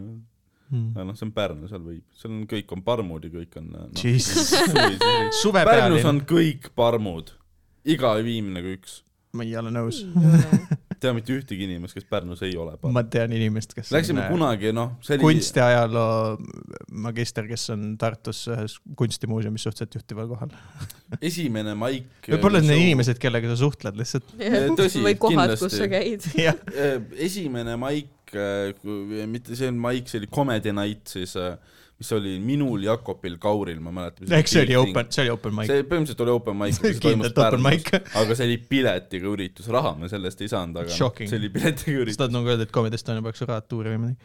Hmm.
aga noh , see on Pärnu , seal võib , seal on kõik on parmud ja kõik on noh,
Jesus ,
suvised. Pärnus
suvepealinn
on . kõik parmud , iga viimne kui üks .
ma ei ole nõus .
tea mitte ühtegi inimest , kes Pärnus ei ole parm .
ma tean inimest , kes .
Läksime kunagi , noh , see oli
kunstiajaloo magister , kes on Tartus ühes kunstimuuseumis suhteliselt juhtival kohal .
esimene maik . äh,
võib-olla need inimesed , kellega sa suhtled lihtsalt .
Tõsi,
või kohad ,
kindlasti.
kus sa käid .
jah ,
Äh, esimene maik , mitte see maik , see oli Comedy Night siis , mis oli minul , Jakobil , Kauril , ma mäletan .
eks see oli open , see oli open mic .
see põhimõtteliselt oli open mic ,
See oli
mis toimus
kindlalt open
Pärnus , aga see oli piletiga üritus , raha me sellest ei saanud , aga
Shocking.
see oli piletiga
sa
üritus .
tahad nagu öelda , et Comedy Estonia peaks raadatuuri või midagi ?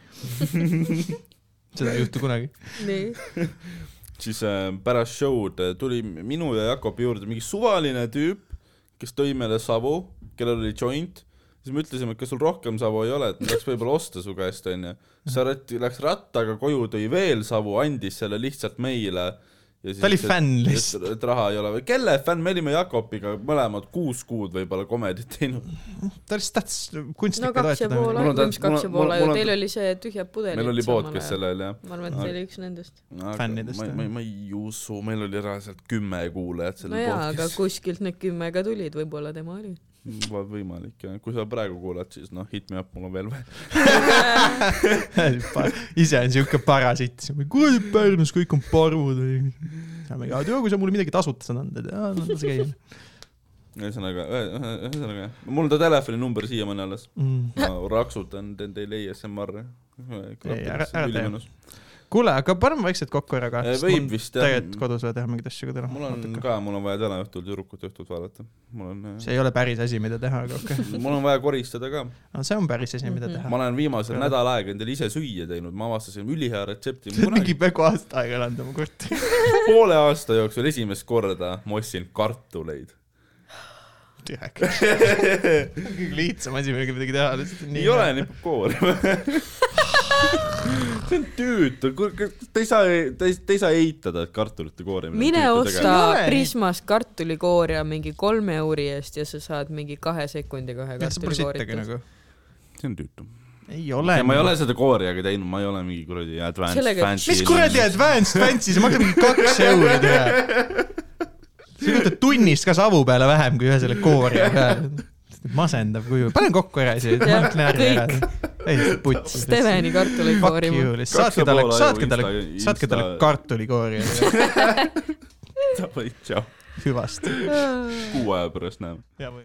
seda ei juhtu kunagi .
nii .
siis äh, pärast show'd äh, tuli minu ja Jakobi juurde mingi suvaline tüüp , kes tõi meile savu , kellel oli joint , siis me ütlesime , et kas sul rohkem savu ei ole , et me saaks võib-olla osta su käest , onju . sa oled , läks rattaga koju , tõi veel savu , andis selle lihtsalt meile .
Ta oli fänn lihtsalt. .
et raha ei ole või , kelle fänn , me olime Jakobiga mõlemad kuus kuud võib-olla komedit teinud .
ta lihtsalt tahtis kunstnikke
no kaks ja
toetada .
pool
Mul on
aega , mis
tähendab-
kaks ja
mul-
pool
mul-
aega
mul , on-
teil oli see tühjad pudelid .
meil oli podcast . sellel jah .
ma arvan , et see oli üks nendest .
Fännidest,
ma,
jah.
ma, ma ei usu , meil oli reaalselt kümme kuulajat sellel
nojaa , aga
podcast'il .
kuskilt need kümme ka tulid , võib-olla tema oli .
Va- võimalik jah , kui sa praegu kuulad , siis noh , hit me up , mul on veel vaja .
ise on siuke parasiit , kuradi Pärnus kõik on parmud . aga too , kui sa mulle midagi tasuta saad anda , et las käia .
ühesõnaga , ühesõnaga jah , mul on ta telefoninumber siiamaani alles ,
Mm.
ma raksutan , teen teile ASMR-i .
Ei, ära- ära tee. kuule , aga paneme vaikselt kokku ära ka .
Eh, võib vist, jah.
tegelikult Noh, kodus vaja teha mingeid asju ka täna .
mul on ka , mul on vaja täna õhtul tüdrukute õhtut vaadata , mul on ,
see ei ole päris asi , mida teha , aga okei .
mul on vaja koristada ka ,
see on päris asi , mida
ma
teha .
olen viimasel nädal aega endale ise süüa teinud , ma avastasin ülihea retsepti ,
see on mingi
kunagi
peaaegu aasta aega elanud oma korteri .
poole aasta jooksul esimest korda ma ostsin kartuleid .
tühek . kõige lihtsam asi , millega midagi teha , lihtsalt on nii .
ei ole . nipub koorma . see on tüütu , ta ei saa , ta ei , ta ei saa eitada , et kartulite koorimine .
mine
Ei
osta
ole nii.
Prismast kartulikoori ja mingi kolme euri eest ja sa saad mingi kahe sekundiga ühe
jah , see pole sittagi
kartulikoori .
nagu .
see on tüütu .
ei ole .
ma ei ole seda kooriaga teinud , ma ei ole mingi kuradi advanced
Sellega-
fancy .
mis kuradi advanced fancy , see maksab mingi kaks euri , tea . sa võtad tunnist ka savu peale vähem kui ühe selle koori peale . masendav kuju , panen kokku ära siis ,
Jah,
Mart Näärja ära .
kõik.
täiesti putsi . nagu-
Steveni
Fuck
kartulikoori .
you , lihtsalt
Kaks ja
saatke talle
pool , aju
saatke talle
Insta- ,
saatke talle
Insta-
kartulikoori ja
advanced .
hüvasti .
kuu aja pärast näeme .
ja või .